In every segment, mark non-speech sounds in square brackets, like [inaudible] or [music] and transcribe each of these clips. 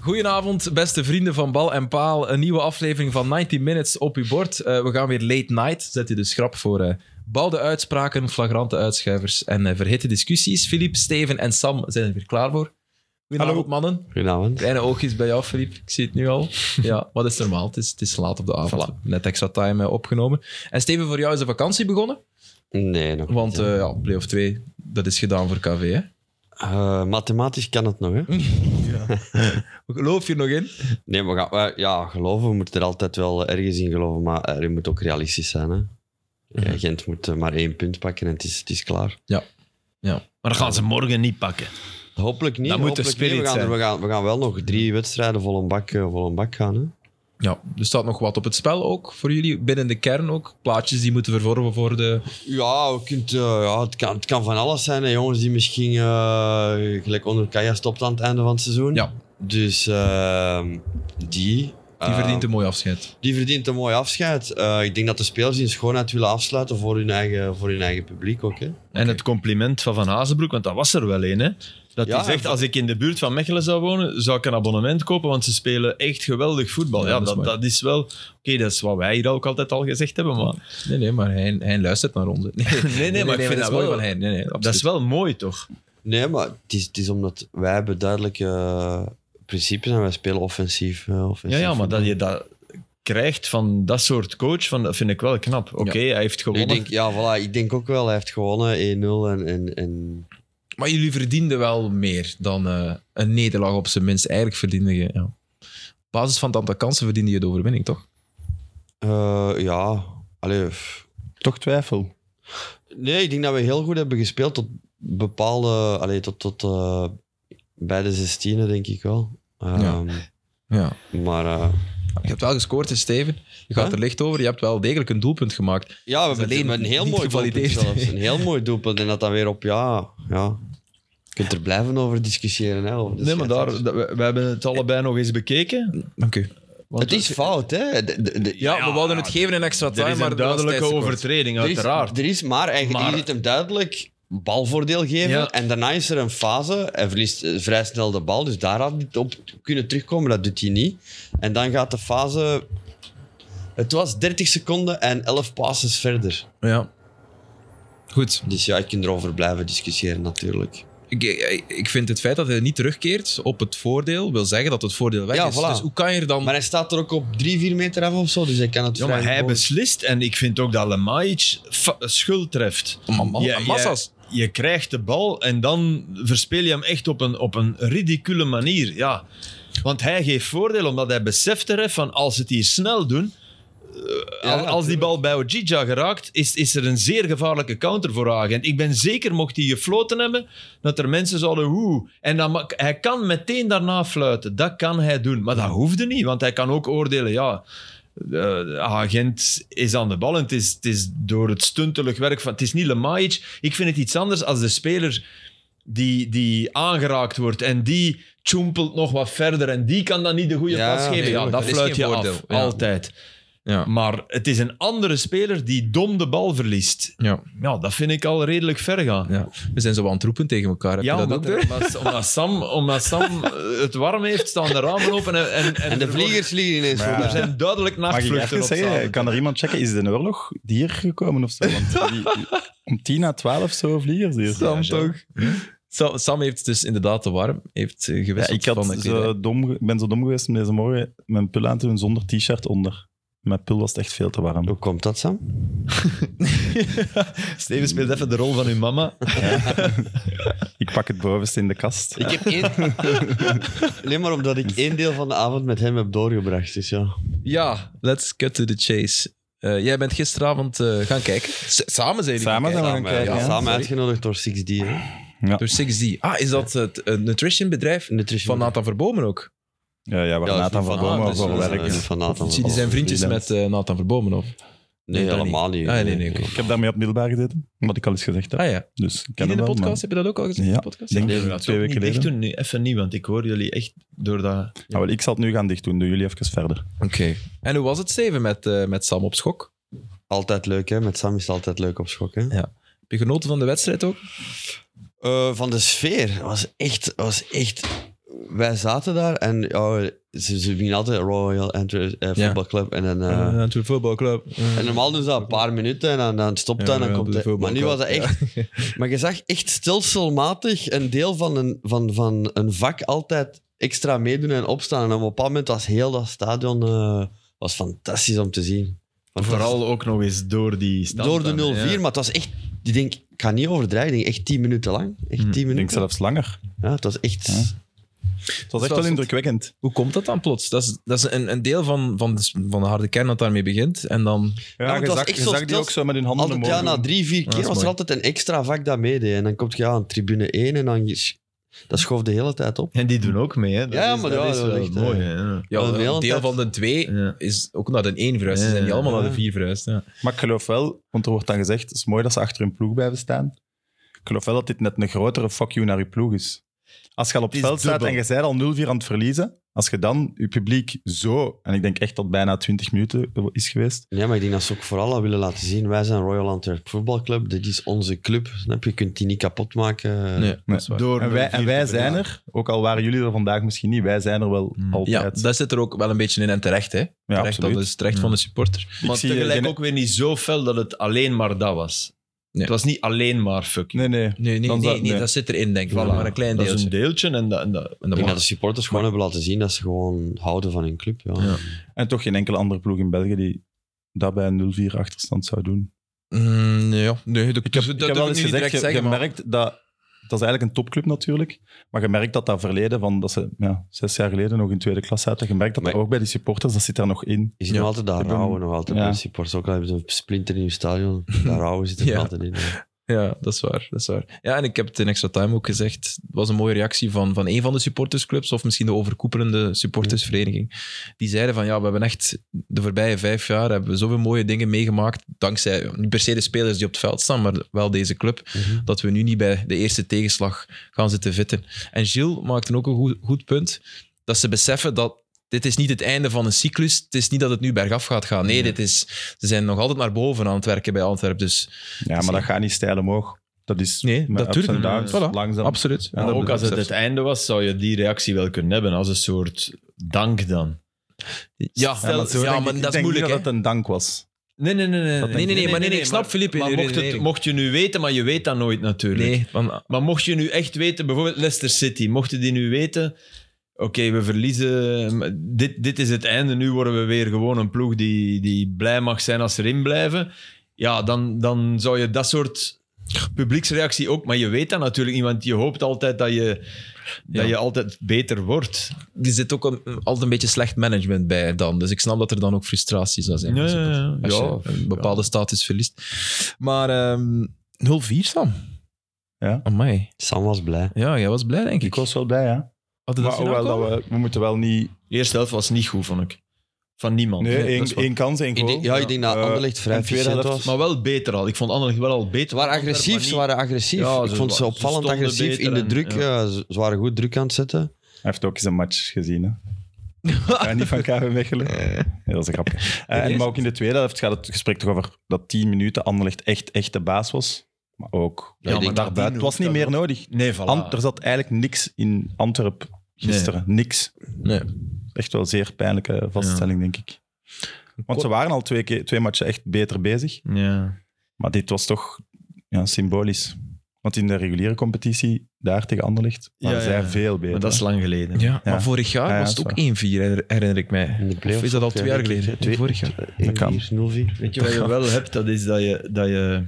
Goedenavond, beste vrienden van Bal en Paal. Een nieuwe aflevering van 90 Minutes op uw bord. Eh, we gaan weer late night. Zet u de schrap voor eh bouwde uitspraken, flagrante uitschuivers en eh, verhitte discussies. Filip, Steven en Sam zijn er weer klaar voor. Goedenavond, mannen. Goedenavond. Kleine oogjes bij jou, Filip. Ik zie het nu [laughs] al. Ja, wat is normaal? Het is, het is laat op de avond. Net extra time eh, opgenomen. En Steven, voor jou is de vakantie begonnen. Nee, nog Want niet. eh ja, play-off 2, dat is gedaan voor KV, hè? Eh, Hm. mathematisch kan het nog, hè? Geloof je er nog in? Nee, maar ga- eh, ja, geloven, we moeten er altijd wel ergens in geloven, maar eh, je moet ook realistisch zijn, hè? Ja, Gent moet eh, maar één punt pakken en het is, het is klaar. Maar dat gaan ze morgen niet pakken. Hopelijk niet. Dat moet de hopelijk niet. spirit we gaan, er- zijn. We gaan, we gaan wel nog drie wedstrijden vol een bak, eh, vol een bak gaan, hè? Ja, er staat nog wat op het spel ook voor jullie, binnen de kern ook. Plaatjes die moeten vervormen voor de... Ja, we kunt, eh, ja het, kan, het kan van alles zijn, hè, jongens die misschien eh, gelijk onder Kaya stopt aan het einde van het seizoen. Ja, Dus eh, die... die Ah. eh, verdient een mooi afscheid. Die verdient een mooi afscheid. Eh, ik denk dat de spelers in schoonheid willen afsluiten voor hun eigen, voor hun eigen publiek ook. Hè? En het compliment van Van Hazenbroek, want dat was er wel een, hè? Dat Ja, hij zegt, en- als ik in de buurt van Mechelen zou wonen, zou ik een abonnement kopen, want ze spelen echt geweldig voetbal. Ja, Ja, dat is dat, mooi. dat is wel... Oké, dat is wat wij hier ook altijd al gezegd hebben, maar Nee, nee, maar hij, hij luistert naar ons. hè. Nee, [laughs] nee, maar ik dat is vind dat mooi wel- van hij. Nee, nee, dat is wel mooi, toch? Nee, maar het is, het is omdat wij hebben duidelijke eh, principes en wij spelen offensief. eh, Ja, offensief ja, maar dat voetbal. je dat krijgt van dat soort coach, van, dat vind ik wel knap. Oké, hij heeft Ik gewonnen. denk, ja, voilà, ik denk ook wel, hij heeft gewonnen 1-0. En, en, en Maar jullie verdienden wel meer dan eh, een nederlaag op zijn minst. Eigenlijk verdiende je... Ja. Op basis van het aantal kansen verdiende je de overwinning, toch? eh, ja, allee, pff. Toch twijfel. nee, ik denk dat we heel goed hebben gespeeld tot bepaalde, allee, tot, tot eh, bij de 16 denk ik wel. Ehm, Ja. Maar eh, Je hebt wel gescoord, hè, Steven. Je gaat Huh? er licht over. Je hebt wel degelijk een doelpunt gemaakt. Ja, we Dat hebben is we hebben een heel niet mooi doelpunt gevalideerd. zelfs. Een heel mooi doelpunt. En dat dan weer op, ja, ja. Je kunt er blijven over discussiëren. Hè, over de Nee, maar daar, scheidsrechter. dat- we, we hebben het allebei nog eens bekeken. Dank u. Want Het is fout, hè. De- de- de- Ja, we wilden het ja, geven in extra er time, is maar een er was duidelijke tijdstekort. overtreding, er is, uiteraard. er is maar eigenlijk, je Maar- ziet hem duidelijk balvoordeel geven. Ja. En daarna is er een fase. Hij verliest eh, vrij snel de bal. Dus daar had hij op kunnen terugkomen. Dat doet hij niet. En dan gaat de fase. Het was 30 seconden en 11 passes verder. Ja. Goed. Dus ja, je kunt erover blijven discussiëren, natuurlijk. Ik, ik- ik vind het feit dat hij niet terugkeert op het voordeel, wil zeggen dat het voordeel weg Ja, is. voilà. Dus hoe kan je er dan... Maar hij staat er ook op 3, 4 meter af of zo, dus hij kan het Ja, vrij maar hij gewoon- beslist en ik vind ook dat Lemaic fa- schuld treft. Ma- ma- Ja, massa's. Je krijgt de bal en dan verspeel je hem echt op een, op een ridicule manier. Ja. Want hij geeft voordeel omdat hij beseft er van als ze het hier snel doen, Ja, al- als die natuurlijk. bal bij Ojija geraakt, is, is er een zeer gevaarlijke counter voor Agent. Ik ben zeker, mocht hij gefloten hebben, dat er mensen zouden hoe. En dan, ma- hij kan meteen daarna fluiten. Dat kan hij doen. Maar dat hoefde niet, want hij kan ook oordelen, ja... eh, agent is aan de bal en het is, het is door het stuntelig werk van... Het is niet Lemaic. Ik vind het iets anders als de speler die, die aangeraakt wordt en die tjoempelt nog wat verder en die kan dan niet de goede Ja, pas geven. nee, ja, dat dat is fluit geen je voordeel. af. Ja. Altijd. Ja. Maar het is een andere speler die dom de bal verliest. Ja, Ja, dat vind ik al redelijk ver gaan. ja. We zijn zo aan het roepen tegen elkaar. Heb Ja, je dat omdat, ook door? omdat, omdat Sam, [laughs] omdat Sam eh, het warm heeft, staan de ramen open en... En, en, En de er vliegers vliegen ineens Maar ja. voorbij. worden- Er zijn duidelijk Mag ik nachtvluchten even op zeggen, zaterdag. kan er iemand checken, is het een oorlog die hier gekomen of zo? Want die- die- om tien na twaalf zo vliegers hier. Sam toch? Sam, Sam heeft dus inderdaad te warm. Heeft eh, Ja, gewisseld ik had van de kledij. zo dom, ge- ben zo dom geweest om deze morgen mijn pul aan te doen zonder t-shirt onder. Mijn pul was echt veel te warm. Hoe komt dat, Sam? Steven speelt even de rol van uw mama. Ik pak het bovenste in de kast. Ik heb één... [laughs] Alleen maar omdat ik één deel van de avond met hem heb doorgebracht, dus ja. Ja, let's cut to the chase. Eh, jij bent gisteravond eh, gaan kijken. S- samen zijn jullie Samen gaan zijn we kijken. gaan ja, kijken. ja. samen uitgenodigd door 6D, hè. Door 6D. Ah, is dat het eh, nutritionbedrijf Nutrition. van Nathan Verbomen ook? Ja, ja, waar Nathan van Bomen Bomen dus voor dat is werkt. een- Van Nathan Zie, die zijn vriendjes met eh, Nathan Verbomen, of? Nee, Nee, dat helemaal niet. Ah, nee, nee, oké. Ik heb daarmee op middelbaar gezeten, wat ik al eens gezegd heb. Ah ja. Dus ik ken Hier in hem de wel, maar- podcast, heb je dat ook al gezien? in de Ja. podcast? Ik denk Nee, we gaan het twee ook weken niet dicht geleden. doen. Nee, even niet, want ik hoor jullie echt door dat... Ah, wel, ik zal het nu gaan dicht doen, doen jullie even verder. Oké. En hoe was het, Steven, met, eh, met Sam op schok? Altijd leuk, hè. Met Sam is het altijd leuk op schok, hè. Heb je genoten van de wedstrijd ook? Eh, van de sfeer was echt, was echt wij zaten daar en ja, ze, ze gingen altijd Royal Antwerp eh, Football Club. En, dan, eh, Eh, Antwerp Football Club. Eh, en normaal doen ze dat een paar minuten en dan, dan stopt Ja, dat en Royal dan komt Antwerp het. Maar nu was Football dat Club. echt Maar je zag echt stelselmatig een deel van een, van, van een vak altijd extra meedoen en opstaan. En op een bepaald moment was heel dat stadion eh, was fantastisch om te zien. Want het Vooral ook nog eens door die was stand. door de 0-4, dan, ja. maar het was echt... Ik denk, ik ga niet overdrijven, ik denk echt 10 minuten lang. Echt 10 Ik denk minuten. zelfs langer. Ja, het was echt... Ja. Het was echt wel het- indrukwekkend. Hoe komt dat dan plots? Dat is, dat is een, een deel van, van, de, van de harde kern dat daarmee begint. En dan... Ja, maar het je was zag, echt je zo zag die stil- ook zo met hun handen Altijd, ja, na omhoog doen. drie, vier dat keer is was er mooi. altijd een extra vak dat meedeed. En dan kom je ja, aan tribune 1 en dan... je- Dat schoof de hele tijd op. En die doen ook mee, hè? Dat Ja, is, maar dat ja, is dat wel is echt, mooi. eh, hè, Ja. Ja, Wel, de hele een deel tijd- van de twee Ja. is ook naar de één verhuisd. Ze Ja, zijn niet allemaal naar de ja. vier verhuisd. Ja. Maar ik geloof wel, want er wordt dan gezegd, het is mooi dat ze achter hun ploeg blijven staan. Ik geloof wel dat dit net een grotere fuck you naar je ploeg is. Als je al op het Het is veld staat dubbel. en je bent al 0-4 aan het verliezen, als je dan je publiek zo, en ik denk echt dat bijna 20 minuten is geweest, Ja, maar ik denk dat ze ook vooral al willen laten zien. Wij zijn Royal Antwerp Football Club. Dit is onze club. Snap je? Je kunt die niet kapot maken. Nee, dat is waar. Door en wij, 0-4 en wij te zijn verliezen. er, ook al waren jullie er vandaag misschien niet, wij zijn er wel Ja, altijd. dat zit er ook wel een beetje in en terecht. Hè. Ja, terecht dat is terecht van de supporter. Ik Maar zie, eh, tegelijk geen- ook weer niet zo fel dat het alleen maar dat was. Nee. Het was niet alleen maar fuck. you. Nee, nee. Nee, nee, Dan nee, dat- nee, nee. dat zit erin, denk ik. Voilà. Maar een klein Dat is deeltje. een deeltje en dat... En dat, En dat Ik denk dat mag. de supporters gewoon hebben laten zien dat ze gewoon houden van hun club. Ja. Ja. En toch geen enkele andere ploeg in België die dat bij een 0-4 achterstand zou doen. Mm, nee, ja. nee, dat, Ik heb, dat ik heb durf wel eens nu niet gezegd, direct je, zeggen, je maar- merkt dat... Dat is eigenlijk een topclub natuurlijk. Maar je merkt dat dat verleden, van dat ze ja, zes jaar geleden nog in tweede klas zaten, je merkt dat dat Maar- ook bij die supporters, dat zit daar nog in. Je ziet nog altijd daar Ik ben- rouwen, nog altijd ja. bij de supporters. Ook al hebben ze een splinter in hun stadion. [laughs] Daar rouwen zit er Ja. altijd in. ja. Ja, dat is waar. Dat is waar. Ja, en ik heb het in extra time ook gezegd. Het was een mooie reactie van, van een van de supportersclubs, of misschien de overkoepelende supportersvereniging. Die zeiden van ja, we hebben echt de voorbije vijf jaar hebben we zoveel mooie dingen meegemaakt. Dankzij niet per se de spelers die op het veld staan, maar wel deze club. Mhm. Dat we nu niet bij de eerste tegenslag gaan zitten vitten. En Gilles maakte ook een goed, goed punt. Dat ze beseffen dat. Dit is niet het einde van een cyclus. Het is niet dat het nu bergaf gaat gaan. Nee, dit is, ze zijn nog altijd naar boven aan het werken bij Antwerpen. Dus Ja, maar dat gaat niet stijl omhoog. Dat is Nee, met dat ups duurt en niet. downs, Voilà, langzaam. absoluut. Ja, maar dat ook als het betreft. het einde was, zou je die reactie wel kunnen hebben. Als een soort dank dan. Ja, Ja, maar, stel- zo ja, denk maar ik- ik dat is denk niet moeilijk. hè. dat het een dank was. Nee, nee, nee. Nee, Dat Nee, nee, nee, maar nee, nee, ik snap Filip. Maar mocht, het, mocht je nu weten, maar je weet dat nooit natuurlijk. Nee, van, Maar mocht je nu echt weten, bijvoorbeeld Leicester City, mochten die nu weten, oké, we verliezen, maar dit, dit is het einde, nu worden we weer gewoon een ploeg die, die blij mag zijn als ze erin blijven. Ja, dan, dan zou je dat soort publieksreactie ook, maar je weet dat natuurlijk niet, want je hoopt altijd dat je, dat Ja. je altijd beter wordt. er zit ook een, altijd een beetje slecht management bij dan. Dus ik snap dat er dan ook frustratie zou zijn. Ja, als je- ja, ja. Als Ja, je een bepaalde status verliest. Maar ehm 0-4, Sam. Ja. Amai. Sam was blij. Ja, jij was blij, denk ik. Ik was wel blij, ja. Had je dat Maar zien hoewel aankomen? dat we, we moeten wel niet... Eerste helft was niet goed, vond ik. Van niemand. Nee, dat één, is wat- één kans, één Ik goal. denk, ja, ik denk dat Eh, Anderlecht vrij en tweede efficiënt helft- was. Maar wel beter al. Ik vond Anderlecht wel al beter. Ze waren agressief, ze waren agressief. Ja, ik ze vond ze wa- ze opvallend stonden agressief beter in de en- druk. eh, ze ze waren goed druk aan het zetten. Hij heeft ook eens een match [laughs] gezien, hè. Ja, niet van KV Mechelen. Ja, dat is een grapje. [laughs] Eh, en, maar ook in de tweede helft gaat het gesprek toch over dat 10 minuten Anderlecht echt, echt de baas was. Maar ook Ja, maar daar daarbuiten. Het was niet meer nodig. Nee, voilà. Ant- er zat eigenlijk niks in Antwerp gisteren. Niks. Nee. Echt wel een zeer pijnlijke vaststelling, denk ik. Want ze waren al twee, keer, twee matchen echt beter bezig. Ja. Maar dit was toch ja, symbolisch. Want in de reguliere competitie, daar tegen Anderlecht, waren Ja, ja, zij ja. veel beter. Maar dat is lang geleden. Ja, maar Ja. vorig jaar Ja, ja, was het dat ook 1-4, is her- herinner ik In mij. de Of playoffs is dat al ook, twee ja, jaar denk ik, geleden? hè. Twee- Vorig jaar. Dat kan. 1-4, 0-4. Weet je wat je wel hebt? Dat is dat je, dat je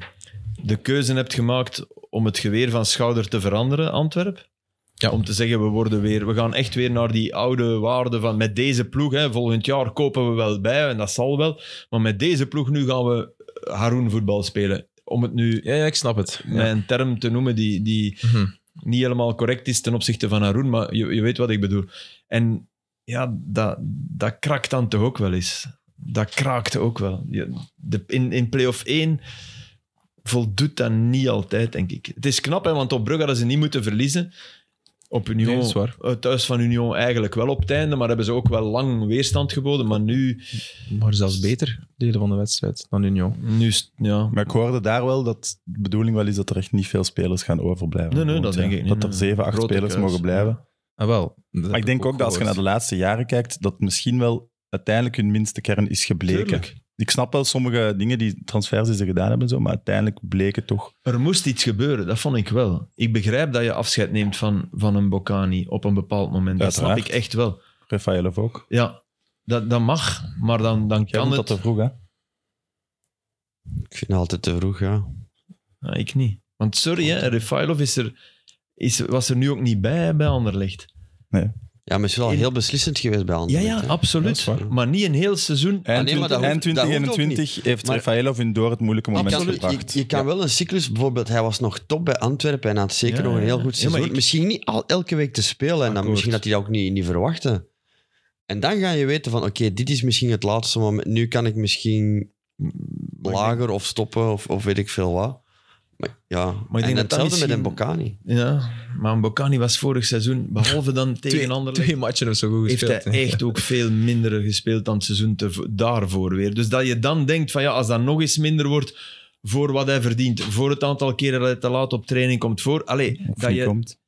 de keuze hebt gemaakt om het geweer van schouder te veranderen, Antwerp. Ja. Om te zeggen, we, worden weer, we gaan echt weer naar die oude waarde van met deze ploeg. Hè, volgend jaar kopen we wel bij en dat zal wel. Maar met deze ploeg nu gaan we Haroon voetbal spelen. Om het nu Ja, ja, ik snap het. Ja. mijn term te noemen die, die Mhm. niet helemaal correct is ten opzichte van Haroon, maar je, je weet wat ik bedoel. En ja, dat, dat krakt dan toch ook wel eens. Dat kraakt ook wel. Je- de, in, in play-off 1 voldoet dat niet altijd, denk ik. Het is knap, hè, want op Brugge hadden ze niet moeten verliezen. Op Union, Nee, dat is waar. eh, thuis van Union eigenlijk wel op het einde, maar hebben ze ook wel lang weerstand geboden. Maar nu, Maar zelfs beter, delen van de wedstrijd, dan Union. nu is- ja, Maar ik hoorde daar wel dat de bedoeling wel is dat er echt niet veel spelers gaan overblijven. Nee, nee, Want, dat ja, denk ik niet, Dat er nee. zeven, acht Grote spelers keus. mogen blijven. Ah, wel. Maar ik denk ook, dat als je naar de laatste jaren kijkt, dat misschien wel uiteindelijk hun minste kern is gebleken. Tuurlijk. Ik snap wel sommige dingen die transfers die ze gedaan hebben, en zo, maar uiteindelijk bleken toch. Er moest iets gebeuren, dat vond ik wel. Ik begrijp dat je afscheid neemt van, van een Bocani op een bepaald moment. Dat snap ik Uiteraard. echt wel. Rafaelov ook. Ja, dat, dat mag, maar dan, dan Jij kan vond het... dat te vroeg, hè? Ik vind het altijd te vroeg, ja. Ja, ik niet. Want sorry, hè, Refailov is er, is, was er nu ook niet bij hè, bij Anderlecht. Ja, maar het is wel heel beslissend geweest bij Ja, Anderlecht. ja, hè. Dat absoluut. is waar. Maar niet een heel seizoen. Eind, nee, maar dat 20 hoeft- eind dat hoeft ook 2021 heeft Maar- Rafaelov hun door het moeilijke moment Absoluut. gebracht. Je, je kan wel een cyclus, bijvoorbeeld, hij was nog top bij Antwerpen en had zeker Ja, nog een heel ja. goed Ja, maar seizoen. ik- Misschien niet al elke week te spelen en dan Akkoord. misschien dat hij dat ook niet, niet verwachtte. En dan ga je weten van, oké, dit is misschien het laatste moment. Nu kan ik misschien lager of stoppen of, of weet ik veel wat. Maar ja, denk en dat dat hetzelfde misschien- met een Bocani. Ja, maar een Bocani was vorig seizoen, behalve dan tegen Twee, Anderlecht, twee matchen of zo goed heeft gespeeld. hij echt ook veel minder gespeeld dan het seizoen te, daarvoor weer. Dus dat je dan denkt van ja, als dat nog eens minder wordt voor wat hij verdient, voor het aantal keren dat hij te laat op training komt voor, allee, Of dat niet je, komt.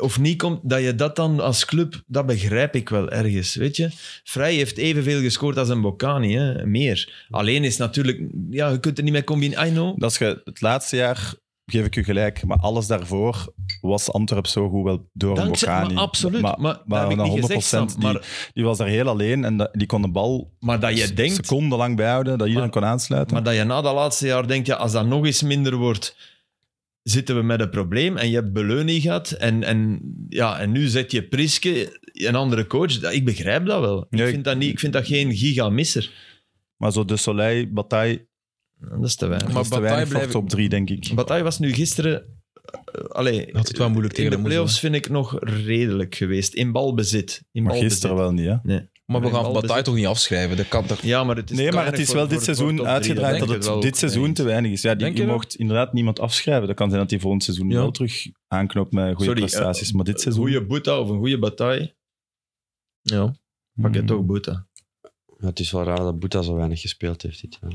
of niet komt, dat je dat dan als club, dat begrijp ik wel ergens, weet je. Vrij heeft evenveel gescoord als een Bocani, hè? meer. Alleen is natuurlijk, ja, je kunt er niet mee combineren, I know. Dat is ge- het laatste jaar, geef ik u gelijk, maar alles daarvoor was Antwerp zo goed wel door een Dankzij- Bocani. maar absoluut, maar dat heb ik dan niet gezegd, Sam, die, maar- die was daar heel alleen en dat- die kon de bal Maar dat je s- denkt, secondenlang bijhouden, dat iedereen Maar- kon aansluiten. maar dat je na dat laatste jaar denkt, ja, als dat nog eens minder wordt, zitten we met een probleem. En je hebt Beleuni gehad en, en, ja, en nu zet je Priske, een andere coach. Dat- Ik begrijp dat wel. Nee, ik, ik- vind dat niet, ik vind dat geen gigamisser. maar zo De Soleil, Bataille, Dat is te weinig. maar Maar was te Bataille weinig voor blijf- top 3, denk ik. Bataille was nu gisteren... eh, allee, Had het wel moeilijk in tegen de hem, playoffs vind ik nog redelijk geweest. In balbezit. In Maar balbezit. gisteren wel niet, hè? Nee. Maar we Met gaan bal Bataille toch niet afschrijven? Dat kan toch... Ja, maar het is nee, te maar het weinig is voor- voor- wel dit voor seizoen top drie, uitgedraaid denk dat het ik wel. dit seizoen te weinig is. Ja, die, Denk je je wel? mocht inderdaad niemand afschrijven. Dat kan zijn dat hij volgend seizoen Ja. wel terug aanknoopt met goede Sorry, eh, prestaties. maar dit Een seizoen... goede Boeta of een goede Bataille, Ja. pak je Mm. toch Boeta. Ja, het is wel raar dat Boeta zo weinig gespeeld heeft dit jaar.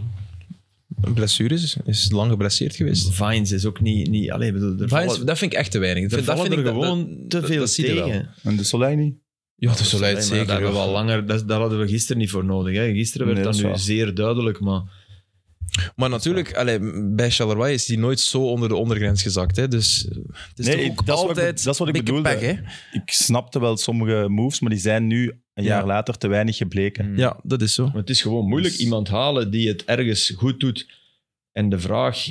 Blessures is, is lang geblesseerd geweest. Vines is ook niet... niet allee, bedoel, er Vines, vallen- dat vind ik echt te weinig. Dat Er vind, dat vallen vind ik er dat- gewoon dat- te dat- veel dat zie je wel. tegen. En De Soleil niet? Ja, dat Nee, Soleil maar zeker. Dat, hebben we wel. al langer, dat, daar hadden we gisteren niet voor nodig. Hè. Gisteren werd Nee, dat, dat nu is waar. zeer duidelijk, maar Maar natuurlijk, allee, bij Charleroi is die nooit zo onder de ondergrens gezakt. Hè. Dus eh, het is Nee, toch ik- ook dat is wat ik- altijd dat is wat ik een beetje bedoelde. pech, hè. ik snapte wel sommige moves, maar die zijn nu een Ja. jaar later te weinig gebleken. Mm. Ja, dat is zo. maar het is gewoon moeilijk Dus- iemand halen die het ergens goed doet. En de vraag,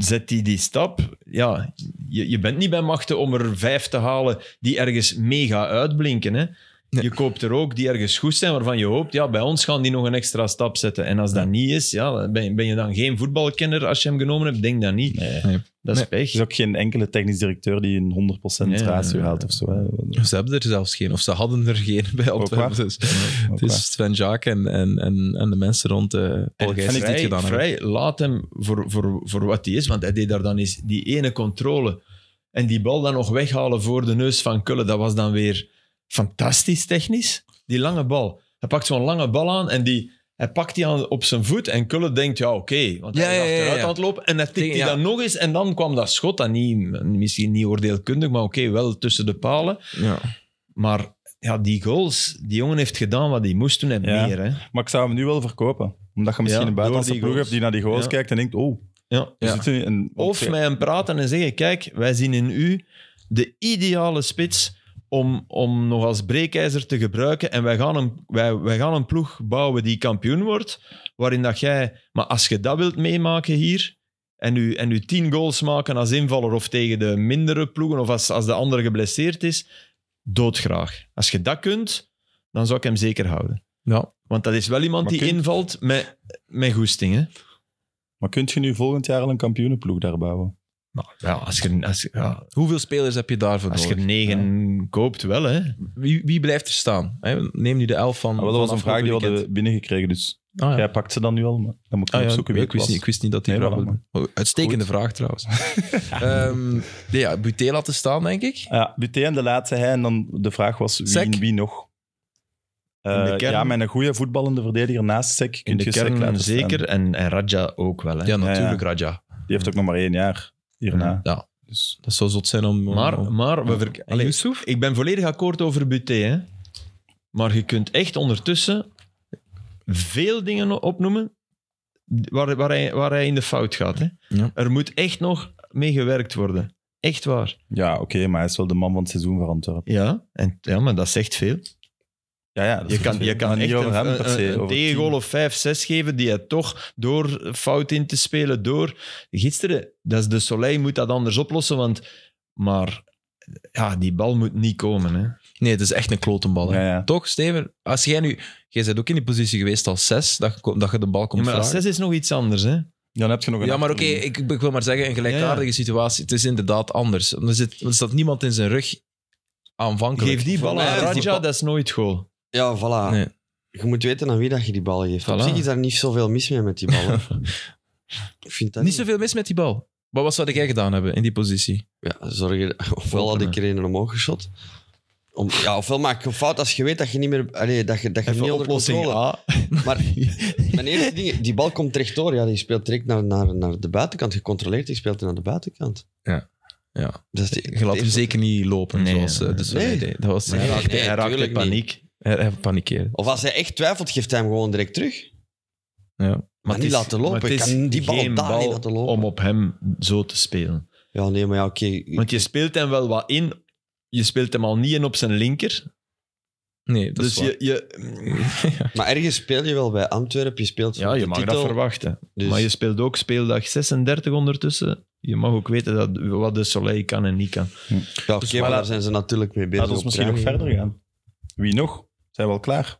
zet die die stap? Ja, je, je bent niet bij machten om er vijf te halen die ergens mega uitblinken. Hè? Nee. Je koopt er ook die ergens goed zijn, waarvan je hoopt, ja, bij ons gaan die nog een extra stap zetten. En als dat niet is, ja, ben, je- ben je dan geen voetbalkenner als je hem genomen hebt? Denk dat niet. Nee. Dat is Nee. pech. Er is ook geen enkele technisch directeur die een 100% Nee, ratio nee, haalt of [laughs] zo. hè. Ook Ze hebben er zelfs geen, of ze hadden er geen [laughs] bij waar. Antwerpen. Dus het waar. Oh, is Sven Jaak en, en, en, en de mensen rond eh Paul Gijs En die het vrij, gedaan hebben. vrij laat hem voor, voor, voor wat hij is, want hij deed daar dan eens die ene controle. En die bal dan nog weghalen voor de neus van Kulle, dat was dan weer fantastisch technisch. Die lange bal. Hij pakt zo'n lange bal aan en die, hij pakt die aan op zijn voet en Kulle denkt, ja oké, want hij Ja, ja, is ja, achteruit ja. aan het lopen. En hij tikt Tegen- die ja. dan nog eens en dan kwam dat schot, dan niet, misschien niet oordeelkundig, maar oké, wel tussen de palen. Ja. Maar ja, die goals, die jongen heeft gedaan wat hij moest doen en Ja. meer. Hè. Maar ik zou hem nu wel verkopen. Omdat je misschien Ja, een door buitenlandse die ploeg goals. hebt die naar die goals Ja. kijkt en denkt, oh, Ja. we Ja. zitten in een... Of oké. met hem praten en zeggen: Kijk, wij zien in u de ideale spits om, om nog als breekijzer te gebruiken. En wij gaan, een, wij, wij gaan een ploeg bouwen die kampioen wordt. Waarin dat jij. Maar als je dat wilt meemaken hier. En u, en u tien goals maken als invaller of tegen de mindere ploegen. of als, als de ander geblesseerd is. Doodgraag. Als je dat kunt, dan zou ik hem zeker houden. Ja. Want dat is wel iemand Maar die kun- invalt met, met goesting. Hè? Maar kunt je nu volgend jaar al een kampioenenploeg daar bouwen? Nou, ja, als je, als, je- ja, Hoeveel spelers heb je daarvoor Als je nodig? er negen koopt, wel hè. Wie, wie blijft er staan? Hè, Neem nu de elf van. Ah, wel, van dat was een vraag die we afgelopen hadden binnengekregen, dus weekend. Ah, ja. jij pakt ze dan nu al, maar dan moet ik Ah, ja, opzoeken wie ik, wist het niet, ik was. wist niet dat die Nee, vraag voilà, was. Oh, Uitstekende vraag trouwens. [laughs] Ehm nee, ja, Buté laten staan, denk ik. Ja, Buté en de laatste hij, en dan de vraag was Sek? wie, wie nog? In de Eh, kern- ja, met een goede voetballende verdediger naast Sek In kun de je Sek kern laten staan. zeker. En, en Raja ook wel hè. Ja, Ja, natuurlijk, ja. Raja. Die heeft ook nog maar één jaar hierna. Ja, Dus Dat zou zot zijn om... om- Maar, om- maar we verk- En Allee, Youssouf? ik ben volledig akkoord over Buté. Hè? Maar je kunt echt ondertussen veel dingen opnoemen waar, waar, hij, waar hij in de fout gaat. Hè? Ja. Er moet echt nog mee gewerkt worden. Echt waar. ja, oké, maar hij is wel de man van het seizoen voor Antwerpen. Ja, en, ja maar dat zegt veel. Ja, ja, dat Je is kan, goed. je kan Maar echt niet over hem een, per een- se. een over het team. tegengoal of 5, 6 geven die hij toch door fout in te spelen, door... Gisteren, dat is de Soleil moet dat anders oplossen, want... Maar ja, die bal moet niet komen. Hè. Nee, het is echt een klotenbal. hè. Ja, ja. Toch, Steven? Als jij nu... Jij bent ook in die positie geweest als zes, dat, je ko- dat je de bal komt Ja, maar als vragen. 6 is nog iets anders. Hè. Dan heb je nog een Ja, maar oké, achterlinie. ik, ik wil maar zeggen, een gelijkaardige Ja, situatie. Het is inderdaad anders. Er, zit, er staat niemand in zijn rug aanvankelijk. Geef die bal Voor mij aan is die Raja, bal- dat is nooit goal. Ja, voilà. Nee. Je moet weten aan wie dat je die bal geeft. Op Voilà. zich is daar niet zoveel mis mee met die ballen. [laughs] ik vind dat Niet zoveel mis met die bal. Maar wat zou jij gedaan hebben in die positie? Ja, zorgen. [laughs] Ofwel had ik er een omhoog geschot. Om, ja, ofwel maak je een fout als je weet dat je niet meer... Allee, dat je, dat je niet onder controle A. Maar mijn eerste ding, die bal komt rechtdoor. Ja, die speelt direct naar, naar, naar de buitenkant. Gecontroleerd, die speelt die naar de buitenkant. Ja. Ja. Dat is de- Je laat hem eerste- zeker niet lopen Nee, zoals eh, nee. de Soleil Nee. deed. Dat was Nee, Hij hij, raakt, nee, hij raakt in tuurlijk niet. paniek. hij panikeerde. Of als hij echt twijfelt, geeft hij hem gewoon direct terug. Maar, Ja. het niet is- laten lopen. maar Ik het is kan die bal geen daar bal niet laten lopen. Om op hem zo te spelen. Ja, nee, maar ja, oké. Want je speelt hem wel wat in. Je speelt hem al niet in op zijn linker. Nee, dat dus is waar. je, je, Maar ergens speel je wel bij Antwerpen. Je speelt ja, voor je de mag titel. dat verwachten. Dus- Maar je speelt ook speeldag 36 ondertussen. Je mag ook weten dat, wat de Soleil kan en niet kan. Ja, oké, Dus maar voilà. daar zijn ze natuurlijk mee bezig. Laat ons op misschien nog training. verder gaan. Wie nog? Zijn we al klaar?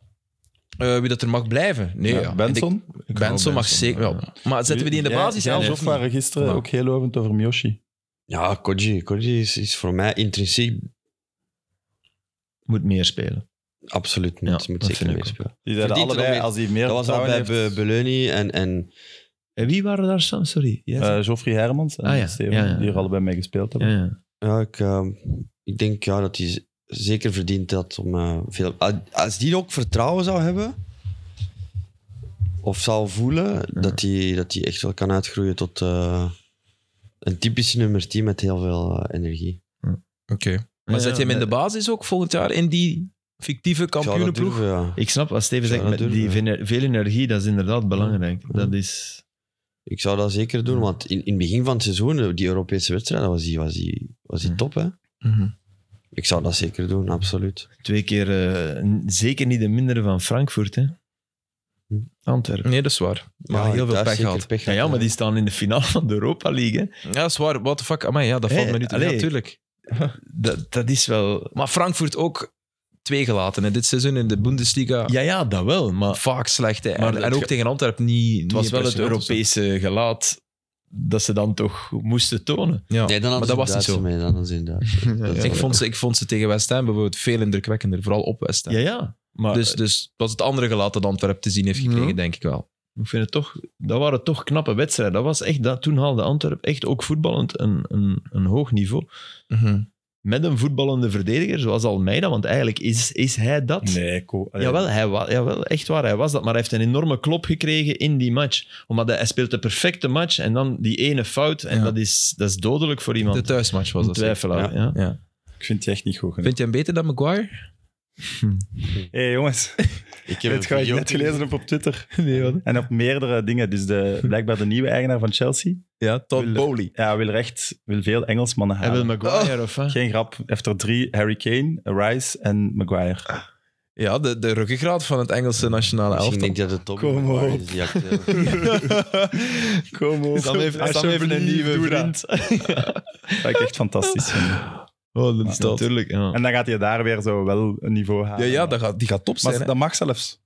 Eh, wie dat er mag blijven. Nee, ja. Ja, Benson? Ik- Benson mag zeker eh, wel. Maar zetten we die in de Jij- basis jij zelf en of Joff niet? waren gisteren Maar- ook heel lovend over Miyoshi. Ja, Koji. Koji is, is voor mij intrinsiek Moet meer spelen. absoluut Ja, niet. dat moet vind zeker ik mee ook. spelen. Die Verdient zeiden er allebei, nog meer- als hij meer Dat was al bij vertrouwen Be heeft... Beloni en, en En wie waren daar samen? Sorry. Jij zei- eh, Geoffrey Hermans en Ah, ja. Steven, Ja, ja, ja. die er allebei mee gespeeld hebben. ja, ja. ja, ik, eh, ik denk ja, dat hij z- zeker verdient dat om eh, veel. a- Als die ook vertrouwen zou hebben of zou voelen, dat hij dat die echt wel kan uitgroeien tot eh, een typische nummer 10 met heel veel eh, energie. Oké. Maar Ja, zet je hem in maar- de basis ook volgend jaar in die fictieve Ik zou dat kampioenenploeg? durven, ja. Ik snap wat Steven Zou zegt. dat met durven? Die vener- veel energie, dat is inderdaad belangrijk. Dat is... Ik zou dat zeker doen, want in, in het begin van het seizoen, eh, die Europese wedstrijd, dat was die, was die, was die Mm. top. Hè? Mhm. Ik zou dat zeker doen, absoluut. Twee keer eh, n- zeker niet de mindere van Frankfurt, hè? Hm. Antwerpen. Nee, dat is waar. Maar heel veel thuis pech zeker gehad. pech Ja, ja, maar die staan in de finale van de Europa League. Hè. Ja, dat is waar. What the fuck? Amai, ja, dat valt Hey, me nu te allee. natuurlijk. Dat, dat is wel. Maar Frankfurt ook twee gelaten. Hè. Dit seizoen in de Bundesliga Ja, ja, dat wel. Maar vaak slecht. Hè. Maar En, het en ook ge- tegen Antwerpen niet. het was wel het Europese gelaat dat ze dan toch moesten [laughs] tonen. Ja. Nee, dan maar hadden dat ze was niet Duitsers zo. Mee, dan hadden ze in Duitsers. Dat is ik, wel- vond ze, ik vond ze tegen West Ham bijvoorbeeld veel indrukwekkender. Vooral op West Ham. Ja, ja. Maar Dus, dus, dus het was het andere gelaat dat Antwerpen te zien heeft gekregen, Ja. denk ik wel. ik vind het toch, dat waren toch knappe wedstrijden. Dat was echt, dat, toen haalde Antwerpen echt ook voetballend een, een, een hoog niveau. Mhm. Met een voetballende verdediger zoals Almeida, want eigenlijk is, is hij dat. Nee, eh, cool. Allee, Jawel, hij wa- jawel, echt waar, hij was dat. Maar hij heeft een enorme klop gekregen in die match. Omdat hij, hij speelt de perfecte match en dan die ene fout. En Ja. dat, is, dat is dodelijk voor iemand. De thuismatch was Een dat. zeker. twijfelaar. Ja. Ja. Ik vind die echt niet goed genoeg. Vind je hem beter dan Maguire? Hé hey, [laughs] jongens, [laughs] Ik heb dit een ga ik video net gelezen op, op Twitter. [laughs] Nee, wat? En op meerdere dingen. [laughs] Dus de, blijkbaar de nieuwe eigenaar van Chelsea. Ja, Todd Wil- Bowley. Ja, wil recht, wil veel Engelsmannen Hij Oh. halen. wil Ah, Maguire of wat? Geen grap. Heeft er drie, Harry Kane, Rice en [laughs] Maguire. Ja, de, de ruggengraat van het Engelse nationale Misschien elftal. denk ik dat het top Kom maar op. is die acteur. Kom op. Sam heeft- Sam heeft een nieuwe vriend. [laughs] Dat ik echt fantastisch vind. Oh, dat is dat. natuurlijk. Ja. En dan gaat hij daar weer zo wel een niveau Ja, halen. ja dat gaat, die gaat top Maar zijn. hè. dat mag zelfs.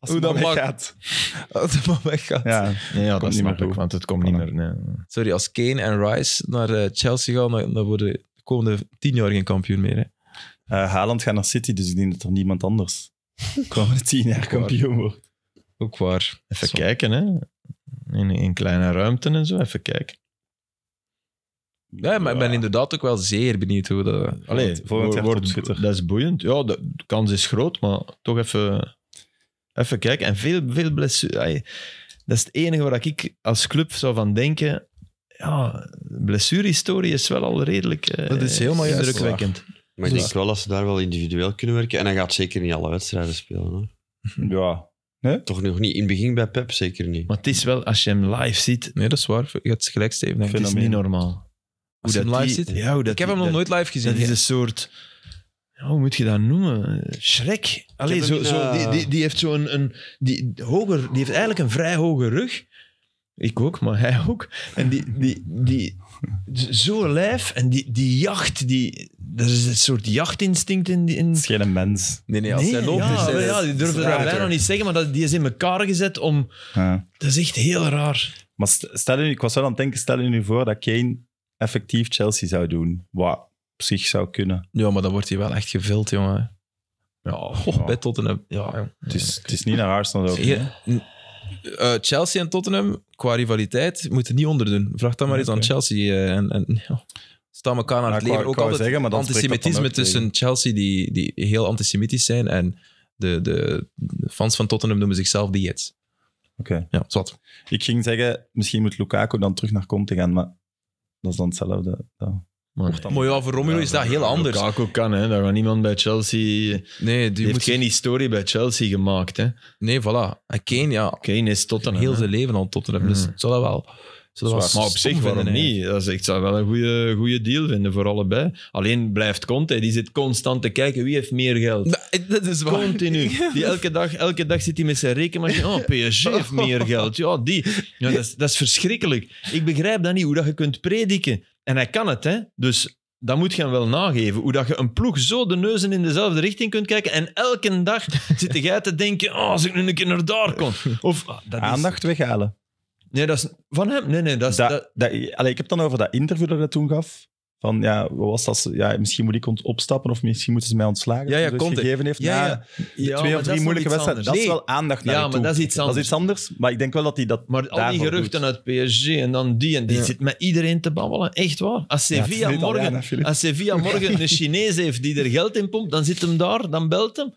Als Hoe het dat maar mag. weggaat. [laughs] Als de man weggaat. Ja. Ja, ja, niet dat snap meer ik, goed. want het komt niet meer. Nee. Sorry, als Kane en Rice naar eh, Chelsea gaan, dan, dan worden de komende tien jaar geen kampioen meer. Hè. Eh, Haaland gaat naar City, dus ik denk dat er niemand anders de komende tien jaar kampioen wordt. Ook waar. Even Zo. kijken, hè. In, in kleine ruimten en zo, even kijken. Ja, maar ik ben inderdaad ook wel zeer benieuwd hoe dat... Allee, volgend jaar wordt- topschutter. dat is boeiend. Ja, de, de kans is groot, maar toch even, even kijken. En veel, veel blessures. Dat is het enige waar ik als club zou van denken. ja, blessurehistorie is wel al redelijk eh, Dat is helemaal juist. indrukwekkend. Maar ik denk wel dat ze daar wel individueel kunnen werken. En hij gaat zeker niet alle wedstrijden spelen. Hè? Ja. Toch nog niet. In het begin bij Pep zeker niet. Maar het is wel, als je hem live ziet, Nee, dat is waar. Je hebt gelijk, Steven. denk ik. het is Fenomeen. niet normaal. Als je hem dat live die- ziet? Ja, hoe dat Ik heb die- hem nog dat- nooit live gezien. Dat is dus- een soort... ja, hoe moet je dat noemen? Eh, Schrek. Allee, heb zo, hem zo, in, die, eh, die, die heeft zo'n... Een, die, hoger, die heeft eigenlijk een vrij hoge rug. Ik ook, maar hij ook. En die... die, die z- Zo'n lijf en die, die jacht, die, er is een soort jachtinstinct in. die- in Het is geen mens. Nee, nee, als hij loopt dus, eh, ja, is hij- wel, ja, die durfde dat Predator. bijna niet zeggen, maar dat, die is in elkaar gezet om... Ja. Dat is echt heel raar. Maar st- stel je, ik was wel aan het denken, stel je nu voor dat Kane effectief Chelsea zou doen. Wat op zich zou kunnen. Ja, maar dan wordt hij wel echt gevuld, jongen. Oh, Ja, Ja. Bij Tottenham. Ja, jong. Het is, het is niet naar Arsenal. Zo. Hier- n- eh, Chelsea en Tottenham, qua rivaliteit, moeten niet onderdoen. Vraag dat maar eens aan Oké. Chelsea. eh, en, en, ja. Staan elkaar naar Ja, het ik leven. wou- Ook ik wou altijd zeggen, maar dan spreekt dat dan antisemitisme ook tegen. tussen Chelsea, die, die heel antisemitisch zijn, en de, de, de fans van Tottenham noemen zichzelf de Jets. Oké. Ja, zwart. Ik ging zeggen, misschien moet Lukaku dan terug naar Conte gaan, maar dat is dan hetzelfde. Ja. Dan- Maar ja, voor Romelu is dat heel anders. Lukaku kan, hè. Daar gaat niemand bij Chelsea... Nee, die Die heeft moet geen historie bij Chelsea gemaakt. Hè? Nee, voilà. En Kane, ja, Kane is Tottenham. heel hè. zijn leven al Tottenham. Dus Hmm. Mm. het zal dat wel. Zal dat wel Maar op stom zich, waarom vinden, hè. niet? Dat is, ik zou wel een goede, goede deal vinden voor allebei. Alleen blijft Conte. Die zit constant te kijken wie heeft meer geld. Nee, dat is waar. Continu. Die elke, dag, elke dag zit hij met zijn rekenmachine. Oh, PSG heeft meer geld. Ja, die. Ja, dat, is, dat is verschrikkelijk. Ik begrijp dat niet, hoe dat je kunt prediken. En hij kan het, hè. Dus dat moet je hem wel nageven. Hoe dat je een ploeg zo de neuzen in dezelfde richting kunt kijken en elke dag [laughs] zit jij te denken, oh, als ik nu een keer naar daar kon. Of, ah, dat is- Aandacht weghalen. Nee, dat is van hem. Nee, nee, dat is... Dat, dat- dat- allee, ik heb dan over dat interview dat hij toen gaf. Van ja, wat was dat? ze- Ja, misschien moet ik ont- opstappen of misschien moeten ze mij ontslagen. Ja, ja, dat hij dus Conte. gegeven heeft. Ja, na ja. die Ja, maar twee dat of is drie nog moeilijke iets wedstrijden. Dat anders. is wel aandacht naar ja, je maar toe. dat is iets anders. Dat is iets anders, maar ik denk wel dat hij dat. Maar al die daarvoor geruchten doet. uit PSG en dan die en die Ja. zit met iedereen te babbelen. Echt waar. Als Ja, het is Sevilla, een Italiaan, hè, morgen, Filip. als [laughs] Sevilla morgen een Chinees heeft die er geld in pompt, dan zit hem daar, dan belt hem.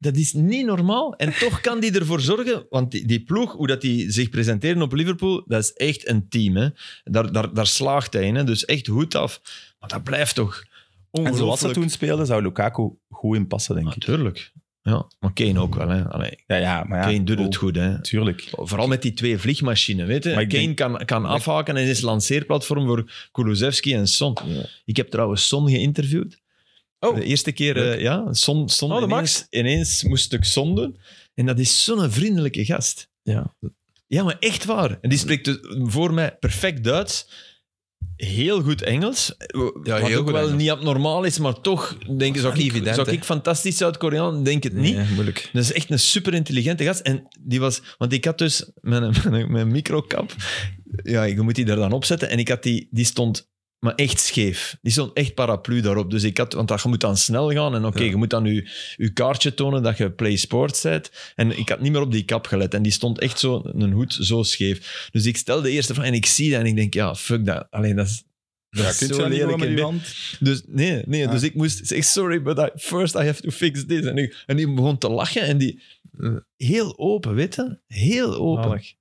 Dat is niet normaal. En toch kan die ervoor zorgen, want die, die ploeg, hoe dat die zich presenteren op Liverpool, dat is echt een team. Hè. Daar, daar, daar slaagt hij in. Hè. Dus echt hoed af. Maar dat blijft toch En ongelooflijk. zoals ze toen speelden, zou Lukaku goed in passen, denk ik. Natuurlijk. Ja, maar Kane ook wel. Hè. Allee, Ja, ja, maar ja. Kane doet oh, het goed. Hè. Tuurlijk. Vooral met die twee vliegmachines, weet je. Maar Kane ik denk- kan, kan afhaken en is lanceerplatform voor Kulusevski en Son. Ik heb trouwens Son geïnterviewd. Oh. De eerste keer, eh, ja, Son, Son Oh, de ineens, Max. ineens moest ik Son doen. En dat is zo'n vriendelijke gast. Ja. Ja, maar echt waar. En die spreekt dus voor mij perfect Duits. Heel goed Engels. wat heel ook goed wel Engels. niet abnormaal is, maar toch denk, ik- zou, Niet ik, evident, zou hè? ik fantastisch Zuid-Koreaan, denk het niet. Nee, moeilijk. Dat is echt een super intelligente gast. En die was, want ik had dus mijn, [laughs] mijn, mijn microcap. Ja, je moet die er dan opzetten. En ik had die, die stond maar echt scheef. Die stond echt paraplu daarop. Dus ik had, want dat, je moet dan snel gaan. En oké, Ja. je moet dan je, je kaartje tonen dat je Play Sports bent. En ik had niet meer op die kap gelet. En die stond echt zo, een hoed zo scheef. Dus ik stel de eerste vraag en ik zie dat. En ik denk, ja, fuck dat. Alleen dat is. Dat Ja, is kunt zo je dat niet lelijk gewoon en met uw dik. hand? Dus nee, nee Ah. dus ik moest zeggen, sorry, but I, first I have to fix this. En, ik, en die begon te lachen en die... eh, Heel open, weet je? Heel open. Zalig.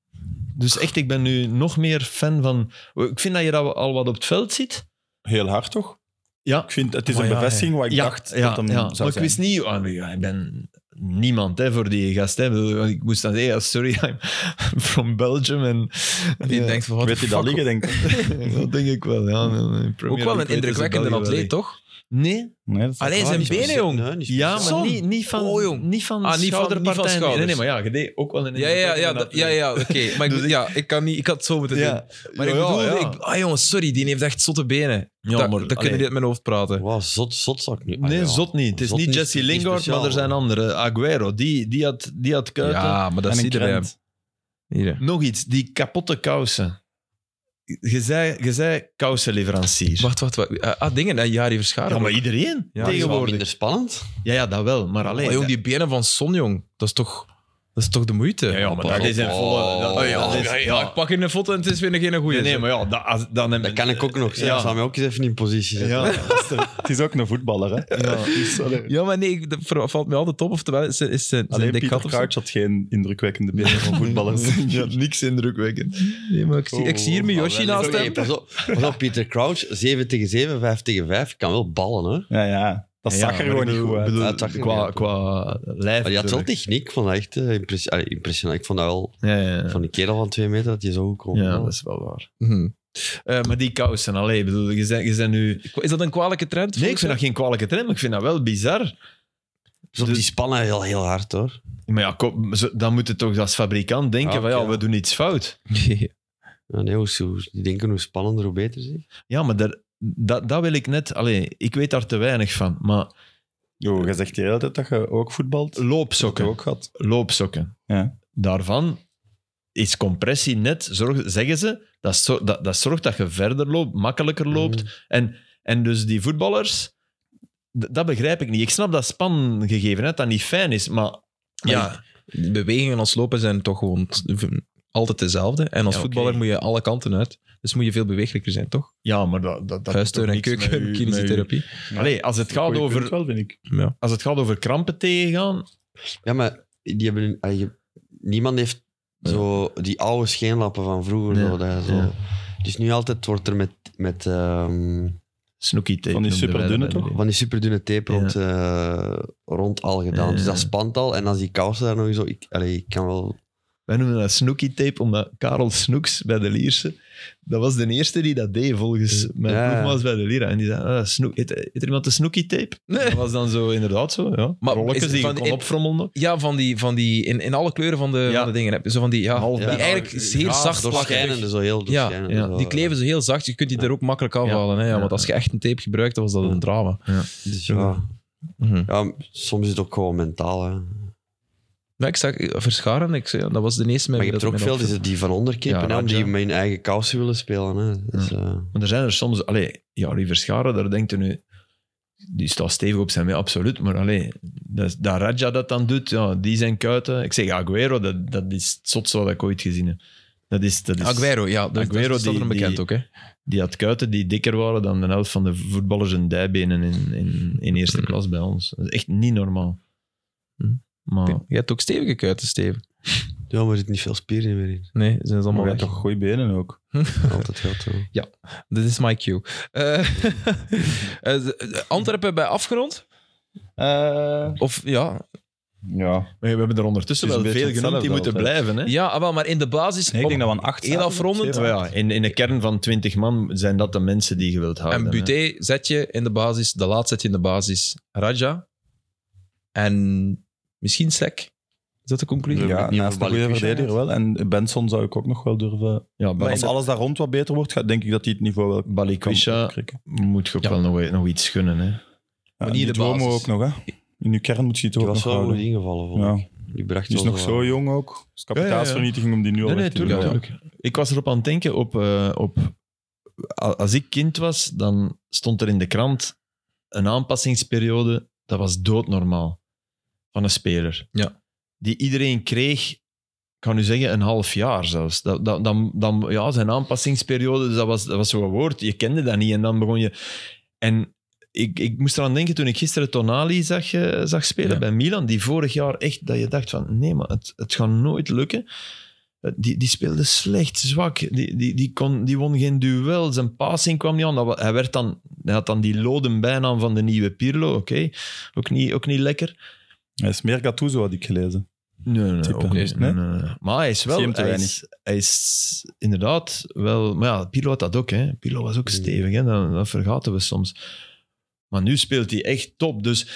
Dus echt, ik ben nu nog meer fan van... Ik vind dat je dat al wat op het veld ziet. Heel hard, toch? Ja, Ik vind, het is Maar een ja, bevestiging wat ik dacht ja, dat hem ja. zou Maar zijn. ik wist niet... ah, ja, ik ben niemand hè, voor die gast. Hè. Ik bedoel, Ik moest dan zeggen, ja, sorry, [laughs] I'm from Belgium. En, Die ja, denkt van, Ik wat weet je dat liggen, denk ik. [laughs] Dat denk ik wel, ja. Ook wel een indrukwekkende atleet, toch? Nee, Nee, dat is Alleen zijn Ah, niet benen, speciaal. jong. Nee, niet Ja, maar speciaal. Son. niet, niet van, Oh, jong. niet van Ah, niet van- schouderpartij. niet van schouders. Nee, dus- nee, maar ja, je deed ook wel een Dus Ja, ja, ja, dat- ja, ja oké. [laughs] Maar ik, bedoel- ja, ik, kan niet, ik had het zo moeten doen. Maar ik bedoel, ja. ik- ah jongens, sorry, die heeft echt zotte benen. Ja, dat, maar, dat allee. kunnen jullie uit mijn hoofd praten. Wauw, zot, zotzak nu. Ah, Nee, ja. zot niet. Het is Zot niet niet, Jesse niet Lingard, speciaal, maar er zijn hoor. anderen. Aguero, die, die, had, die had kuiten. Ja, maar dat En is een iedereen. krent. Hier. Nog iets, die kapotte kousen. Je zei, je zei kousenleverancier. Wacht, wacht, wacht. Eh, ah, dingen, hè, Jari Verscharen. ja, maar iedereen Ja, Maar is wel tegenwoordig. minder spannend. Ja, ja, dat wel. Maar alleen... Oh, jong, die benen van Son, jong. Dat is toch... Dat is toch de moeite? Ja, ja, maar Oh, dat is een volle... dat- dat is- ik pak in een foto en het is weer geen goede. Nee, nee, maar ja, dat, als- dan... Dat [laughs] kan ik ook nog. Ze Ja. zou mij ook eens even in positie zetten. Ja. [laughs] Het is ook een voetballer, hè? Ja, Ja, maar nee, ik- dat ver- valt me altijd op. Of het wel is, is, is zijn Alleen dik Pieter gat of zo. Crouch had geen indrukwekkende beelden [laughs] van voetballers. Ja, niks indrukwekkend. Nee, maar ik zie, ik zie hier Oh, Miyoshi Maar wel naast even- hem. Hey, pas, op, pas op, Peter Crouch. 7 tegen 7, 5 tegen 5. Kan wel ballen, hè. [laughs] Ja, ja. Dat Ja, zag er maar gewoon ik niet bedoel- goed uit. bedoel, Ja, het zag er niet qua, uit. qua lijf. Maar die had wel natuurlijk. techniek. Ik vond dat echt eh, impressi- allee, impressionant. Ik vond dat wel... Ja, ja, ja. Van die kerel van 2 meter dat hij zo goed kon. ja, dat is wel waar. Mhm. Eh, maar die kousen, alleen, bedoel, je zijn, je zijn nu... Is dat een kwalijke trend? Nee, ik vind dat geen kwalijke trend, maar ik vind dat wel bizar. Dus op die spannen heel, heel hard, hoor. Maar ja, kom, zo- dan moet je toch als fabrikant denken Ja, van ja, oké. we doen iets [laughs] fout. geen... Ja, nee, hoe, hoe- die denken hoe spannender, hoe beter. Zeg. Ja, maar daar, dat, dat wil ik net... Allee, ik weet daar te weinig van, maar Jo, je zegt de hele tijd dat je ook voetbalt. Dat je loopsokken. ook had. Loopsokken. Ja. Daarvan is compressie net, zorg, zeggen ze, dat, zo- dat, dat zorgt dat je verder loopt, makkelijker loopt. Mm. Mhm. En, en dus die voetballers, d- dat begrijp ik niet. Ik snap dat spangegeven, hè, dat dat niet fijn is, maar... ja, De bewegingen als lopen zijn toch gewoon t- v- altijd dezelfde. En als Ja, oké. voetballer moet je alle kanten uit. Dus moet je veel bewegelijker zijn, toch? Ja, maar dat, dat, dat Vuiststeun en doet toch niks [laughs] keuken, met u- kinesietherapie. met u. Allee, als het, gaat Goeie punt over, wel, vind ik. Ja. als het gaat over krampen tegengaan... Ja, maar die hebben, hun- ah, je- niemand heeft zo die oude scheenlappen van vroeger. Ja, Zo, dat, zo. ja. Dus nu altijd wordt er met, met ehm, Snooki tape. Van die noemden wij superdunne dat bij toch? de- van die superdunne tape Ja. rond, eh, rond al gedaan. Ja, Dus ja, dat ja. spant al. En als die kousen daar nog zo... Ik, allee, ik kan wel... Wij noemen dat Snooki tape, omdat Karel Snoeks bij de Lierse... Dat was de eerste die dat deed, volgens mijn Ja. ploegmaats bij de Lira. En die zei, ah, snoek, heeft, heeft er iemand de Snooki tape? Dat was dan zo, inderdaad zo, ja. Maar Maar is- Rolletjes die van je die- kon opfrommelen. nog. Ja, van die, van die in, in alle kleuren van de, Ja. van de dingen. heb je Zo van die, ja, Half die bijna eigenlijk heel gaas zacht plakken. Doorschijnende, zo heel doorschijnende. ja, zo. eh, Die kleven ze heel zacht. Je kunt die er ook makkelijk afhalen. Hè? Ja, Ja. want als je echt een tape gebruikt, dan was dat een drama. Dus ja. Mhm. Ja, soms is het ook gewoon mentaal. Hè. Maar ik zag eh, verscharen. Ik, zei, ja, dat was de eerste Maar met je hebt er ook veel die, die van Ja, onderkippen, hè, die Raja. met hun eigen kousen willen spelen. Hè. Dus, eh, Maar er zijn er soms... Allee, ja, die Verscharen, daar denkt u nu... Die staat stevig op zijn mee, absoluut. Maar allee, dat, dat Raja dat dan doet, ja, die zijn kuiten. Ik zeg Aguero, dat, dat is het zotste wat ik ooit gezien heb. Dat is, dat is, Aguero, ja. Dat, Aguero, dat staat die- er bekend die- ook, hè. Die had kuiten die dikker waren dan de helft van de voetballers en dijbenen in, in, in [clears throat] eerste klas bij ons. Dat is echt niet normaal. Hm. Maar Je hebt ook stevige kuiten, Steven. ja, maar er zit niet veel spieren meer [laughs] in. Nee, ze zijn allemaal Maar je weg. hebt toch goede benen ook. Altijd geld. hè. Dit is my cue. Eh, [laughs] eh, de- Antwerpen bij afgerond? Eh, Of ja. ja. we hebben er ondertussen Het is wel een veel beetje genoemd die moeten hetzelfde blijven. Hè? Ja, ah, wel, maar in de basis... Nee, ik denk op- dat we een acht Heel afrondend. Maar ja, in, in een kern van 20 man zijn dat de mensen die je wilt houden. en hè. Buté zet je in de basis. De laat zet je in de basis. Raja. En misschien Sek. Is dat de conclusie? Ja, Ja, niet naast een voor goede Balikwisha. verdediger wel. En Benson zou ik ook nog wel durven... Ja, Maar als Bal- alles daar rond wat beter wordt, gaat- denk ik dat hij het niveau wel kan Balikwisha opkrikken. moet je ook Ja. wel nog, nog iets gunnen. Hè? Ja, Maar niet die de Duomo basis. ook nog, hè. In uw kern moet je het Die ook was nog wel goed houden. ingevallen, vond Ja. ik. Die bracht Die is wel nog wat. zo jong ook. Het is kapitaalsvernietiging om die nu al Nee, nee, weg te tuurlijk, doen. tuurlijk. Ik was erop aan het denken op, eh, op... a- Als ik kind was, dan stond er in de krant een aanpassingsperiode, dat was doodnormaal, van een speler. Ja. Die iedereen kreeg, ik kan nu zeggen, een half jaar zelfs. Dat, dat, dan, dan, ja, zijn aanpassingsperiode, dus dat was, dat was zo'n woord, je kende dat niet. En dan begon je... En ik, ik moest eraan denken toen ik gisteren Tonali zag, eh, zag spelen Ja. bij Milan, die vorig jaar echt, dat je dacht van, nee, maar het, het gaat nooit lukken. Eh, Die, die speelde slecht, zwak. Die, die, die, kon, die won geen duel. Zijn passing kwam niet aan. Dat wa- Hij, werd dan, hij had dan die loden bijnaam van de nieuwe Pirlo. Oké, ook, niet, ook niet lekker. Hij is meer Gattuso, had ik gelezen. Nee, nee, Type. ook niet. Nee? Nee, nee, nee. Maar hij is Zie wel... hem te Hij weinig. is, hij is inderdaad wel... Maar ja, Pirlo had dat ook. Hè. Pirlo was ook Mm. stevig. Hè. Dat, dat vergaten we soms. Maar nu speelt hij echt top. Dus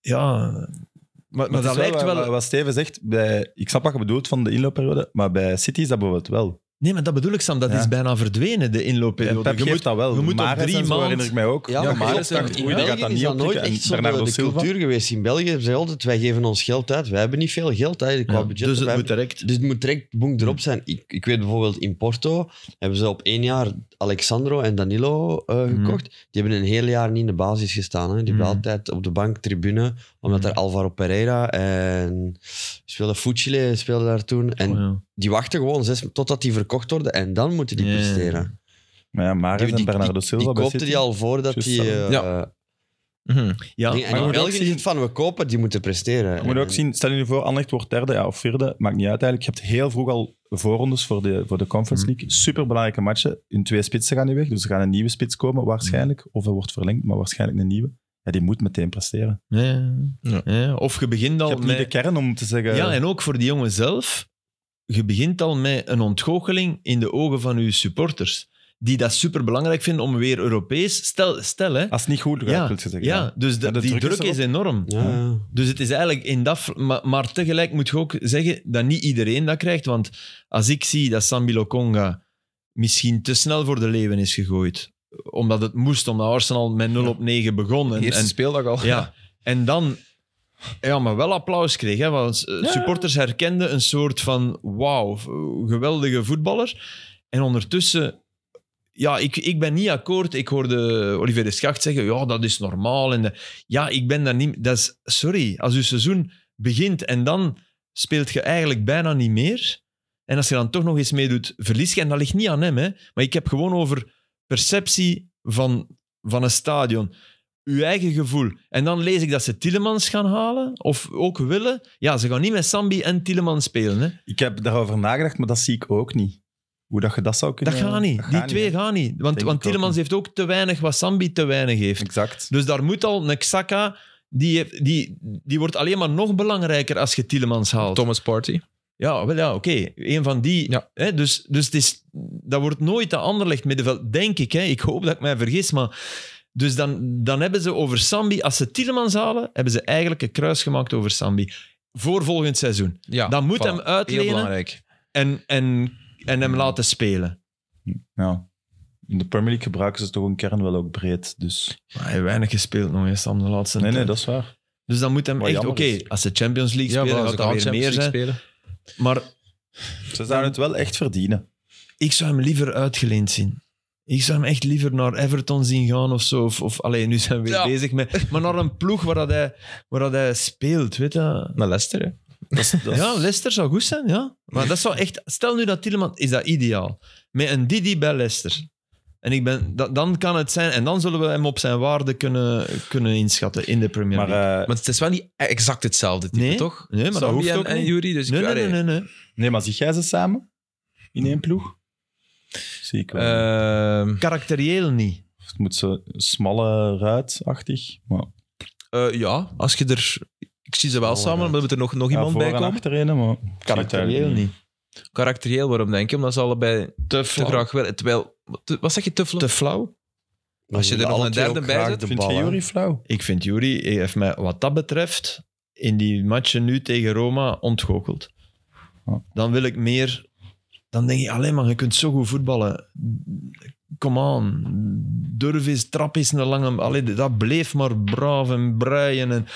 ja... Maar, maar, Maar dat lijkt wel... Wat Steven zegt, bij, ik snap wat je bedoelt van de inloopperiode, maar bij City is dat bijvoorbeeld wel. Nee, maar dat bedoel ik, Sam. Dat Ja. is bijna verdwenen, de Ja, inloopperiode. Pep je geeft moet, dat wel. je moet op Mahrez drie en zo maand- herinner ik mij ook. Ja, Ja, maar maar Mahrez dat is dacht, in oei, dat België gaat dat is niet dat optikken. nooit En echt zo Bernardo de- de Silva. cultuur geweest. In België hebben ze altijd, wij geven ons geld uit. Wij hebben niet veel geld uit qua Ja, budget. dus het Wij- moet direct. dus het moet direct boem erop zijn. Ik, ik weet bijvoorbeeld in Porto hebben ze op één jaar Alexandro en Danilo eh, gekocht. Die hebben een heel jaar niet in de basis gestaan. Hè. Die hebben Mm. altijd op de bank tribune, omdat daar Alvaro Pereira en speelde Fucile speelde daar toen. En Oh, ja. die wachten gewoon zes totdat die verkocht worden en dan moeten die Ja. presteren. Maar ja, Mahrez Die- die- en Bernardo Silva die bij koopte City. die al voordat Juist die... dat. eh, Ja. Mhm. Ja, dingen- maar en je in moet ook België is zien- het van, we kopen, die moeten presteren. Je moet ook En- zien, stel je nu voor, Anderlecht wordt derde ja, of vierde, maakt niet uit eigenlijk. Je hebt heel vroeg al voorrondes voor de, voor de Conference Mhm. League. Superbelangrijke matchen. Hun twee spitsen gaan nu weg, dus er gaat een nieuwe spits komen waarschijnlijk. Of er wordt verlengd, maar waarschijnlijk een nieuwe. Ja, die moet meteen presteren. Ja. Ja. Ja. Of je begint Je al hebt met... niet de kern om te zeggen... Ja, en ook voor die jongen zelf. Je begint al met een ontgoocheling in de ogen van je supporters. Die dat superbelangrijk vinden om weer Europees... Stel, stel hè. Als het niet goed gaat, Ja, Ah, wil je zeggen. Ja, dus de- Ja, de die druk is druk is, enorm. Ja, ja. Dus het is eigenlijk in dat... vla- Maar, maar tegelijk moet je ook zeggen dat niet iedereen dat krijgt. Want als ik zie dat Sambi Lokonga misschien te snel voor de leeuwen is gegooid. Omdat het moest, omdat Arsenal met 0 op 9 begon. En, Eerste en, speeldag al. [laughs] ja. En dan... Ja, maar wel applaus kreeg. Hè, want eh, supporters herkenden een soort van... Wauw, v- geweldige voetballer. En ondertussen... Ja, ik, ik ben niet akkoord. Ik hoorde Olivier de Schacht zeggen... Ja, dat is normaal. En de- ja, ik ben daar niet... Dat is, sorry, als je seizoen begint en dan speelt je eigenlijk bijna niet meer... En als je dan toch nog eens meedoet, verlies je. En dat ligt niet aan hem, hè. Maar ik heb gewoon over perceptie van, van een stadion uw eigen gevoel. En dan lees ik dat ze Tielemans gaan halen, of ook willen. Ja, ze gaan niet met Sambi en Tielemans spelen. Hè. Ik heb daarover nagedacht, maar dat zie ik ook niet. Hoe dat je dat zou Dat kunnen... gaat niet. Die twee hè. gaan niet. Denk Want, ik want ook Tielemans heeft ook te weinig wat Sambi te weinig heeft. Exact. Dus daar moet al een Xhaka... Die, heeft- die, die wordt alleen maar nog belangrijker als je Tielemans haalt. Thomas Party. Ja, wel ja, oké. Een van die. Ja. Hè, dus dus het is, dat wordt nooit de Anderlecht middenveld, denk ik. Hè. Ik hoop dat ik mij vergis, maar... Dus dan, dan hebben ze over Sambi... Als ze Tielemans halen, hebben ze eigenlijk een kruis gemaakt over Sambi. Voor volgend seizoen. Ja, dan moet voilà. hem Heel uitlenen belangrijk. en, en, en hem laten spelen. Ja. In de Premier League gebruiken ze toch een kern wel ook breed, dus... Maar hij heeft weinig gespeeld nog, hè, Sam, de laatste Nee, nee, tijd. dat is waar. Dus dan moet hem Wat echt... Oké, jammer is. als ze Champions League Ja, spelen, voilà, gaat ze dat gaan weer meer Champions League zijn. spelen. Maar Ze zouden het wel echt verdienen. ik zou hem liever uitgeleend zien. Ik zou hem echt liever naar Everton zien gaan of zo. Of, of alleen nu zijn we weer Ja. bezig met. Maar naar een ploeg waar, dat hij, waar dat hij speelt. Weet je? Naar Leicester, hè. Dat is, [laughs] dat is- Ja, Leicester zou goed zijn. Ja. Maar dat zou echt. Stel nu dat Tielemans. Is dat ideaal? Met een Didi bij Leicester. En ik ben, da- dan kan het zijn. En dan zullen we hem op zijn waarde kunnen, kunnen inschatten in de Premier maar League. eh, Maar het is wel niet exact hetzelfde type, Nee. toch? Nee, maar dat Sambi hoeft en, ook en niet. Yuri, eh, dus nee, ik- nee, nee, allee. nee, nee. Nee, maar zie jij ze samen? In één ploeg? Zie ik wel. Eh, Ehm, Karakterieel niet. het moet zo smalle ruitachtig. Maar eh, ja, als je er... Ik zie ze wel Oh, samen, ja. maar er moet er nog, nog ja, iemand voor bij en komen. achter een, maar Karakterieel niet. Karakterieel, waarom denk je? Omdat ze allebei Te, te graag willen. Terwijl... te- Wat zeg je, te flauw? Te flauw. Als je er nog alle een twee derde ook bij graag zet, de Vind bal, je hè. Jury flauw? Ik vind Jury heeft mij wat dat betreft in die matchen nu tegen Roma ontgoocheld. Ja. Dan wil ik meer... Dan denk je, alleen maar, je kunt zo goed voetballen. Come on. Durf eens, trap eens naar lange... Allee, dat bleef maar braaf en breien. En...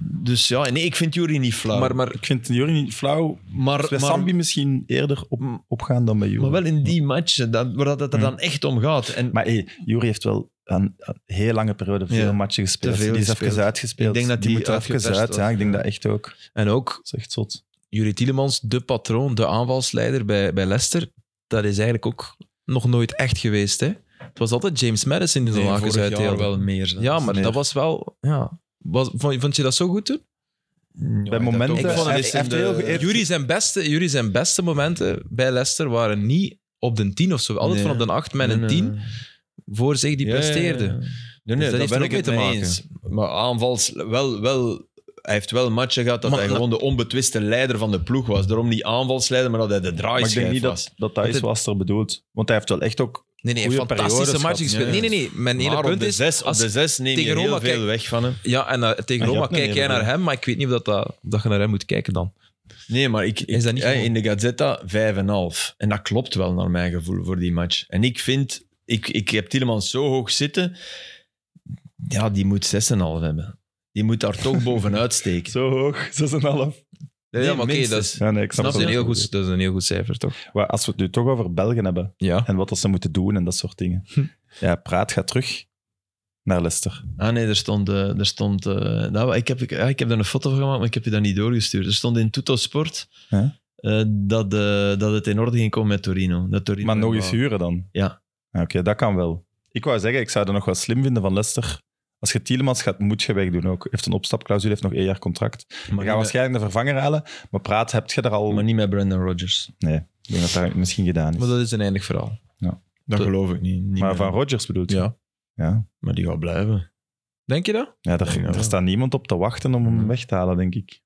Dus ja, nee, ik vind Jury niet flauw. Maar, maar Ik vind Jury niet flauw. maar, Dus bij maar, Sambi misschien eerder op, opgaan dan bij Jury. Mm. maar wel in die matchen, dat, waar dat het er dan echt om gaat. En Maar hey, Jury heeft wel een, een heel lange periode veel Ja, matchen gespeeld. te veel die is even gespeeld. uitgespeeld. Ik denk dat die die moet er even uitgeperst uit. was. Ja, ik denk dat echt ook. Dat En ook is echt zot. Juri Tielemans, de patroon, de aanvalsleider bij, bij Leicester, dat is eigenlijk ook nog nooit echt geweest. Hè? Het was altijd James Madison die de Nee, lakens vorig jaar uitdeelde. wel meer. zeg. Ja, maar meer. dat was wel... Ja. Was, vond, vond je dat zo goed toen? Ja, bij ik momenten... dat ook Ik vond wel. het hij heeft in de- heel ge- heeft- Jury zijn, beste, Jury zijn beste momenten bij Leicester waren niet op de 10 of zo. Altijd Nee. van op de 8 met Nee, een nee, 10 nee. voor zich die Ja, presteerde. ja, ja. Nee, Dus nee, dat dat heeft er ben ook ik het mee te mee maken. eens. Maar aanvals, wel, wel, hij heeft wel matchen gehad dat Maar hij dat- gewoon de onbetwiste leider van de ploeg was. Daarom niet aanvalsleider, maar dat hij de Maar ik denk draaischijf niet was. dat dat, dat is het- wat er bedoelt. Want hij heeft wel echt ook Nee, nee, Goeie fantastische periodes match gehad. gespeeld. Ja, ja. Nee, nee, nee. Mijn Maar hele op punt de, is... zes, als- op de zes neem je tegen heel Roma veel kijk- weg van hem. Ja, en eh, tegen je Roma hebt nog kijk jij meer naar bedoeld. eh, hem, maar ik weet niet of, dat, dat- of dat je naar hem moet kijken dan. Nee, maar ik, ik- Is dat niet ja, gewoon- in de Gazzetta 5,5. En dat klopt wel naar mijn gevoel voor die match. En ik vind, ik, ik heb Tielemans zo hoog zitten. Ja, die moet 6,5 hebben. Die moet daar toch [laughs] bovenuit steken. Zo hoog, [laughs] 6,5. Nee, ja, maar oké, minstens. dat, is- Ja, nee, ik snap dat is het een wel. heel goed, dat is een heel goed cijfer, toch? Maar als we het nu toch over België hebben Ja. en wat dat ze moeten doen en dat soort dingen. Ja, Praat gaat terug naar Leicester. Ah nee, er stond... eh, er stond eh, nou, ik, heb, ik, ja, ik heb daar een foto van gemaakt, maar ik heb je dat niet doorgestuurd. Er stond in Tutto Sport Ja. eh, dat, eh, dat het in orde ging komen met Torino. Dat Torino Maar nog wou- eens huren dan? Ja. Ah, Oké, dat kan wel. Ik wou zeggen, ik zou dat nog wel slim vinden van Leicester. Als je Tielemans gaat, moet je wegdoen ook. Heeft een opstapclausule, heeft nog één jaar contract. Maar, We niet gaan met, waarschijnlijk de vervanger halen, maar praat heb je er al... maar niet met Brendan Rodgers. Ik denk dat dat misschien gedaan is. Maar Maar, dat is een eindig verhaal. Dat geloof ik niet. niet van Rodgers bedoelt je? Ja. Ja, maar die gaat blijven. Denk je dat? ja denk daar, dat daar wel. staat niemand op te wachten om hem weg te halen, denk ik.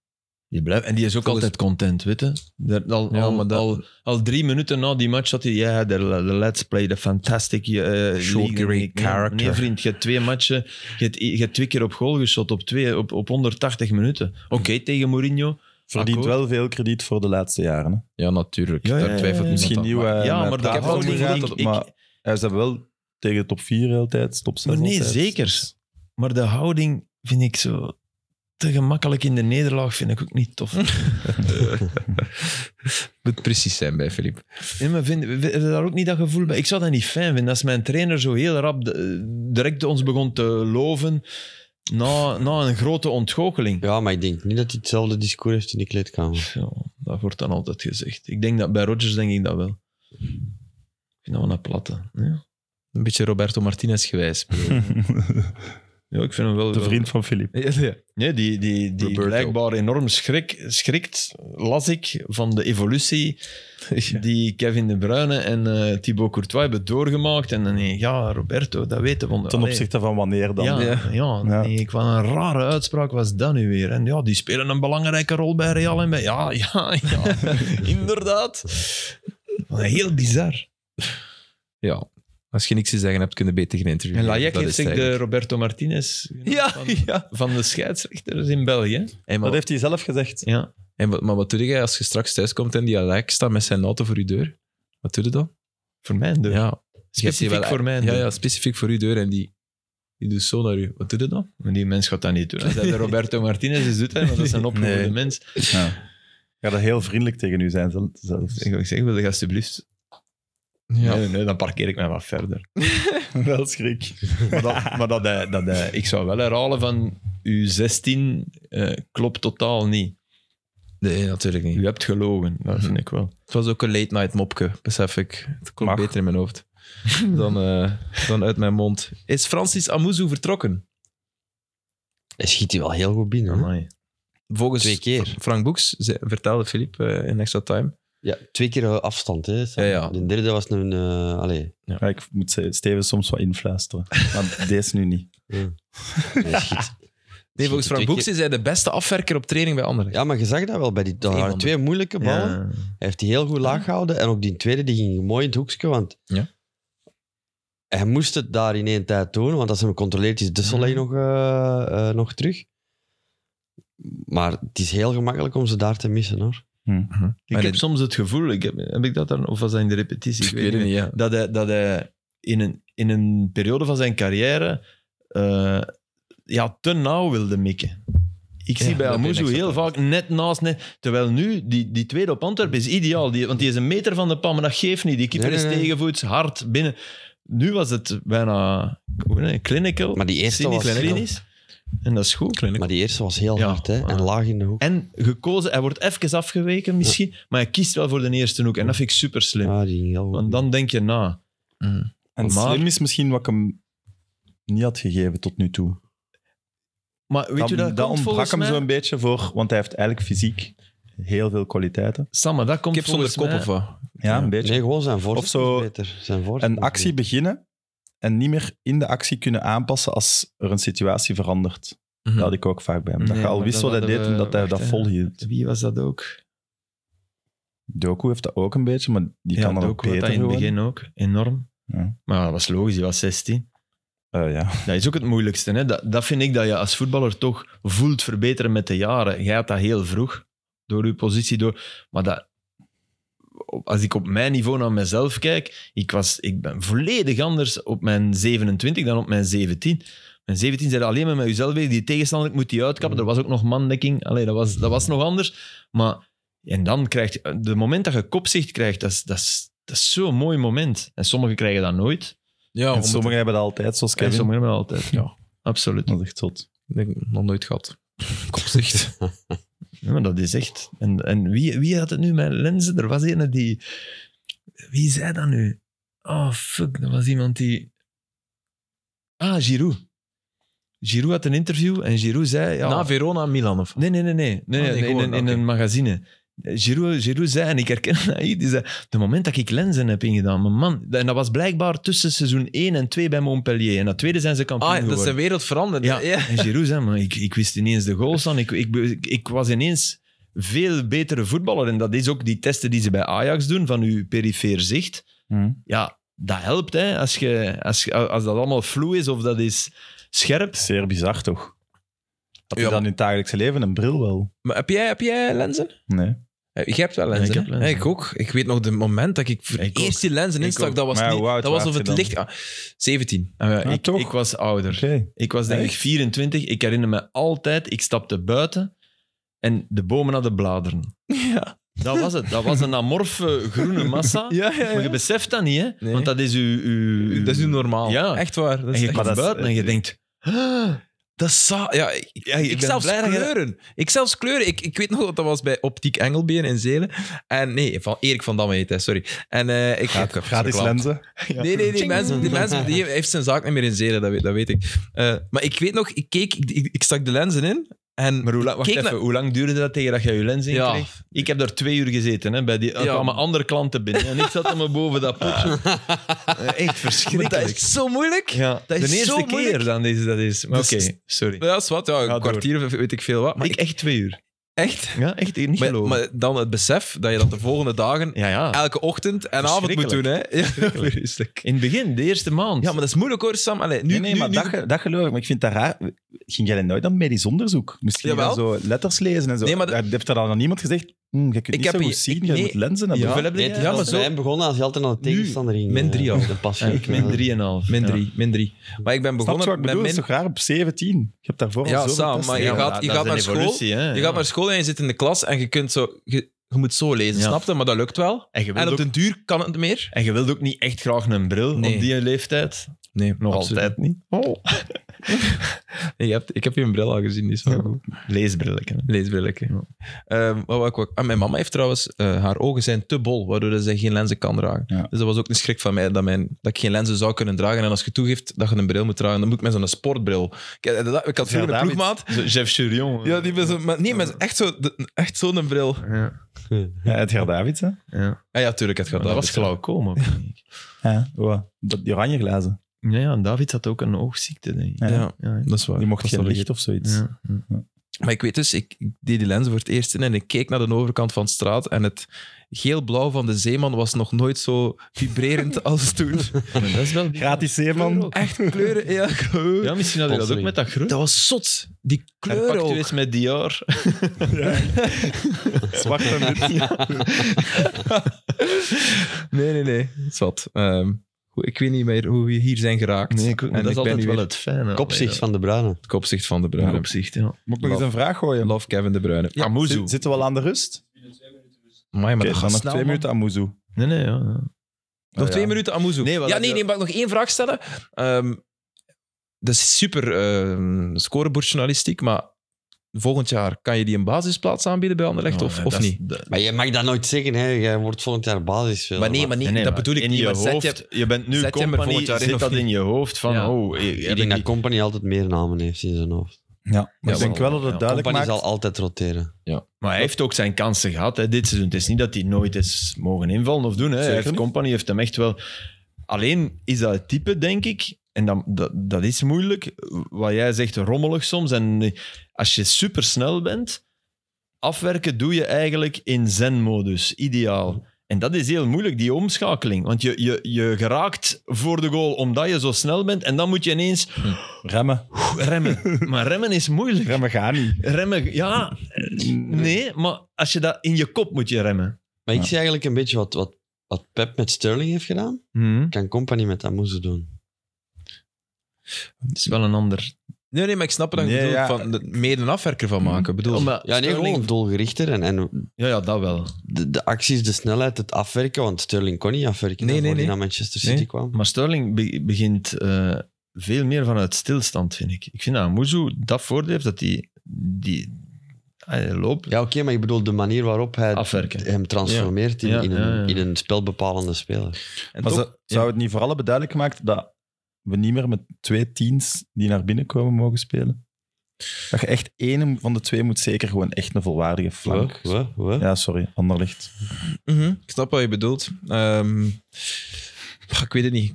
Die blijft. En die is ook Volgens- altijd content, weet je. Daar- al, Ja, al, maar dat- al, al drie minuten na die match zat hij... Ja, de de lads played a fantastic eh Short league. great Nee, character. Nee, vriend, je hebt twee matchen... Je hebt, je hebt twee keer op goal geschot op, twee, op, op 180 minuten. Oké, Hmm. tegen Mourinho. Verdient akkoord. wel veel krediet voor de laatste jaren. hè. Ja, natuurlijk. Ja, ja, Daar ja, twijfelt ja. niemand Misschien aan. nieuw eh, ja, met maar de daar houdt houding niet gaat van. het, Ik- Maar ja, ze hebben wel tegen de top 4 de hele tijd, top 6 Maar nee, altijd. zeker. Maar de houding vind ik zo... Te gemakkelijk in de nederlaag vind ik ook niet tof. moet precies zijn bij Filip. Ja, maar vind, vind- heb je daar ook niet dat gevoel bij? Ik zou dat niet fijn vinden als mijn trainer zo heel rap de- direct ons begon te loven na, na een grote ontgoocheling. Ja, maar ik denk niet dat hij hetzelfde discours heeft in de kleedkamer. Ja, dat wordt dan altijd gezegd. Ik denk dat bij Rodgers denk ik dat wel. Ik vind dat wel een platte. Ja, Een beetje Roberto Martinez gewijs. ja ik vind hem wel... De vriend van Filip. [laughs] Nee, die, die, die Roberto. blijkbaar enorm schrik, schrikt, las ik, van de evolutie die Kevin De Bruyne en eh Thibaut Courtois hebben doorgemaakt. En dan, nee, ja, Roberto, dat weten we. Ten Allee. opzichte van wanneer dan? ja, [laughs] ja. Ja. nee, ik wou een rare uitspraak was dat nu weer. En ja, die spelen een belangrijke rol bij Real en bij... Ja, ja, [laughs] ja, inderdaad. Heel bizar. Ja. Als je niks te zeggen hebt, kunnen beter geen interview. En geven. Lajek Dat heeft is zich het de eigenlijk. Roberto Martinez Ja, van, ja. van de scheidsrechters in België. En Dat wat, heeft hij zelf gezegd. Ja. en wat- maar wat doe jij als je straks thuis komt en die Lajek staat met zijn auto voor je deur? Wat doe je dan? Voor mij dus. Ja. Je hebt die e- Specifiek voor mij. Ja, ja, specifiek voor je deur en die, die doet zo naar u. Wat doe je dan? Maar die mens gaat dat niet doen. Als dat de Roberto Martinez is, doet hij, maar dat is [laughs] een opgevoerde Nee. mens. Ja. Gaat dat heel vriendelijk tegen u zijn zel- [laughs] zelfs. Ik zeg, wil je alsjeblieft... Ja. Nee, nee, dan parkeer ik mij wat verder. Wel schrik. Maar, dat, maar dat, hij- dat, hij- Eh, ik zou wel herhalen van uw 16 eh, klopt totaal niet. Nee, natuurlijk niet. U hebt gelogen, dat vind ik wel. Het was ook een late night mopke, besef ik. Het klonk Mag. beter in mijn hoofd dan, eh, dan uit mijn mond. Is Francis Amuzu vertrokken? Hij schiet hij wel heel goed binnen. hoor. Volgens Twee keer. Frank Boeks, ze- vertelde Filip eh, in Extra Time. Ja, twee keer eh, afstand. Hè, Sam. Ja, ja. De derde was een... eh [laughs] allee, Ja, ik moet ze- Steven soms wat influisteren. Maar deze nu niet. hij schiet- Nee, volgens Frank twee Boeks keer. is hij de beste afwerker op training bij anderen. Ja, maar je zag dat wel. Bij die, dat Een waren van de- twee moeilijke ballen. Ja. Hij heeft die heel goed laag gehouden. En op die tweede, die ging mooi in het hoekje, want... Ja. Hij moest het daar in één tijd doen, want als hij hem controleert, is Dusselay Mhm. nog, eh, eh, nog terug. Maar het is heel gemakkelijk om ze daar te missen, hoor. Ik Maar heb dit- soms het gevoel, ik heb, heb ik dat dan, of was dat in de repetitie? Ik weet het niet, ja. Dat hij, dat hij in, een, in een periode van zijn carrière eh, ja, te nauw wilde mikken. Ik Ja, zie bij dat ben Amuzu ik zo heel vaak net naast. Net, terwijl nu, die, die tweede op Antwerpen is ideaal. Die, want die is een meter van de pan, maar dat geeft niet. Die keeper Nee, nee, is nee. tegenvoets, hard binnen. Nu was het bijna hoe heet het, clinical. Maar die eerste cynisch, was- Clinisch. En dat is goed. Maar die eerste was heel Ja, hard, hè. En maar- laag in de hoek. En gekozen, hij wordt even afgeweken misschien, maar hij kiest wel voor de eerste hoek. En dat vind ik super slim. Ja, Ah, die ging heel goed. Want dan denk je nou, na. En Maar- slim is misschien wat ik hem niet had gegeven tot nu toe. Maar weet dat je, dat, dat komt ontbrak volgens hem mij... zo'n beetje voor, want hij heeft eigenlijk fysiek heel veel kwaliteiten. Sam, maar dat komt Kip zonder volgens kop mij- of wat? Ja, een beetje. Nee, gewoon zijn voorzet Of zo is beter. Zijn voorzet Een is beter. actie beginnen en niet meer in de actie kunnen aanpassen als er een situatie verandert. Mhm. Dat had ik ook vaak bij hem. Dat Nee, je al maar wist dat wat hij hadden deed we- en dat hij wacht, dat hè. volhield. Wie was dat ook? Doku heeft dat ook een beetje, maar die kan dan ook Doku had beter dat in het gewoon. begin ook. Enorm. Ja. Maar dat was logisch, die was 16. [laughs] Eh, ja. Dat is ook het moeilijkste. Hè? Dat, dat vind ik dat je als voetballer toch voelt verbeteren met de jaren. Jij had dat heel vroeg. door uw positie. Door, maar dat, op- als ik op mijn niveau naar mezelf kijk, ik, was, ik ben volledig anders op mijn 27 dan op mijn 17. Mijn 17 zijn alleen maar met jezelf bezig. Die tegenstander, ik moet die uitkappen. Er was ook nog mandekking. Allee, dat was, dat was nog anders. Maar, en dan krijg je... De moment dat je kopzicht krijgt, dat is, dat is, dat is zo'n mooi moment. En sommigen krijgen dat nooit. Ja, En omdat- sommigen hebben dat altijd, zoals En Kevin. sommigen hebben dat altijd. Ja. Absoluut. Dat is echt zot. Ik denk, nog nooit gehad. Kopzicht. Ja, maar dat is echt. En, en wie, wie had het nu met lenzen? Er was een die. Wie zei dat nu? Oh fuck, dat was iemand die. Ah, Giroud. Giroud had een interview en Giroud zei. Ja, Na Verona, Milan of... nee, nee, nee, nee. nee, Ah, nee, in, gewoon, een, in oké. een magazine. Giroud, Giroud zei, en ik herken [laughs] dat hier, die zei, de moment dat ik lenzen heb ingedaan, mijn man, en dat was blijkbaar tussen seizoen 1 en 2 bij Montpellier. En dat tweede zijn ze kampioen Ah, dat geworden. is de wereld veranderd. Ja, en Giroud zei, maar ik, ik wist ineens de goals aan. Ik, ik, ik, ik was ineens veel betere voetballer. En dat is ook die testen die ze bij Ajax doen, van uw perifeer zicht. Ja, dat helpt, hè. Als, je, als, je- als dat allemaal vloe is of dat is scherp. Zeer bizar, toch? Had je Ja, dan in het dagelijkse leven een bril wel? Maar heb jij, heb jij lenzen? Nee. Eh, Je hebt wel Ja, lenzen. ik heb hè? lenzen. Ja, ik ook. Ik weet nog de moment dat ik voor Ik het ook. eerst die lenzen Ik instak. ook. Dat was, Maar ja, niet, hoe oud dat was waart of je het dan? licht. ah, 17. Ah, ja, Ah, ik- toch? Ik was ouder. Oké. Ik was denk ik 24. Ik herinner me altijd, ik stapte buiten en de bomen hadden bladeren. [laughs] ja. Dat was het. Dat was een amorfe groene massa. [laughs] Ja, ja, Maar je beseft dat niet, hè. Nee. Want dat is uw... uw- Dat is nu normaal. Ja. Echt waar. Dat En is je echt- komt dat is- buiten en je denkt... "Ah, Dat is sa- ja, ik, Ja, ik ik ben zelfs blij dat je- kleuren. Ik zelfs kleuren. Ik, ik weet nog dat dat was bij Optiek Engelbeen in Zelen. En nee, van Erik van Damme heet hij, sorry. En eh ik ik heb Gratis verklapt. lenzen. Nee, nee, die mensen, die mensen [laughs] die heeft zijn zaak niet meer in Zelen, dat weet, dat weet ik. Eh, maar ik weet nog, ik keek, ik, ik, ik stak de lenzen in. En Maar hoe lang, wacht Kijk even, naar- hoe lang duurde dat tegen dat je je lens in Ja. kreeg? Ik heb daar twee uur gezeten. Hè, bij die, er Ja. kwamen andere klanten binnen en ik zat allemaal boven [laughs] dat potje. Eh, Echt Maar verschrikkelijk. dat is zo moeilijk. ja, dat de is eerste zo keer moeilijk. dan deze, dat is. maar Dus- Oké, sorry. Ja, dat is wat. Ja, een door. kwartier of weet ik veel wat. Maar Maar ik echt twee [laughs] uur. echt. Ja, echt niet Maar, geloven. maar dan het besef dat je dat de volgende dagen, ja, ja. elke ochtend en avond moet doen. Hè? Ja, vreselijk. In het begin, de eerste maand. Ja, maar dat is moeilijk hoor, Sam. Allee, nu, nee, nee, nu, maar nu- dat, ge- dat geloof ik. Maar ik vind dat raar. Ging jij dan nooit dan medisch onderzoek? Misschien Jawel. dan zo letters lezen en Nee, zo. Nee, maar maar dat- Heeft er dan nog niemand gezegd? Hm, je kunt Ik niet heb zo goed hier- zien, ik- je nee. moet lenzen hebben. Hoeveel heb Nee, je? het is Ja, als maar zo- bij hem begonnen als je altijd naar de Nu, tegenstander ging. min drie eh, al. de pas Ja, ik ging. min 3,5. Min Ja. drie, min drie. Maar ik ben Snap je begonnen wat ik met bedoel? Dat is min... toch raar op 17? Je hebt daarvoor Ja, al zoveel Sam, testen maar je gedaan. gaat- maar je dat gaat is een naar school, evolutie, hè. Je Ja. gaat naar school en je zit in de klas en je kunt zo... Je, je moet zo lezen, Ja. snap je? Maar dat lukt wel. En je En wilt op ook den duur kan het meer. En je wilt ook niet echt graag een bril Nee. op die leeftijd. Nee, Nog altijd niet. Oh. Je hebt, ik heb je bril al gezien, die is wel [laughs] goed. Leesbrilletje. Leesbrilletje. Ehm, wat wou ik ook- ah, mijn mama heeft trouwens, eh, haar ogen zijn te bol, waardoor ze geen lenzen kan dragen. Ja. Dus dat was ook een schrik van mij, dat, mijn, dat ik geen lenzen zou kunnen dragen. En als je toegeeft dat je een bril moet dragen, dan moet ik met zo'n sportbril. Ik, eh, dat- ik had vroeger een David. ploegmaat. Zo, Jeff eh. Churion. hè. Ja, die met zo, maar, nee, maar echt zo'n echt zo'n bril. Ah Ja, Ja, Edgar Davids, hè? ja. Ja, ja, tuurlijk, het gaat Dat was klauw. glaucoom, of niet? Ja, wow. Dat, die oranje glazen. [laughs] Ja, ja, en David had ook een oogziekte, denk ik. Ja. Ja, Ja, dat is waar. Die mocht Dat is geen wel licht of zoiets. ja. Maar ik weet dus, ik ik deed die lenzen voor het eerst in en ik keek naar de overkant van de straat en het geel-blauw van de zeeman was nog nooit zo vibrerend als [laughs] toen. Maar dat is wel... Gratis zeeman. Echt kleuren, ja. Ja, misschien had hij dat ook met dat groen. Dat was zot. Die Hij kleuren pakte ook. u eens met Dior. [laughs] Zwart en wit. [laughs] Nee, nee, nee. Zat. Ehm, goed, ik weet niet meer hoe we hier zijn geraakt. en dat is ik ben altijd nu weer wel het fijne. Kopzicht van de Bruine. het kopzicht van de Ja, Bruyne. Kopzicht, ja. Moet ik nog eens een vraag gooien? Love Kevin de Bruyne. Ja, Amuzu. Zit- Zitten we al aan de rust? Amai, maar Oké, dat gaat dan nog snel, twee man. minuten aan Moezu. Nee, nee, ja, ja. Nog Ah, twee ja. minuten Amuzu. Nee, wat ja, ik- nee, nee, mag ik nog één vraag stellen? Ehm, dat is super ehm scorebordjournalistiek, maar volgend jaar kan je die een basisplaats aanbieden bij Anderlecht Ja, of, ja, of Oh, dat is- niet? dat- Maar je mag dat nooit zeggen, hè. Jij wordt volgend jaar basisspeler. Maar nee, maar niet, Nee, nee, dat maar bedoel ik in niet. Je, maar zet hoofd, je- je, bent nu zet je hem er company, volgend jaar in zit of dat niet? in je hoofd van... Ja. Oh, heb Ik ik denk dat Company altijd meer namen heeft in zijn hoofd. Ja, maar Ja, ik denk wel, wel dat het ja. duidelijk Company maakt... zal altijd roteren. Maar hij heeft ook zijn kansen gehad hè, dit seizoen. Het is niet dat hij nooit eens mogen invallen of doen. Hè. Hij Zeker heeft niet. company heeft hem echt wel. Alleen is dat het type, denk ik. En dan, dat, dat is moeilijk. Wat jij zegt, rommelig soms. En eh, als je supersnel bent, afwerken doe je eigenlijk in zen-modus. Ideaal. En dat is heel moeilijk, die omschakeling. Want je, je, je geraakt voor de goal omdat je zo snel bent. En dan moet je ineens Remmen. [laughs] remmen. Maar remmen is moeilijk. Remmen gaat niet. Remmen, ja, Nee, maar als je dat in je kop moet je remmen. Maar ik Ja. zie eigenlijk een beetje wat, wat, wat Pep met Sterling heeft gedaan. Hmm. Kan Company met Amuzu doen. Het is wel een ander. Nee, nee, maar ik snap het. dan Nee, bedoel, ik ja. van de- meer een afwerker van maken. Ik bedoel, Ja, maar Ja, nee, Sterling- gewoon doelgerichter. En, en ja, ja, dat wel. de, de acties, de snelheid, het afwerken. Want Sterling kon niet afwerken Nee, nee, nee, hij nee. naar Manchester City Nee. kwam. Maar Sterling be- begint eh, veel meer vanuit stilstand, vind ik. Ik vind dat Moezu dat voordeel heeft dat hij die, ah, hij loopt. Ja, oké, maar ik bedoel de manier waarop hij Afwerken. hem transformeert in, Ja, in, een, ja, ja. in een spelbepalende speler. en Maar toch- zou, zou het niet voor alle duidelijk gemaakt dat we niet meer met twee teams die naar binnen komen mogen spelen? Dat je echt één van de twee moet zeker gewoon echt een volwaardige flank. We, we, we. Ja, sorry, Anderlicht. Mhm, ik snap wat je bedoelt. Ehm, pff, ik weet het niet.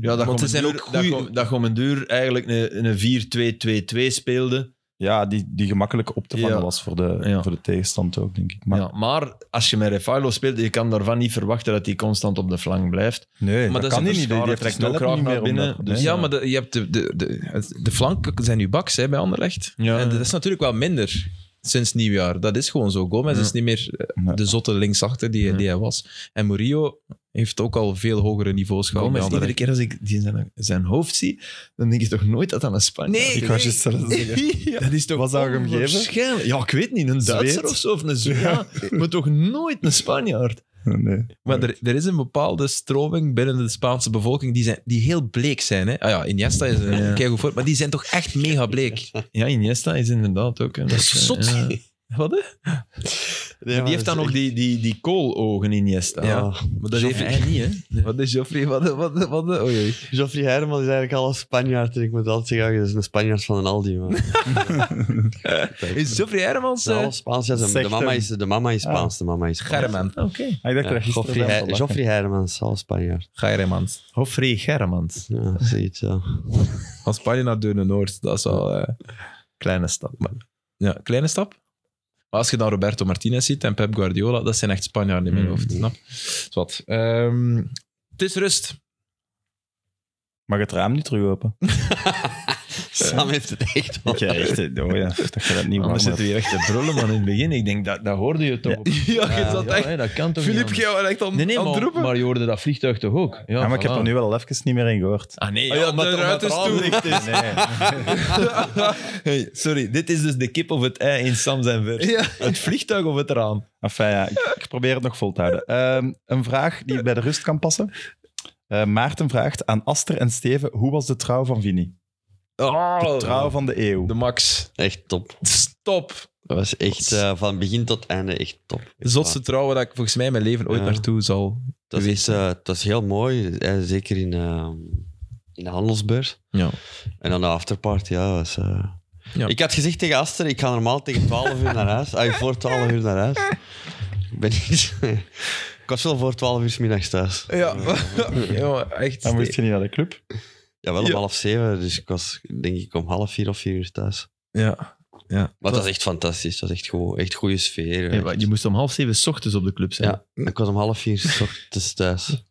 Ja, dat Want Want ze zijn ook goeie- Dat Gomenduur eigenlijk een, een 4-2-2-2 speelde. Ja, die, die gemakkelijk op te vangen Ja. was voor de, Ja. voor de tegenstand ook, denk ik. Maar, Maar, ja, maar als je met Refailo speelt, je kan daarvan niet verwachten dat hij constant op de flank blijft. Nee, Maar dat, dat kan is niet. een Die, die verschaling. heeft de Het is ook snelheid raar niet meer naar binnen, om dat- dus nee. ja, maar de, je hebt de, de, de, de flanken zijn nu baks hè, bij Anderlecht. Ja. En dat is natuurlijk wel minder sinds nieuwjaar. Dat is gewoon zo. Gomez Ja. is niet meer eh, Nee. de zotte linksachter die, Ja. die hij was. En Murillo heeft ook al veel hogere niveaus gehad. bij Gomez, iedere Anderlecht. keer als ik die zijn, zijn hoofd zie, dan denk ik toch nooit dat dat een Spanjaard Nee, is. Ik was je [laughs] zelf zeggen. Dat is toch Wat zou je hem geven? onwaarschijnlijk. Ja, ik weet niet. Een Duitser Zweed? of zo, of een Zweed. Ja, maar toch nooit een Spanjaard. [laughs] Nee. Maar er, er is een bepaalde stroming binnen de Spaanse bevolking die, zijn, die heel bleek zijn. Hè? Ah ja, Iniesta is een Ja. ja. voor, maar die zijn toch echt mega bleek. Ja, Iniesta is inderdaad ook... Een, Dat is zot. Ja. Wat hè? Die heeft dan ook die, die, die koologen, Iniesta. Ja, Ja. maar dat heeft... Hij niet, [laughs] hè? Wat is Joffrey? Wat, wat, wat, oei, oei. Geoffrey Herman is eigenlijk al een Spanjaard. En ik moet altijd zeggen, dat is een Spanjaard van een Aldi. Man. Is Joffrey Hermans... Ze eh, zijn allemaal Spaans. Ja, ze- Zegt de, mama hem. is, de mama is Spaans. De mama is Spaans. German. Oké. Okay. Ah, ik dacht Ja, dat gisteren Geoffrey, bij hem Her- te lachen. Geoffrey Hermans, al Spanjaard. Germans. Hoffrey Germans. Ja, zoiets, ja. Van Spanje naar Deurne Noord, dat is wel... eh, Kleine stap. Maar ja, kleine stap. Maar als je dan Roberto Martinez ziet en Pep Guardiola, dat zijn echt Spanjaarden in mijn Mm. hoofd. Snap? Dus wat. ehm, Hmm. het is rust. Mag het raam niet terug open? Sam heeft het echt wel. Ik ja, echt. eh, Oh ja, dat je dat niet warm Anders zitten hebt. we hier echt te brullen, man, in het begin. Ik denk, dat, dat hoorde je toch op. Ja, je Ja, nee, dat kan toch Filip, niet jij was echt aan, Nee, nee, aan het maar, roepen. maar je hoorde dat vliegtuig toch ook? Ja, Ja, maar ik heb voilà. er nu wel even niet meer in gehoord. Ah nee, Ah ja, de ruit is toe. [laughs] Nee. Hey, sorry, dit is dus de kip of het ei in Sam zijn vers. Het vliegtuig of het raam? Enfin, ja, ik, ik probeer het nog vol te houden. Ehm, een vraag die bij de rust kan passen. Eh, Maarten vraagt aan Aster en Steven, hoe was de trouw van Vini? Oh, Trouw van de eeuw. de max. Echt top. Stop. Dat was echt eh, van begin tot einde echt top. De zotste trouwen dat ik volgens mij in mijn leven ooit Ja. naartoe zal. Dat is, eh, dat is heel mooi, eh, zeker in, eh, in de handelsbeurs. Ja. En dan de afterparty, ja. was, eh. Ja. Ik had gezegd tegen Aster, ik ga normaal tegen 12 uur naar huis. Ah, voor 12 uur naar huis. Ik ben niet... [laughs] ik was wel voor 12 uur 's middags thuis. Ja, [laughs] Jongen, echt. Dan moest je niet naar de club. Ja, wel om Ja. half zeven, dus ik was denk ik om half vier of vier uur thuis. Ja. ja. Maar dat is echt fantastisch, dat is echt, gewoon, echt goede sfeer. Ja, maar je moest om half zeven 's ochtends op de club zijn. Ja, ik was om half vier 's [laughs] ochtends thuis.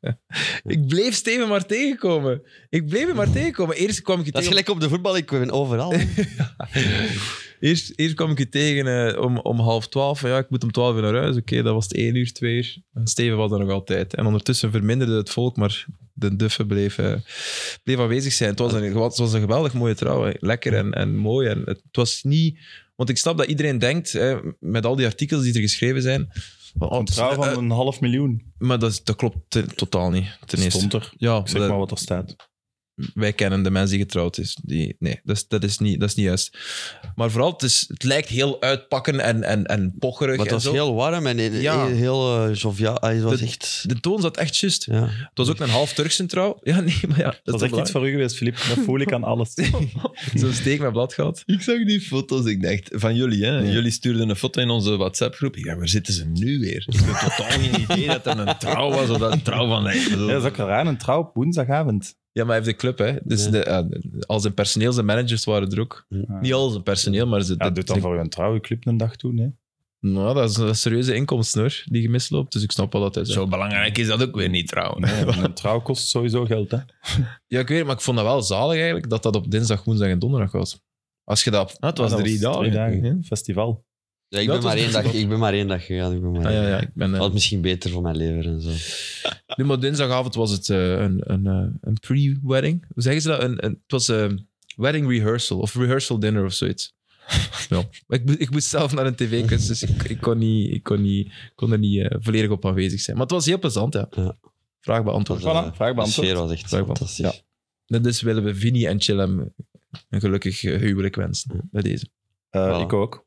Ik bleef Steven maar tegenkomen. Ik bleef hem maar tegenkomen. Eerst kwam ik je Dat is tegen, gelijk op de voetbal, ik ben [laughs] overal. eerst, eerst kwam ik je tegen eh, om, om half twaalf. Van, Ja, ik moet om twaalf uur naar huis. Oké, dat was het één uur, twee uur. En Steven was er nog altijd. En ondertussen verminderde het volk, maar de duffe bleef, eh, bleef aanwezig zijn. Het was, een, het was een geweldig mooie trouw. hè. Lekker en, en mooi. En het, het was niet... Want ik snap dat iedereen denkt, hè, met al die artikels die er geschreven zijn... van, oh, Een het is- trouw van een half miljoen. Maar dat, is- dat klopt te- totaal niet, ten eerste. Stond er. Ja, Ik zeg dat- maar wat er staat. wij kennen de mens die getrouwd is. Die, nee, dat is, dat, is niet, dat is niet juist. Maar vooral, het, is, het lijkt heel uitpakken en, en, en pocherig. Maar het en was zo. heel warm en heel, Ja. heel, heel, eh, joviaal. Ah, Het was De- echt... De toon zat echt juist. Ja. Het was ook een half Turkse trouw. [laughs] Ja, nee, maar ja, Dat dat is is echt iets toch voor u geweest, Filip. Dat voel ik aan [laughs] alles. belangrijk? Zo'n steek met blad gehad. Ik zag die foto's, ik dacht, van jullie, hè. Jullie stuurden een foto in onze WhatsApp-groep. Ik dacht, waar zitten ze nu weer? Ik had totaal geen idee dat er een trouw was of dat een trouw van... Nee, ik bedoel- Ja, dat is ook raar. Een trouw op woensdagavond. Ja, maar hij heeft de club, hè. Dus Ja. de, eh, al zijn personeel, zijn managers waren er ook. Ja. Niet al zijn personeel, maar ze... Ja, dat doet dan ze- voor een trouwe club een dag toe. [laughs] Hè. Nou, dat is een serieuze inkomst, hoor, die je misloopt. Dus ik snap wel dat hij zo... Zo belangrijk is dat ook weer niet, trouwen. Ja, want een trouw kost sowieso geld. Hè. Ja, ik weet het, maar ik vond dat wel zalig eigenlijk, dat dat op dinsdag, woensdag en donderdag was. Als je dat... Ah, het was Dat drie dagen. Drie dagen. Ja. Festival. Ja, ik, Ja, het ben was maar één een dag, goed ik ben maar één dag gegaan. Ik ben maar Ah, ja, één ja, dag. ik ben, eh, Wat misschien beter voor mijn lever en zo. nu, maar dinsdagavond was het eh, een, een, eh, een pre-wedding. Hoe zeggen ze dat? Een, een, het was een wedding rehearsal of rehearsal dinner of [laughs] zoiets. ja. Maar ik, mo- ik moest zelf naar een tv-kunst, dus ik, ik, kon niet, ik, kon niet, kon er niet eh, volledig op aanwezig zijn. Maar het was heel plezant, ja. Ja. Vraag beantwoord. Dat, eh, Voilà, vraag De sfeer beantwoord. was echt Vraag fantastisch. beantwoord, En Dus willen we Vini en Chillem een gelukkig eh, huwelijk wensen bij deze. Eh, Voilà. Ik ook.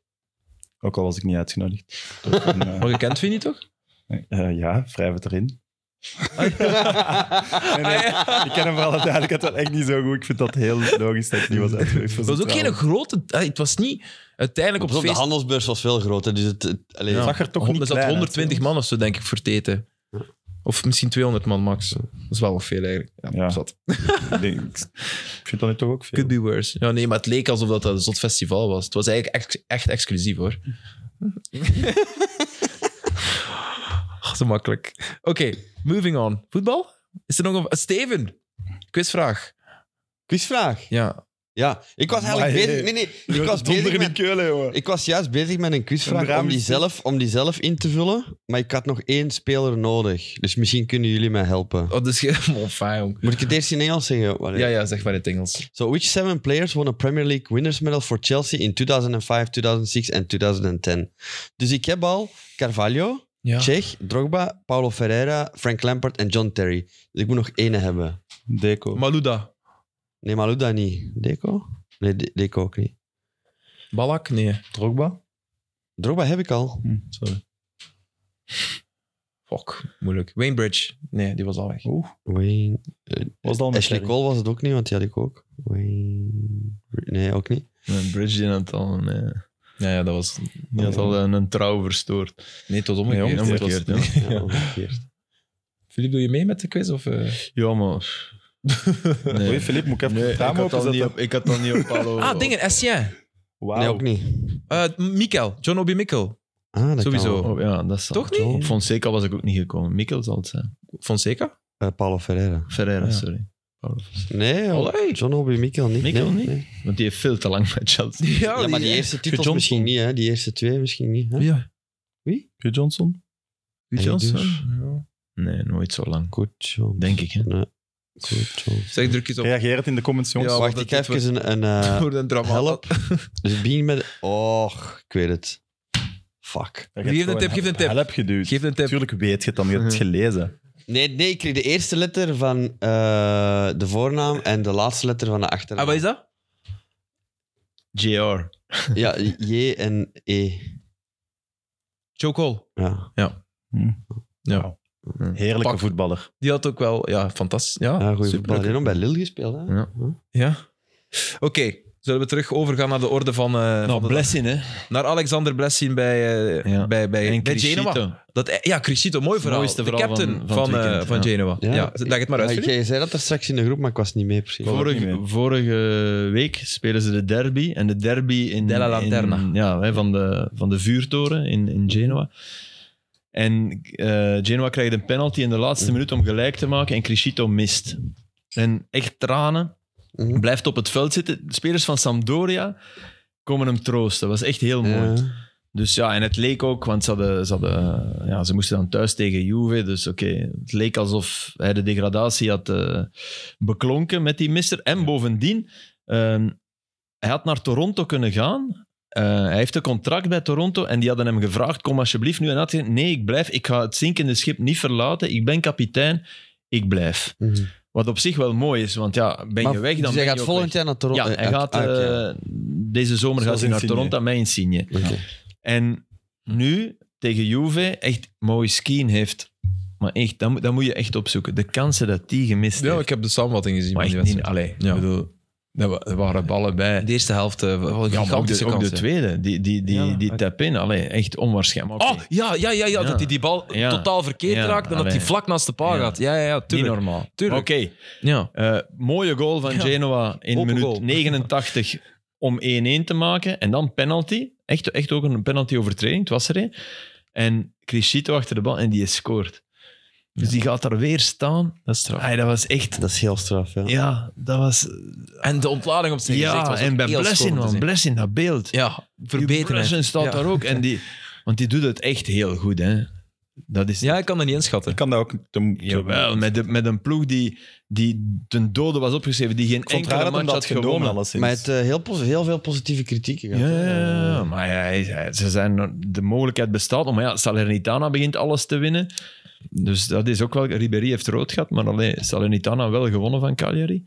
Ook al was ik niet [laughs] uitgenodigd. Door een, eh, Maar je kent Vini toch? eh, ja, wrijf het [laughs] erin. Ah, Nee, [laughs] nee, Ik ken hem vooral duidelijkheid wel echt niet zo goed. Ik vind dat heel logisch dat ik niet was uitgenodigd. Het was ook geen grote... ah, eh, Het was niet... Uiteindelijk op Pas op, het de feest... handelsbeurs was veel groter, dus het, het- allee, Ja. zag er toch Hon- niet Er zat klein uit, 120 hè? man of zo, denk ik, voor het eten. Of misschien 200 man max. Dat is wel nog veel eigenlijk. Ja, Ja. [laughs] zat. Ik denk, ik vind dat nu toch ook veel. Could be worse. Ja, nee, maar het leek alsof dat een zot festival was. Het was eigenlijk ex- echt exclusief, [laughs] hoor. Ah, Zo makkelijk. Oké, moving on. Voetbal? Is er nog een... Steven, quizvraag. Quizvraag. Ja. Ja, ik was eigenlijk Amai. bezig... Nee, nee, ik was Donder bezig in met... Keulen, jongen. Ik was juist bezig met een Een quizvraag raam om die, is- zelf, om die zelf in te vullen, maar ik had nog één speler nodig. Dus misschien kunnen jullie mij helpen. Oh, dus... je- [laughs] Oh, fijn, jong. Moet ik het eerst in Engels zeggen? Allee. Ja, ja, zeg maar in het Engels. So, which seven players won a Premier League winners medal for Chelsea in 2005, 2006 en 2010? Dus ik heb al Carvalho, Ja. Czech, Drogba, Paulo Ferreira, Frank Lampard en John Terry. Dus ik moet nog één hebben. Deco. Malouda. Nee, Malouda niet. Deco? Nee, De- Deco ook niet. Balak? Nee. Drogba? Drogba heb ik al. Hm, sorry. Fuck, moeilijk. Wainbridge? Nee, die was al weg. Oeh, Wayne. eh, was dat al met Ashley Terry? Cole was het ook niet, want die had ik ook. Wayne. Nee, ook niet. Een bridge die aan het al. Nee. Ja, ja, dat was... Oh Die had al een, een trouw verstoord. Nee, het was Nee, omgekeerd. omgekeerd, Het was- ja. Ja, omgekeerd. Filip, doe je mee met de quiz? Of, eh? Ja, maar. Nee. Oei, Filip, moet ik even Nee, het ik raam had, al niet openzetten? op, ik had al [laughs] niet op Paulo. Ah, dingen, Essien. Wauw. Nee, ook niet. Eh Mikkel, John Obi Mikkel. Ah, dat kan Sowieso. wel. Oh, ja, dat is Toch niet? Op Fonseca was ik ook niet gekomen. Mikkel zal het zijn. Fonseca? Eh, Paulo Ferreira. Ferreira, Ja. sorry. Nee, oh, Allee. John Obi Mikkel niet. Mikkel Nee, niet? Oh, nee. Want die heeft veel te lang bij Chelsea. Ja, maar die eerste titels Johnson. misschien niet, hè. Die eerste twee misschien niet. Hè? Ja. Hugh Johnson? Wie Hey, Johnson? dus. Ja. Nee, nooit zo lang. Goed, John. Denk ik, hè. Nee. Goed, John. Zeg druk eens op. Reageer het in de comments, jongens. Ja, Wacht, dat ik heb dit even een... een eh, [laughs] Voor een drama. help. dus het begint met... Och, ik weet het. Fuck. Ja, Wie heeft een tip? Geef een tip. Help geduwd. Geef een tip. Natuurlijk weet je het dan, je hebt [laughs] het gelezen. Nee, nee, ik kreeg de eerste letter van eh, de voornaam en de laatste letter van de achternaam. Ah, wat is dat? JR. Ja, J en E. Joe Cole. Ja, Ja. Heerlijke Pak. voetballer. Die had ook wel... Ja, fantastisch. Ja, ja goeie superleuk. voetbal. Die heeft nog bij Lille gespeeld, hè. Ja. Ja. Oké. Zullen we terug overgaan naar de orde van... eh, van Nou, de- blessing, hè. naar Alexander Blessin bij, eh, Ja. bij, bij, bij Genoa. Crescito. Dat, ja, Crescito, mooi verhaal. mooiste de verhaal captain van- van, van van, het eh, weekend, van ja. Genoa. Ja. leg het maar uit, Filip. Jij zei dat er straks in de groep, maar ik was niet mee precies. Klopt. Vorige, niet mee. vorige week spelen ze de derby. En de derby in... Della in- Lanterna. ja, hè, van de, van de vuurtoren in, in Genoa. En eh, Genoa krijgt een penalty in de laatste minuut om gelijk te maken. En Crescito mist. En echt tranen. Mhm. Blijft op het veld zitten. De spelers van Sampdoria komen hem troosten. Dat was echt heel mooi. Ja. Mhm. Dus ja, en het leek ook, want ze, hadden, ze, hadden, eh, ja, ze moesten dan thuis tegen Juve. Dus oké, het leek alsof hij de degradatie had eh, beklonken met die mister. En bovendien, ehm, hij had naar Toronto kunnen gaan. Eh, hij heeft een contract bij Toronto en die hadden hem gevraagd, kom alsjeblieft nu. En hij had gezegd, nee, ik blijf. Ik ga het zinkende schip niet verlaten. Ik ben kapitein. Ik blijf. Mhm. Wat op zich wel mooi is, want ja, ben je Maar- weg, dan dus ben hij je gaat ook volgend weg. jaar naar Toronto. Ja, hij Ah, gaat, ah, oké. eh, deze zomer gaat Zoals hij naar Insigne. Toronto met Insigne. Oké. En Hm. nu tegen Juve echt mooi skiën heeft. Maar echt, dat moet, dat moet je echt opzoeken. De kansen dat die gemist Ja, heeft. ik heb de samenvatting gezien maar van echt die niet, wedstrijd. allee, Ja. ik bedoel, dat wa- er waren ballen bij. De eerste helft, eh, wel een Ja, maar ook gigantische de, ook de kans, hè. tweede, die, die, die, Ja, die oké. tap in. Allee, echt onwaarschijnlijk. Maar Oh, oké, ja, ja, ja, ja, Ja. dat hij die bal Ja. totaal verkeerd Ja, raakt en dat allee. hij vlak naast de paal Ja. gaat. Ja, ja, ja, niet tuurlijk. normaal. Tuurlijk. Oké, Ja. eh, mooie goal van Ja. Genoa in Open minuut goal. 89 om 1-1 te maken. En dan penalty. Echt, echt ook een penalty overtreding. Het was er een. En Crescito achter de bal en die scoort. Dus die gaat daar weer staan. Dat is straf. Ay, dat was echt... Dat is heel straf, ja. Ja, dat was... En de ontlading op zijn gezicht Ja, was ook en bij heel schoon Blessing, te man. zien. Blessing, dat beeld. Ja, Die verbeteren. Brunson staat ja. daar ook. [laughs] En die, want die doet het echt heel goed, hè. Dat is... Ja, ik kan dat niet inschatten. Ik kan dat ook... te- te- Jawel, met, de, met een ploeg die, die ten dode was opgeschreven, die geen Ik vond het enkele raar match dat hem had, dat had genomen, gewonnen. alleszins. Maar het eh, heel, posi- heel veel positieve kritieken Ja, gehad. ja, ja, ja. maar hij- hij- ze zijn, de mogelijkheid bestaat. nog, Maar ja, Salernitana begint alles te winnen. Dus dat is ook wel... Ribéry heeft rood gehad, maar alleen Salernitana wel gewonnen van Cagliari.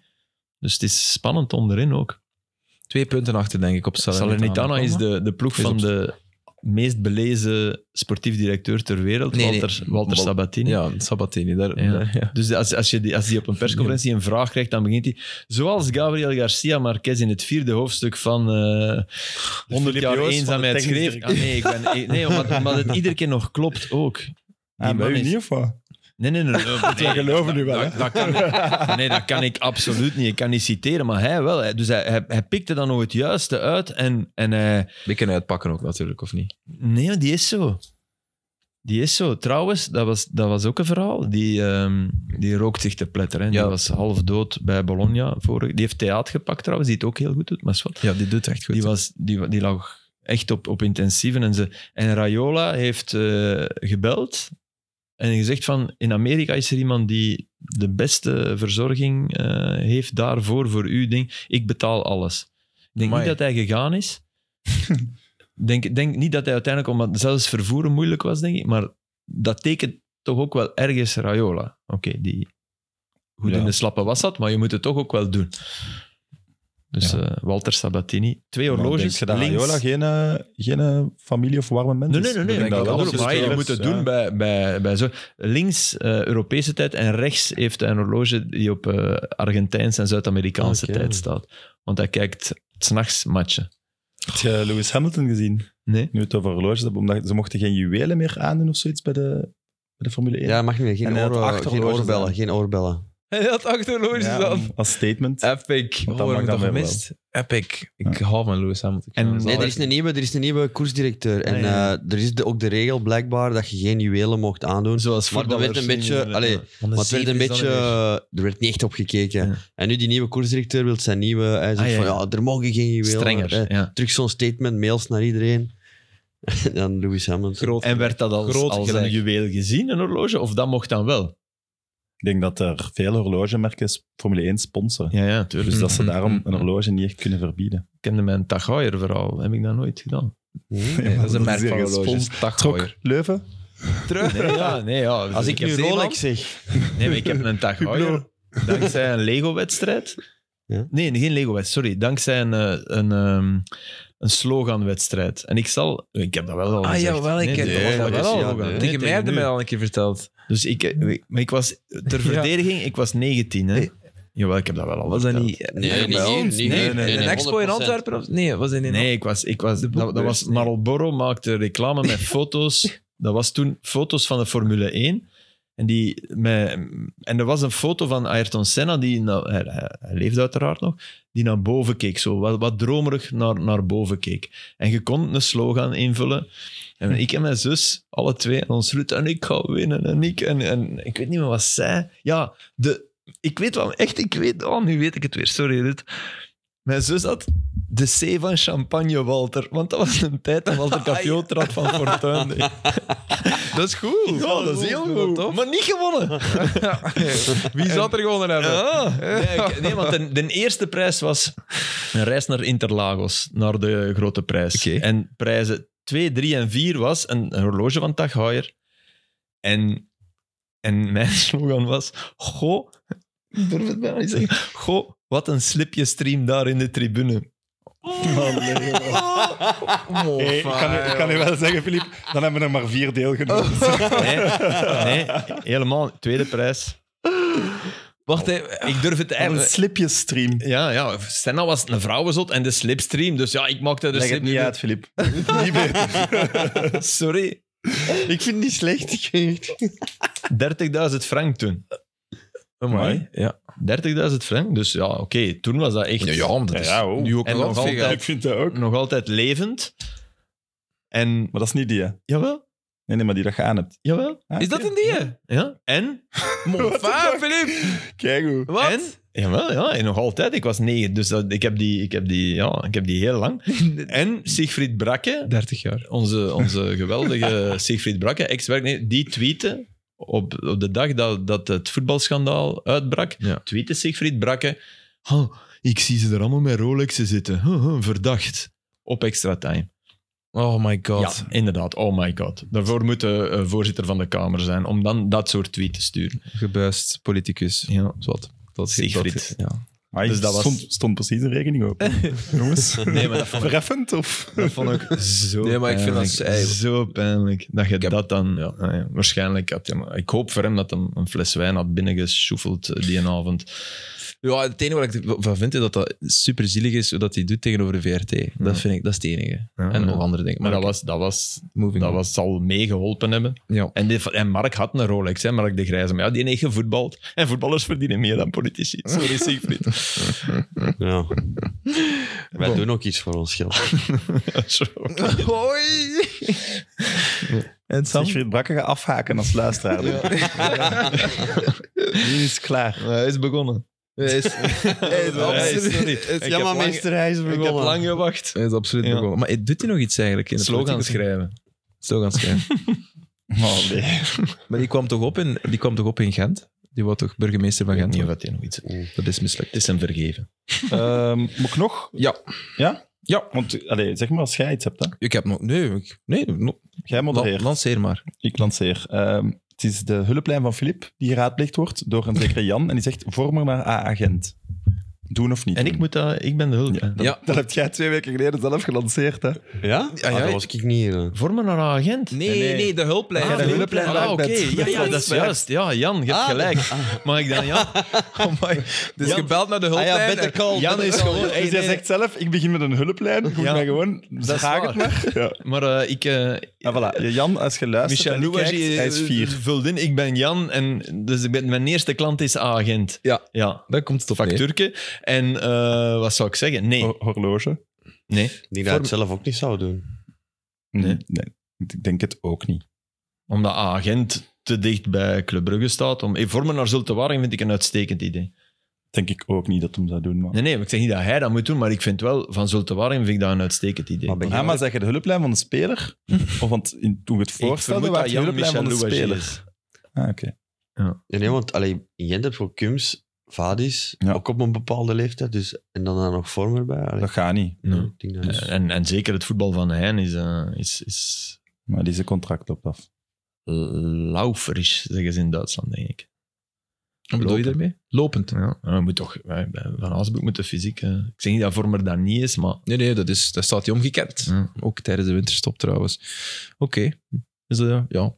Dus het is spannend onderin ook. Twee punten achter, denk ik, op Salernitana. Salernitana is de, de ploeg Is van op- de meest belezen sportief directeur ter wereld, Nee, nee. Walter, Walter Wal- Sabatini. Ja, Sabatini. Daar, Ja. daar- ja. Dus als, als, je die, als die op een persconferentie een vraag krijgt, dan begint hij. Zoals Gabriel Garcia Marquez in het vierde hoofdstuk van eh 100 jaar Joos van de eenzaamheid technisch schreef. Ah, nee, ik ben, ik- nee omdat, omdat het iedere keer nog klopt ook. Ah, bij man u is- niet, of wat? Nee, nee, nee. nee, nee. Wij geloven nu wel, hè? Dat, dat kan, nee, dat kan ik absoluut niet. Ik kan niet citeren, maar hij wel. Hij- Dus hij, hij, hij pikte dan nog het juiste uit en, en hij, Die kunnen uitpakken ook natuurlijk, of niet? Nee, die is zo. Die is zo. Trouwens, dat was, dat was ook een verhaal. Die, ehm, die rookt zich te pletteren. Hè. Ja. Die was half dood bij Bologna. Vorig, die heeft theater gepakt trouwens, die het ook heel goed doet. Maar is wat. Ja, die doet echt goed. Die, was, die, wa- die lag echt op, op intensieven. En, ze, en Raiola heeft eh, gebeld en gezegd van... In Amerika is er iemand die de beste verzorging eh, heeft daarvoor, voor uw ding. Ik betaal alles. Ik denk Amai. niet dat hij gegaan [laughs] is. Ik denk, denk niet dat hij uiteindelijk... Omdat zelfs vervoeren moeilijk was, denk ik. Maar dat tekent toch ook wel ergens Raiola. Oké, die goed Ja. in de slappe was dat, maar je moet het toch ook wel doen. Dus eh, Walter Sabatini. Twee Maar horloges, Denk je dat links. Raiola geen, eh, geen eh, familie of warme mens Nee, is? nee, nee. Ik nee, denk dat dat wel. ook, Dus maar het je is- moet het ja. doen bij, bij, bij zo. Links eh, Europese tijd en rechts heeft hij een horloge die op eh Argentijnse en Zuid-Amerikaanse Oké. tijd staat. Want hij kijkt s'nachts matchen. Heb je Lewis Hamilton gezien? Nee? Nu we het over horloges hebben, omdat ze mochten geen juwelen meer aandoen of zoiets bij de, bij de Formule 1. Ja, mag niet meer. En Geen, hij had oren- acht geen horloges oorbellen. aan. Geen oorbellen. Hij had achterloos Ja, dan. om- als statement. Epic. Want Oh, dan we mag hebben dat toch weer gemist? Epic. Ik hou van Lewis Hamilton. Ik En- vind hem Nee, zalig. er is een nieuwe, er is een nieuwe koersdirecteur. En Ah, ja. eh, er is de- ook de regel blijkbaar dat je geen juwelen mocht aandoen. Zoals Maar dat werd een voetballers beetje... zien- eh, Allee, Want de maar het werd zeep een is dan beetje... weer- eh, Er werd niet echt op gekeken. Ja. En nu die nieuwe koersdirecteur wil zijn nieuwe... eh, Hij zegt Ah, ja, van, ja. ja, er mogen geen juwelen. Strenger, Eh, ja. Terug zo'n statement, mails naar iedereen. [laughs] En dan Lewis Hamilton. Groot. En werd dat als, Groot als gelijk. een juweel gezien, een horloge? Of dat mocht dan wel? Ik denk dat er veel horlogemerken s- Formule 1 sponsoren. Ja, ja, tuurlijk. Dus dat ze Mhm. daarom Mm-hmm. een horloge niet echt kunnen verbieden. Ik kende mijn Tagoyer-verhaal. Heb ik dat nooit [laughs] gedaan? Hm? Nee, dat is een merk hier van horloges. gesponsord. Daghouwer. Leuven? Terug? Nee, ja, nee, ja. Dus Als ik nu heb Zeeman- Rolex zeg... Nee, maar ik heb een Tagoyer. Dankzij een Lego-wedstrijd. Ja. Nee, geen Lego-wedstrijd, sorry. Dankzij een, eh, een, ehm, een slogan-wedstrijd. En ik zal... Ik heb dat wel al Ah, gezegd. jawel, ik Nee, ken dat nee, wel. dat was Ja, een nee. slogan. Tegen mij tegen hebben nu. mij al een keer verteld. Dus ik... eh, Maar ik was... Ter [laughs] Ja. verdediging, ik was 19, hè. Nee. Jawel, ik heb dat wel al Was dat verteld. niet... Nee, niet bij hier, ons? niet Nee, hier. Nee, in nee, Expo in 100%. Antwerpen? of- Nee, was in... Nee, ik was, ik was, De dat, dat was boekbeurs, nee. Marlboro maakte reclame [laughs] met foto's. dat was toen foto's van de Formule 1. En, die, met, en er was een foto van Ayrton Senna, die na- hij, hij- hij leefde uiteraard nog, die naar boven keek, zo wat, wat dromerig naar, naar boven keek. En je kon een slogan invullen. En ik en mijn zus, alle twee, en ons roet, en ik ga winnen, en ik, en, en ik weet niet meer wat zij... Ja, de, ik weet wel, echt, ik weet... Oh, nu weet ik het weer, sorry Ruud. Mijn zus had de C van champagne, Walter. Want dat was een tijd dat [laughs] Walter Capio trap van Fortuin. deed. Ah, [laughs] dat is goed. Ja, dat is heel goed. Maar niet [laughs] gewonnen. [laughs] Wie zat er gewonnen hebben? Ja. Nee, ik- nee, want de, de eerste prijs was een reis naar Interlagos, naar de grote prijs. Oké. En prijzen 2, 3 en 4 was een, een horloge van Tag Heuer. En, en mijn [laughs] slogan was: Goh, ik durf het bijna niet te zeggen. Goh, wat een slipje stream daar in de tribune. Oh, Hey, ik, kan, u- ik kan u wel zeggen, Filip, dan hebben we er maar vier deelgenomen. [laughs] Nee, nee, helemaal. Tweede prijs. Wacht even. Ik durf het Een eigenlijk... slipje stream. Ja, ja, Senna was een vrouwenzot en de slipstream. Dus ja, ik maakte de Leg het slip... niet uit, Filip. niet beter. [laughs] Sorry. Ik vind het niet slecht. Ik weet het. 30.000 frank toen. Amai. Ja. 30.000 frank? Dus ja, oké. Toen was dat echt... maar dat is Ja, oh. nu ook En nog nog altijd. Ik vind dat ook. Nog altijd levend. En... Maar dat is niet die, hè. Jawel. Nee, nee, maar die dat je aan hebt. Jawel. Ah, Is dat oké. een die? Ja. En? Mon fa, Philippe! Kijk hoe. Wat? En? Jawel, ja. En nog altijd. Ik was negen, dus dat, ik, heb die, ik, heb die, ja, ik heb die heel lang. En Siegfried Brakke, 30 jaar. onze, onze geweldige [laughs] Siegfried Brakke, ex-werknemer, die tweette op, op de dag dat, dat het voetbalschandaal uitbrak, Ja. tweette Siegfried Brakke, "Oh, ik zie ze er allemaal met Rolexen zitten. Huh, huh, verdacht. Op extra time. Oh my god. Ja, inderdaad. Oh my god. Daarvoor moet de eh, voorzitter van de Kamer zijn, om dan dat soort tweets te sturen. Gebuist politicus. Ja. Zwat. Dat Siegfried. dat- ja. Maar Dus ik dat was- stond, stond precies een rekening [laughs] op. Jongens, Nee, maar dat vond ik- verheffend of... [laughs] Dat vond ik zo Nee, maar ik vind dat pijnlijk. ze- ey. zo pijnlijk. Dat je heb- dat dan... Ja. nou ja, waarschijnlijk had hij... maar Ik hoop voor hem dat hij een fles wijn had binnengesjoefeld eh, die avond. ja, het enige wat ik van vind is dat dat super zielig is dat hij doet tegenover de VRT. Dat vind ik, dat is het enige. Ja, en ja. nog andere dingen. Maar Maar, dat, was, dat, was, moving dat on. was, zal meegeholpen hebben. Ja. En, dit- en Mark had een Rolex, hè, Mark de Grijze. Maar ja, die heeft gevoetbald. En voetballers verdienen meer dan [laughs] politici. Sorry, Siegfried. Ja. Wij doen ook iets voor ons geld. Zo. Hoi! en Sam? Siegfried Brakke gaat afhaken als luisteraar. Die is klaar. Hij is begonnen. Hij is, hij is Hey, absoluut, sorry. hij is- Ik heb lang- hij is Ik heb lang gewacht. hij is absoluut Ja. begonnen. Maar eh, doet hij nog iets eigenlijk? In de Slogan politieke- schrijven. Slogan [laughs] schrijven. Oh, nee. maar die kwam, toch op in, die kwam toch op in Gent? Die was toch burgemeester van Ik weet Gent? niet of dat hij nog iets... Dat is mislukt. Het is hem vergeven. Ehm, moet ik nog? Ja. Ja? Ja. Want allee, zeg maar als jij iets hebt. Hè. Ik heb nog... Nee, ik- nee no- Jij modereert. lanceer maar. Ik lanceer. Ehm, het is de hulplijn van Filip die geraadpleegd wordt door een zekere Jan. En die zegt, vorm er naar A-agent. Doen of niet En doen. ik, moet dat, ik ben de hulp. hè. Dat, Mm. Ja. dat heb jij twee weken geleden zelf gelanceerd. Hè. Ja? Ja, Ah, ja. dat was ik niet. eh. Vorm maar een agent. Nee, Nee, nee, nee. de hulplijn. Ah, de de hulplijn. hulplijn. Ah, daar oké. bent. Ja, ja, dat is juist. Ja, Jan, je hebt Ah, gelijk. Mag ik [laughs] dan Jan? Oh Dus Jan- gebeld Oh, naar de Ah hulplijn. ja, better call. [laughs] Jan better is call. gewoon... Dus Hey, jij nee, nee. zegt zelf, ik begin met een hulplijn. Goed, Ja. maar gewoon, Dat is vraag het maar. Ja. Maar eh, ik... eh Ah, En voilà, Jan, als je luistert Michel en je Louwagie, kijkt, hij is eh, vier. Vult in, ik ben Jan. En dus ik ben, mijn eerste klant is agent. Ja. Ja. Daar komt het op neer. Facturke. En eh, wat zou ik zeggen? Nee. Ho- horloge. Nee. Ik denk dat hij het zelf ook niet zou doen. Nee. Hm, nee, ik denk het ook niet. Omdat agent te dicht bij Club Brugge staat. Om, eh, voor me naar Zulte Waregem vind ik een uitstekend idee. Denk ik ook niet dat hem zou doen. Maar... Nee, nee, maar ik zeg niet dat hij dat moet doen, maar ik vind wel, van Zulte Waregem vind ik dat een uitstekend idee. Maar ben Ja, maar zeg je de hulplijn van de [laughs] speler? of want in, toen we het ik voorstelde, vermoed was dat de Jan hulplijn Michel van de Louwagie speler. is. Ah, oké. Ja, nee, want allee, in Gent heb je ook Kums, Vadis, Ja. ook op een bepaalde leeftijd. Dus, en dan daar nog Vorm erbij. Allee, Dat gaat niet. Nee. ik denk dat is- Eh, En, en zeker het voetbal van Heijn is, eh is, is Maar die zijn contract loopt af. lauferisch, zeggen ze in Duitsland, denk ik. Wat bedoel je Lopen. daarmee? Lopend. Ja. We moet toch, wij- wij- van Haasbroek moet de fysiek... eh, ik zeg niet dat Vormer dat niet is, maar... Nee, nee, dat, is, dat staat hij omgekend. Ja. Ook tijdens de winterstop trouwens. Oké. Dus eh, ja,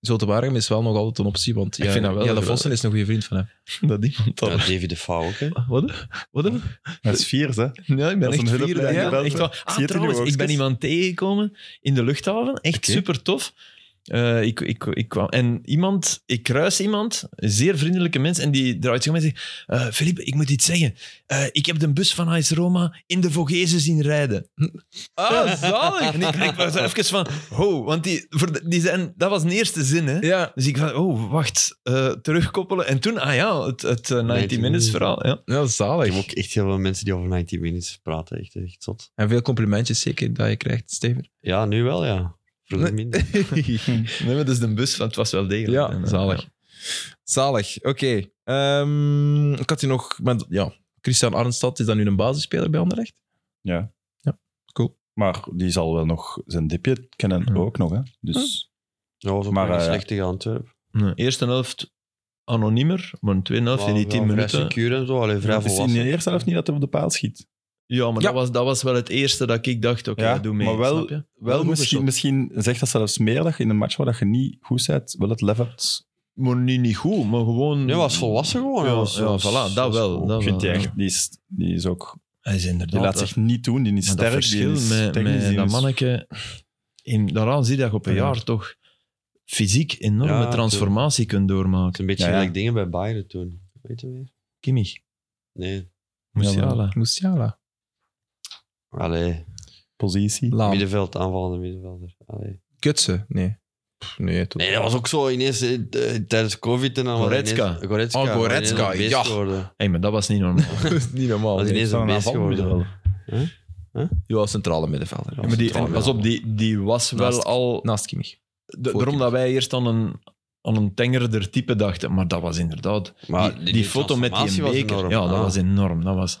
Zulte Waregem is wel nog altijd een optie, want Ik ja, vind dat wel Jelle geweldig. Vossen is een goede vriend van hem. Dat iemand Ja, David de Fouw ook, hè. Wat? Wat? een- Dat is vier, hè? Ja, ik ben Dat is echt een vier. hulplijn, ja, geweldig. echt waar. Ah, Zie je het in je trouwens, ik ben oogjes? iemand tegengekomen in de luchthaven. Echt Oké. super tof. ik, ik, ik kwam, en iemand, ik kruis iemand, een zeer vriendelijke mens, en die draait zich om en zegt: eh Filip, ik moet iets zeggen. Eh, ik heb de bus van AS Roma in de Vogezen zien [laughs] rijden. Ah, zalig! En ik, ik was even van: Ho, want die, voor de- die zijn, dat was de eerste zin, hè? Ja. Dus ik van: Oh, wacht, eh, terugkoppelen. En toen, ah ja, het, het eh, 90 Minutes verhaal. Ja. ja, Ik heb zalig. ook echt heel veel mensen die over 90 minutes praten. Echt, echt zot. En veel complimentjes zeker dat je krijgt, Steven. Ja, nu wel, ja. Vroeger minder. Nee, maar dat is de bus, want het was wel degelijk. Ja, En, eh, zalig. zalig, oké. Ehm, ik had hier nog... Met, ja, Christian Arnstad is dan nu een basisspeler bij Anderlecht. Ja. Ja, cool. Maar die zal wel nog zijn dipje kennen Ja. ook nog, hè? Dus Dat was ook Maar, maar, een eh, slechte Antwerp. Nee, eerste helft anoniemer, maar in de tweede helft in die Wel- wel tien vrij minuten. secuur en zo. Allee, vrij het is in volwassen. de eerste helft niet dat hij op de paal schiet. Ja, maar Ja. Dat, was, dat was wel het eerste dat ik dacht, oké, Ja, doe mee. maar wel- snap je? Wel, goed misschien, geschopt. misschien zegt dat zelfs meer dat je in een match waar dat je niet goed bent, wel het level hebt. Maar niet, niet goed, maar gewoon... Nee, was volwassen gewoon. Oh, Ja, was- ja, was- voilà, dat was wel. goed. dat Ik vind die wel, echt, die is, die is ook, Hij is inderdaad... die laat zich niet doen, die is maar dat sterk, die verschil is met, technisch, met die dat is- manneke... In, daaraan zie je dat je op een Ja. jaar toch fysiek enorme Ja, transformatie kunt Het doormaken. is een beetje Ja, ja. gelijk dingen bij Bayern toen. Weet je weer? Kimmich, Nee. Musiala. Musiala. Allee, positie. Laam. Ah. middenveld, aanvallende middenvelder. Allee. Kutsen, nee. Pff, Nee, toch. Nee, dat was ook zo ineens eh, eh, tijdens COVID en dan was Goretzka. ineens- Goretzka. Oh, was ineens Goretzka, een beest ja. Oh, geworden. Hey, maar dat was niet normaal. [laughs] niet normaal. Was nee. ineens een beest geworden. Ja, als centrale middenvelder. maar die- Centrale en- Pas op, die, die was wel Naast- al... middenvelder. Naast Kimmich. de- daarom dat wij eerst aan een, aan een tengerder type dachten. Maar dat was inderdaad... Maar die, die foto met die transformatie was beker. enorm. ja, dat Ah. was enorm. Dat was...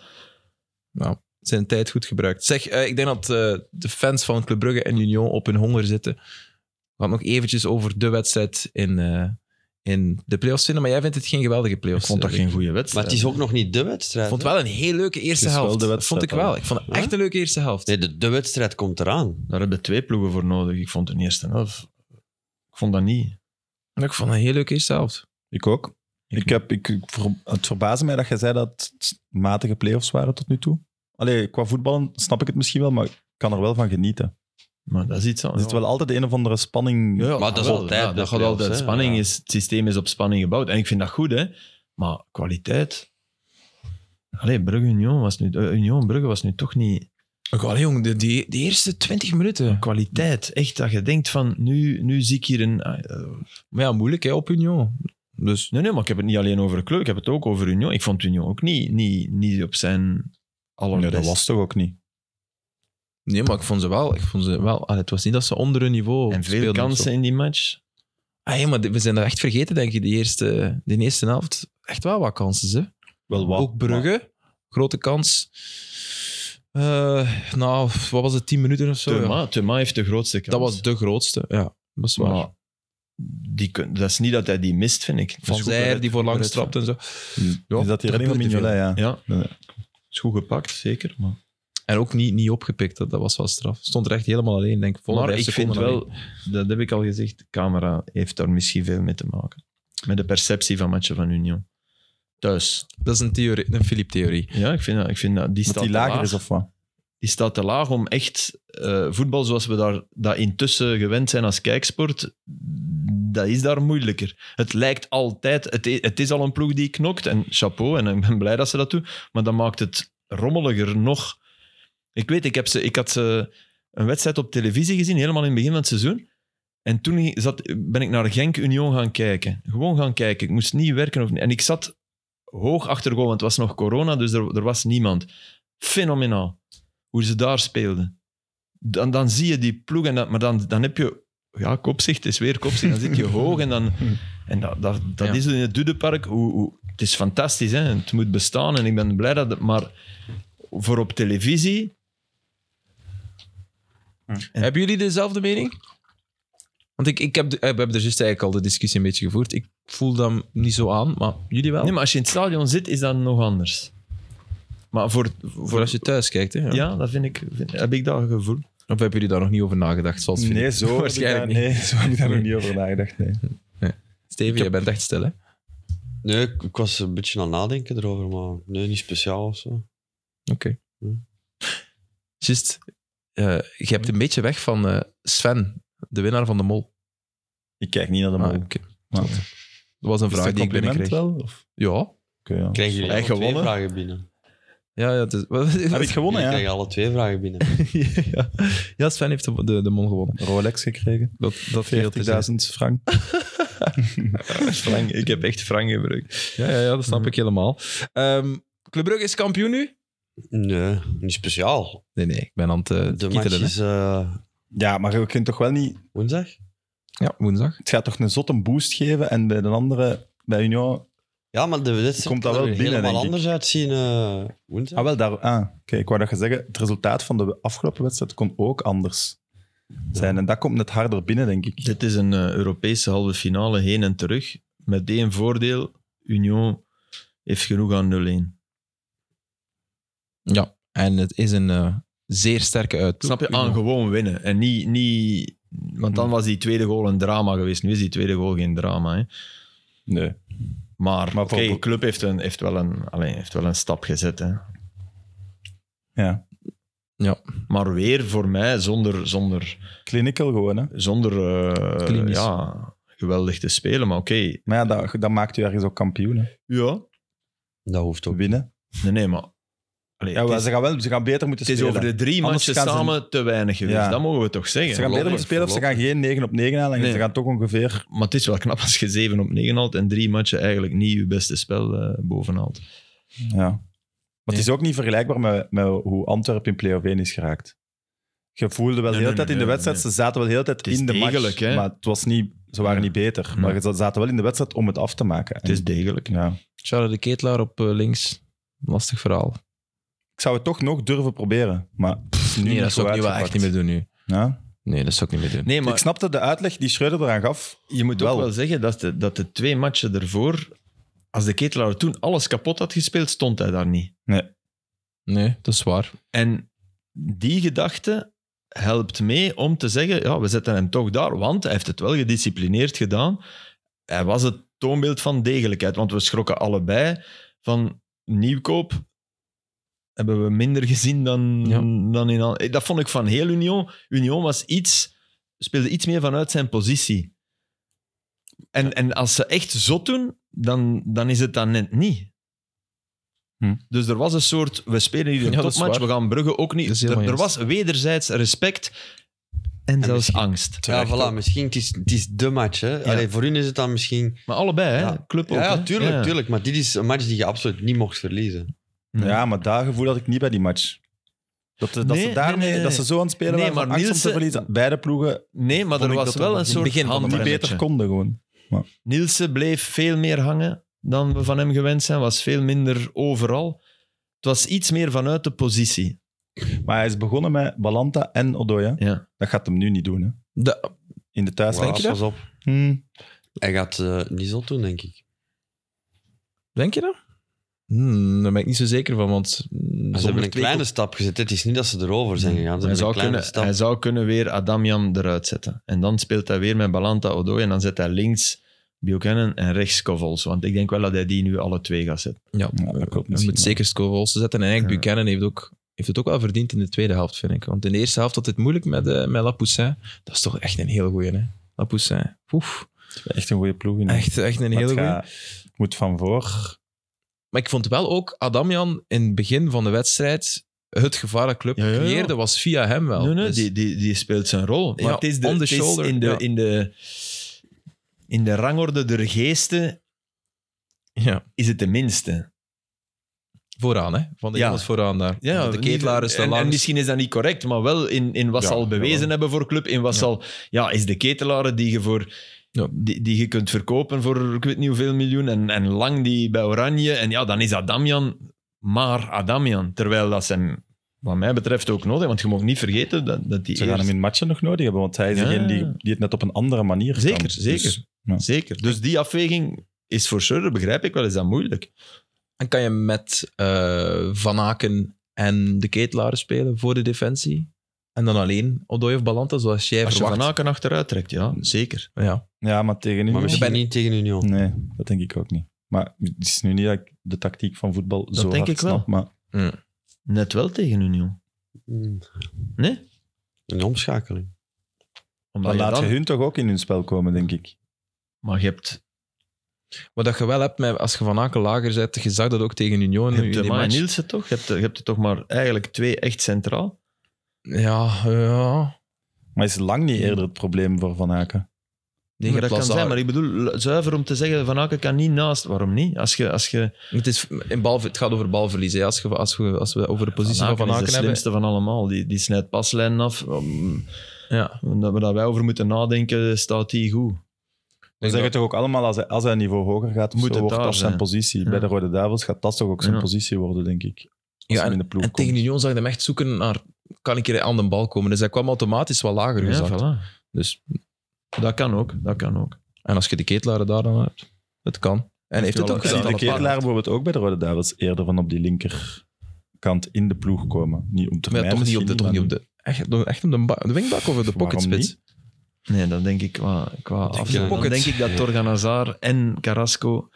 Nou, zijn tijd goed gebruikt. Zeg, eh, ik denk dat eh, de fans van Club Brugge en Union op hun honger zitten. We gaan nog eventjes over de wedstrijd in, eh, in de playoffs vinden. Maar jij vindt het geen geweldige Ik playoffs. vond dat eh, geen goede Maar wedstrijd. het is ook nog niet de wedstrijd. Ik vond hè? het wel een heel leuke eerste Het is wel helft. de Dat vond wedstrijd ik wel. dan. Ik vond het echt een leuke eerste helft. Nee, de, de wedstrijd komt eraan. Daar hebben twee ploegen voor nodig. Ik vond de eerste helft... Ik vond dat niet. Ik vond het een heel leuke eerste helft. Ik ook. Ik heb, ik, ik ver- het verbaasde mij dat jij zei dat het matige play-offs waren tot nu toe. Allee, qua voetballen snap ik het misschien wel, maar ik kan er wel van genieten. Maar dat is iets aan- Er zit wel altijd de een of andere spanning. Ja, ja, Maar Ah, dat is wel, altijd ja, de dat gaat playoffs, altijd. hè. Spanning Ja. is, het systeem is op spanning gebouwd. En ik vind dat goed, hè. Maar kwaliteit... Allee, Brugge-Union was nu... eh, Union-Brugge was nu toch niet... Ik wel, jong, de, die, die eerste 20 minuten. Kwaliteit. Echt, dat je denkt van... Nu, nu zie ik hier een... eh, Maar ja, moeilijk hè, op Union. Dus... Nee, nee, maar ik heb het niet alleen over de club. Ik heb het ook over Union. Ik vond Union ook niet, niet, niet op zijn Nee, allerbest. dat was toch ook niet. Nee, maar ik vond ze wel. Ik vond ze wel allee, het was niet dat ze onder hun niveau En veel speelden of zo. kansen in die match. Ah, ja, maar we zijn dat echt vergeten, denk ik, die eerste, die eerste helft. Echt wel wat kansen, hè. Wel wat. Ook Brugge, grote kans. Eh, nou, wat was het, 10 minuten of zo? ja. Thuma, Thuma heeft de grootste kans. Dat was de grootste, ja. Dat was waar. Maar die, kun- dat is niet dat hij die mist, vind ik. Dat is Van goed Zijer, gered. die voor langs Gered trapt en zo. Ja, is dat hier dat alleen maar gebeurt te Mignolet, ja. van- Ja, is goed gepakt, zeker. Maar, En ook niet, niet opgepikt, dat, dat was wel straf. Stond er echt helemaal alleen, denk ik. volle maar vijf ik vind seconden alleen. wel, dat heb ik al gezegd, de camera heeft daar misschien veel mee te maken. Met de perceptie van matchen van Union. Thuis. Dat is een theorie, een Philippe-theorie. Ja, ik vind dat, ik vind dat die Dat staat die te lager laag. is of wat? die staat te laag om echt eh, voetbal zoals we daar, dat intussen gewend zijn als kijksport, dat is daar moeilijker. Het lijkt altijd, het is, het is al een ploeg die knokt en chapeau en ik ben blij dat ze dat doen, maar dat maakt het rommeliger nog. Ik weet, ik, heb ze, ik had ze een wedstrijd op televisie gezien, helemaal in het begin van het seizoen. En toen ging- zat, ben ik naar Genk Union gaan kijken. Gewoon gaan kijken. Ik moest niet werken. Of, en ik zat hoog achter goal, want het was nog corona, dus er, er was niemand. Fenomenaal hoe ze daar speelden. Dan, dan zie je die ploeg, en dat, maar dan, dan heb je... Ja, kopzicht is weer kopzicht. Dan zit je hoog en dan... En dat, dat, dat Ja. is in het Dudepark. Hoe, hoe, het is fantastisch, hè. Het moet bestaan en ik ben blij dat... het- Maar voor op televisie... Hebben jullie dezelfde mening? Want ik, ik heb de- eh, we hebben er juist eigenlijk al de discussie een beetje gevoerd. Ik voel dat niet zo aan, maar jullie wel? Nee, maar als je in het stadion zit, is dat nog anders. Maar voor... Voor voor als je thuis kijkt, hè? Ja. ja, dat vind ik... Vind, heb ik dat gevoel. Of hebben jullie daar nog niet over nagedacht? Zoals Philippe? Nee, [laughs] [laughs] zo heb ik Waarschijnlijk daar- Nee, zo heb ik daar nog [laughs] niet over nagedacht. Nee. Steven, je bent echt stil, hè? Oké. Nee, ik, ik was een beetje aan het nadenken erover, maar nee, niet speciaal of zo. Hm. Just, eh, je hebt een beetje weg van eh, Sven, de winnaar van de mol. Ik kijk niet naar de Ah, man. oké. Maar- Dat was een Is vraag het die ik binnenkreeg. compliment wel? Of? Ja. Oké, ja. Krijgen jullie Hij alle twee gewonnen? vragen binnen? Ja, ja, het is- [laughs] wat- Heb ik Jullie gewonnen, ja. krijgen alle twee vragen binnen. [laughs] ja. ja, Sven heeft de, de, de mol gewonnen. Rolex gekregen. Dat, dat geldt te 40.000 frank. Frank, ik heb echt Frank gebruikt. zeggen. Ja, ja, ja, dat snap ik helemaal. Ehm Club Brugge is kampioen nu? Nee, niet speciaal. Nee, nee, ik ben aan het eh, De match kietelen. hè. is eh, Ja, maar je kunt toch wel niet... woensdag? Ja, woensdag. Het gaat toch een zotte boost geven en bij de andere, bij Union Ja, maar de wedstrijd Komt dat kan wel er binnen, helemaal denk ik. anders uitzien eh, woensdag. Ah, wel, daar... Ah, oké. Ik wou dat je zeggen, het resultaat van de afgelopen wedstrijd kon ook anders zijn. En dat komt net harder binnen, denk ik. Dit is een eh, Europese halve finale heen en terug. Met één voordeel: Union heeft genoeg aan 0-1. Ja, en het is een eh, zeer sterke uit. Snap je? Aan gewoon winnen. En niet, niet. Want dan was die tweede goal een drama geweest. Nu is die tweede goal geen drama. Hè? Nee. Maar, Maar maar voor- de club heeft, een, heeft, wel een, alleen, heeft wel een stap gezet. Hè? Ja. Maar weer voor mij zonder, zonder, Clinical gewoon, hè. zonder eh, Klinisch. ja, geweldig te spelen. Maar oké, Maar ja, dat, dat maakt u ergens ook kampioen, hè. ja. Dat hoeft ook. Winnen. Nee, nee, maar. allee, Allee, Ja, het wel, is, ze, gaan wel, ze gaan beter moeten het is spelen. over de drie Anders matchen gaan ze- samen te weinig geweest. Ja. Dat mogen we toch zeggen. Ze gaan beter moeten spelen of ze gaan geen 9 op 9 halen. En Nee. Ze gaan toch ongeveer... Maar het is wel knap als je 7 op 9 haalt en drie matchen eigenlijk niet je beste spel eh bovenhaalt. Ja. Maar het is ook niet vergelijkbaar met, met hoe Antwerpen in play-off 1 is geraakt. Je voelde wel Nee, de hele nee, tijd in de nee, wedstrijd, nee. ze zaten wel de hele tijd Het is in de degelijk, match. hè? Maar het was niet, ze waren Ja. niet beter. Ja. Maar ze zaten wel in de wedstrijd om het af te maken. Het is degelijk. ja. Charles de Ketelaar op eh, links. Lastig verhaal. Ik zou het toch nog durven proberen. Maar het is nu Nee, niet dat zou zo ik nu wel echt uitgepakt. niet meer doen nu. Ja? Nee, dat zou ik niet meer doen. Nee, Ik snapte de uitleg die Schreuder eraan gaf. Je moet Wel. ook wel zeggen dat de, dat de twee matchen ervoor, als de ketelaar toen alles kapot had gespeeld, stond hij daar niet. Nee, dat is waar. En die gedachte helpt mee om te zeggen, ja, we zetten hem toch daar, want hij heeft het wel gedisciplineerd gedaan. Hij was het toonbeeld van degelijkheid, want we schrokken allebei van nieuwkoop. Hebben we minder gezien dan, Ja. dan in... al- Eh, Dat vond ik van heel Union. Union was iets, speelde iets meer vanuit zijn positie. En, en als ze echt zot doen, dan, dan is het dan net niet. Hm. Dus er was een soort, we spelen hier een Ja, dat is topmatch, we waar. gaan Brugge ook Dat niet. is heel Er, er juist. was wederzijds respect en, zelfs misschien- angst. Ja, voilà. Misschien het is het is de match. Hè. Allee, voor hun is het dan misschien... Maar allebei, hè? Ja. club ook. Ja, ja, hè? tuurlijk, Ja. tuurlijk. Maar dit is een match die je absoluut niet mocht verliezen. Nee. Ja, maar dat gevoel had ik niet bij die match. Dat, de- dat Nee, ze nee, daarmee, nee, nee. dat ze zo aan het spelen Nee, waren, maar van angst om Nielsen- te verliezen. Beide ploegen Hm. Nee, maar Vond er ik was dat wel er een in het soort begin van de die handbremmetje. beter konden gewoon. Nielsen bleef veel meer hangen dan we van hem gewend zijn, was veel minder overal. Het was iets meer vanuit de positie. Maar hij is begonnen met Balanta en Odoja. Ja. Dat gaat hem nu niet doen, hè? De- In de thuiswedstrijd. je dat? Pas op. Hmm. Hij gaat eh, niet zo doen, denk ik. denk je dat? Hmm, daar ben ik niet zo zeker van, want... mm, Ze zonder hebben een twee- kleine stap gezet. Het is niet dat ze erover zijn gegaan. Ze Hij hebben een zou, kleine kunnen, stap. hij zou kunnen weer Adamjan eruit zetten. En dan speelt hij weer met Balanta Odoi en dan zet hij links Buchanan en rechts Kovols. Want ik denk wel dat hij die nu alle twee gaat zetten. Ja, Ja, dat klopt Je misschien moet wel. zeker Scovols zetten. En eigenlijk Buchanan heeft, ook, heeft het ook wel verdiend in de tweede helft, vind ik. Want in de eerste helft had het moeilijk met, eh met Lapoussin. Dat is toch echt een hele goeie, hè? Lapoussin. Oef. Echt een goede ploeg. In. Echt, echt een Maar hele het goeie. gaat- moet van voor. Maar ik vond wel ook Adamjan in het begin van de wedstrijd het gevaar dat club Ja, ja, ja. creëerde was via hem wel. Nee, nee, Dus- die, die, die speelt zijn rol. Maar Ja, het is, de, on the het is shoulder, in, de, ja. in, de, in de rangorde der geesten ja, is het de minste. vooraan, hè? Van de Ja. jongens vooraan daar. Want de niet- ketelaar is en, dan en langs. misschien is dat niet correct, maar wel in, in wat Ja, ze al bewezen jawel. hebben voor club. In wat Ja. zal, ja, is de ketelaar die je, voor, Ja. die, die je kunt verkopen voor ik weet niet hoeveel miljoen. En, en lang die bij Oranje. En ja, dan is Adamjan maar Adamjan. Terwijl dat ze hem, wat mij betreft, ook nodig Want je mag niet vergeten dat, dat die Ze gaan eerst- hem in matchen nog nodig hebben, want hij is Ja. degene die, die het net op een andere manier kan. Zeker, Dus- zeker. ja. Zeker. Dus die afweging is voor Schurder, begrijp ik wel, is dat moeilijk. En kan je met eh, Van Aken en de ketelaar spelen voor de defensie? En dan alleen Odoi of Balanta, zoals jij Als je verwacht. Van Aken achteruit trekt, ja, zeker. Ja. ja, maar tegen Maar Union... misschien ben- niet tegen Union. Nee, dat denk ik ook niet. Maar het is nu niet dat ik de tactiek van voetbal zo denk hard ik wel. snap, maar Net wel tegen Union. Mm. Nee? Een omschakeling. Omdat dan je laat dan- je hun toch ook in hun spel komen, denk ik. Maar je hebt Wat dat je wel hebt, met, als je Van Aken lager zet, je zag dat ook tegen Union. Je nu in hebt die de Maai match. Nielsen toch? Je hebt, er- je hebt er toch maar eigenlijk twee echt centraal. Ja, ja. Maar is lang niet eerder het probleem voor Van Aken. Nee, je Maar dat hebt Lazar. kan zijn, maar ik bedoel, lu- zuiver om te zeggen, Van Aken kan niet naast. Waarom niet? Als je, als je het, is, in bal, het gaat over balverliezen. hè. Als, je, als, we, als we over de positie van Van is Aken de hebben. slimste van allemaal. Die, die snijdt paslijnen af. Om- Ja. Omdat we daar wij over moeten nadenken, staat die goed. We zeggen toch ook allemaal, als hij, als hij een niveau hoger gaat, of Moet zo, het wordt daar dat zijn zijn. positie. Ja. Bij de Rode Duivels gaat dat toch ook zijn Ja. positie worden, denk ik. Als Ja, hij en, in de ploeg en komt. tegen Union zag je hem echt zoeken naar... Kan ik hier aan de bal komen? Dus hij kwam automatisch wat lager Ja, gezakt. voilà. dus, Dat kan ook, dat kan ook. en als je de ketelaren daar dan hebt, het kan. En heeft het wel ook een Ik zie gedaan. de alle paar Ketelaar bijvoorbeeld ook bij de Rode Duivels eerder van op die linkerkant in de ploeg komen. Niet op termijn Maar toch niet op de... misschien, Toch niet op maar- de echt, echt op de, ba- de wingbak of op de Waarom pocketspits? niet? Nee, dan denk ik qua, qua Denk af- je- dan Pocket. denk ik dat Torgan Hazard en Carrasco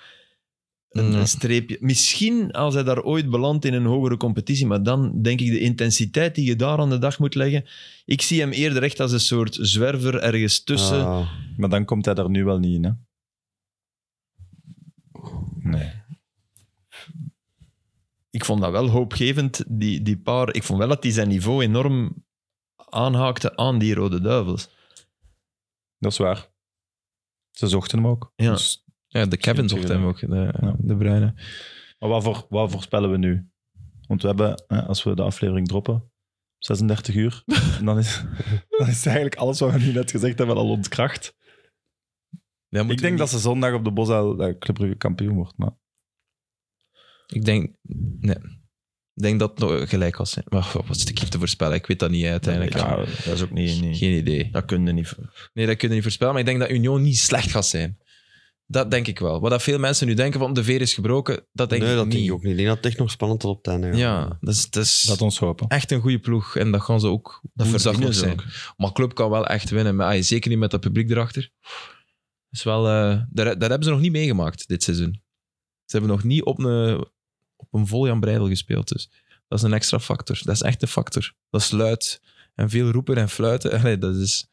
een, Ja. een streepje... Misschien als hij daar ooit belandt in een hogere competitie, maar dan denk ik de intensiteit die je daar aan de dag moet leggen... Ik zie hem eerder echt als een soort zwerver ergens Dus, tussen. eh, Ah. Maar dan komt hij daar nu wel niet in, hè? Nee. ik vond dat wel hoopgevend, die, die paar. Ik vond wel dat hij zijn niveau enorm aanhaakte aan die Rode Duivels. Dat is waar. Ze zochten hem ook. Ja. Dus- Ja, de Kevin zocht hem ook, de, Ja. de Bruine. maar wat, voor, wat voorspellen we nu? Want we hebben, hè, als we de aflevering droppen, 36 [laughs] uur, en dan is, dan is eigenlijk alles wat we nu net gezegd hebben al ontkracht. Ja, moeten Ik we denk niet- dat ze zondag op de Bosuil eh, Club Brugge kampioen wordt. Maar Ik denk... Nee. Ik denk dat het nog gelijk was. hè. Maar goh, wat is de keer te voorspellen? Ik weet dat niet hè, uiteindelijk. Ja, dat is ook niet... niet- Geen idee. dat kun je niet... Nee, dat kun je niet voorspellen. Maar ik denk dat Union niet slecht gaat zijn. Dat denk ik wel. Wat dat veel mensen nu denken van de veer is gebroken, dat denk nee, ik dat niet. denk ik ook niet. Ik denk dat het echt nog spannend tot op het einde gaat. Ja, dat is, dat is laat ons hopen. echt een goede ploeg. En dat gaan ze ook woensdag nog verdienen ze zijn. Maar club kan wel echt winnen. Maar, ah, zeker niet met dat publiek erachter. Dat, is wel, eh, daar, daar hebben ze nog niet meegemaakt dit seizoen. Ze hebben nog niet op een, op een vol Jan Breidel gespeeld. Dus dat is een extra factor. Dat is echt een factor. Dat is luid. En veel roepen en fluiten. [laughs] Allee, dat is,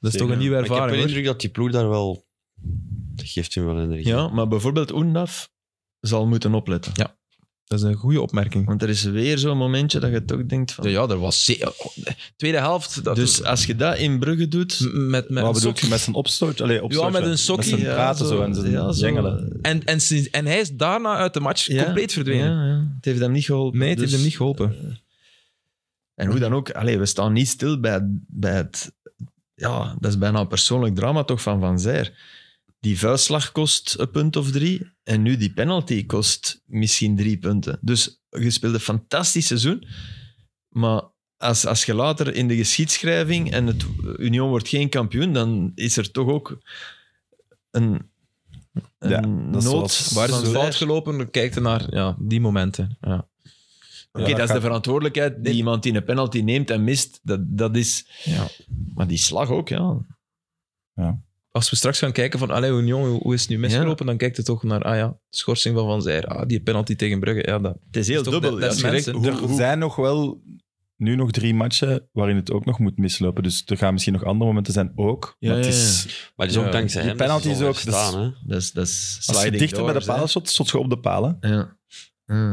dat is toch een nieuwe Maar ik heb ervaring. de hoor. indruk dat die ploeg daar wel... Dat geeft hem wel energie. Ja, maar bijvoorbeeld Oendaf zal moeten opletten. Dat is een goede opmerking. Want er is weer zo'n momentje dat je toch denkt van... Ja, ja, er was ze- oh, de Tweede helft. Dat dus als je dat in Brugge doet... M- met, met Wat een bedoel sok. je met zijn opstoot? Allee, opstootje. met een sokkie, Met zijn ja, praten zo, en zijn ja, zo. jengelen. En, en, sinds- en hij is daarna uit de match Ja, compleet verdwenen. Ja, ja. Het heeft hem niet geholpen. Nee, het heeft Dus- hem niet geholpen. En hoe dan ook, allee, we staan niet stil bij, bij het... Ja, dat is bijna een persoonlijk drama toch van Van Zijr. Die vuistslag kost een punt of drie. En nu die penalty kost misschien drie punten. Dus je speelde een fantastisch seizoen. Maar als, als je later in de geschiedschrijving en het Union wordt geen kampioen, dan is er toch ook een, een Ja, dat nood. is zoals- waar is Als van het fout Zijr. gelopen, dan kijkt hij naar ja, die momenten. Ja. Oké, Ja, dat is gaat- de verantwoordelijkheid die iemand die een penalty neemt en mist. Dat, dat is... Ja. Maar die slag ook, ja. Als we straks gaan kijken van allee, Union, hoe, hoe is het nu misgelopen, dan kijkt hij toch naar ah ja, schorsing van Van Zijr. Ah, die penalty tegen Brugge. Ja, dat. Het is heel Dat is toch dubbel. de- dat ja, is je denkt, mensen. hoe- er hoe- zijn nog wel nu nog drie matchen waarin het ook nog moet mislopen. Dus er gaan misschien nog andere momenten zijn ook. Ja, maar het ja, is, Maar het is ook Ja, dankzij die hem dat penalty ze is zo ook- blijven Staan, hè? Dat is, dat is Als je sliding dichter bij de doors, paal shot, shot je op de palen. hè. Ja. Ja.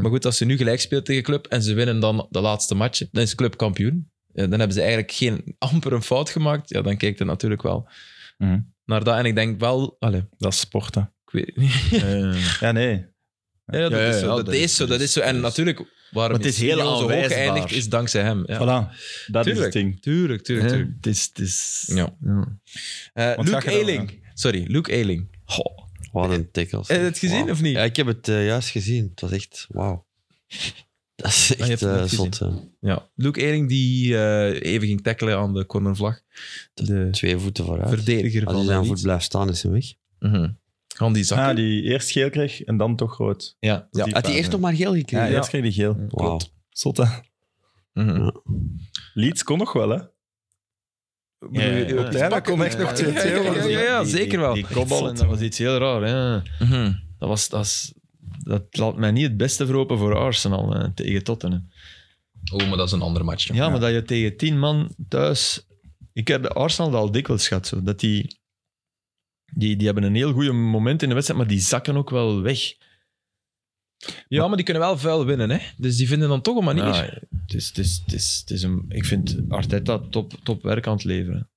[laughs] Maar goed, als ze nu gelijk speelt tegen Club en ze winnen dan de laatste match, dan is Club kampioen. Ja, dan hebben ze eigenlijk geen [laughs] amper een fout gemaakt. Ja, dan kijkt hij natuurlijk wel Mhm. naar dat. En ik denk wel... Allee, Dat is sporten. ik weet het niet. [laughs] Eh, Ja, nee. Ja, dat, Ja, ja, is, zo, ja, dat, dat is, is- zo. Dat is zo. En dat is- natuurlijk, waarom Maar het is heel Union zo hoog aanwijsbaar. geëindigd, is dankzij hem. Ja. Voilà. Dat is Tuurlijk. het ding. Tuurlijk, tuurlijk, hè, tuurlijk. Het is... Het is Ja. Eh, Wat zag Luke je dan, Eiling. Sorry, Luke Eiling. Goh, Wat een tackle. Eh, Heb je het gezien Wauw. of niet? Ja, ik heb het eh, juist gezien. Het was echt... Wauw. Dat is Ah, je hebt echt het eh, niet zot. hè. Ja. Luke Eiling die eh, even ging tackelen aan de cornervlag. De Twee voeten vooruit. verdediger van Als hij de zijn voet Leeds. blijft staan, is hij weg. Mhm. Gaan die zakken? Ah, die eerst geel kreeg en dan toch rood. Ja. Dat is die Had hij fase. echt nog maar geel Ja, gekregen? eerst kreeg hij geel. Wauw. Zotte. Mhm. Leeds kon nog wel, hè? Ja, ja, ja. Op het einde kon echt nog 2-2 Ja, ja, ja, worden. ja. zeker wel. Die, die kopbal, en dat was iets heel raar. Hè. Mhm. Dat, was, dat, is- dat laat mij niet het beste verhopen voor Arsenal hè, tegen Tottenham. Oh, maar dat is een andere match. Ja, maar dat je tegen tien man thuis... Ik heb bij Arsenal dat al dikwijls gehad. Zo, dat die, die, die hebben een heel goede moment in de wedstrijd, maar die zakken ook wel weg. Ja, maar die kunnen wel vuil winnen, hè. Dus die vinden dan toch een manier. Ja, Nou, het is, het is, het is, het is een, ik vind Arteta top, top werk aan het leveren.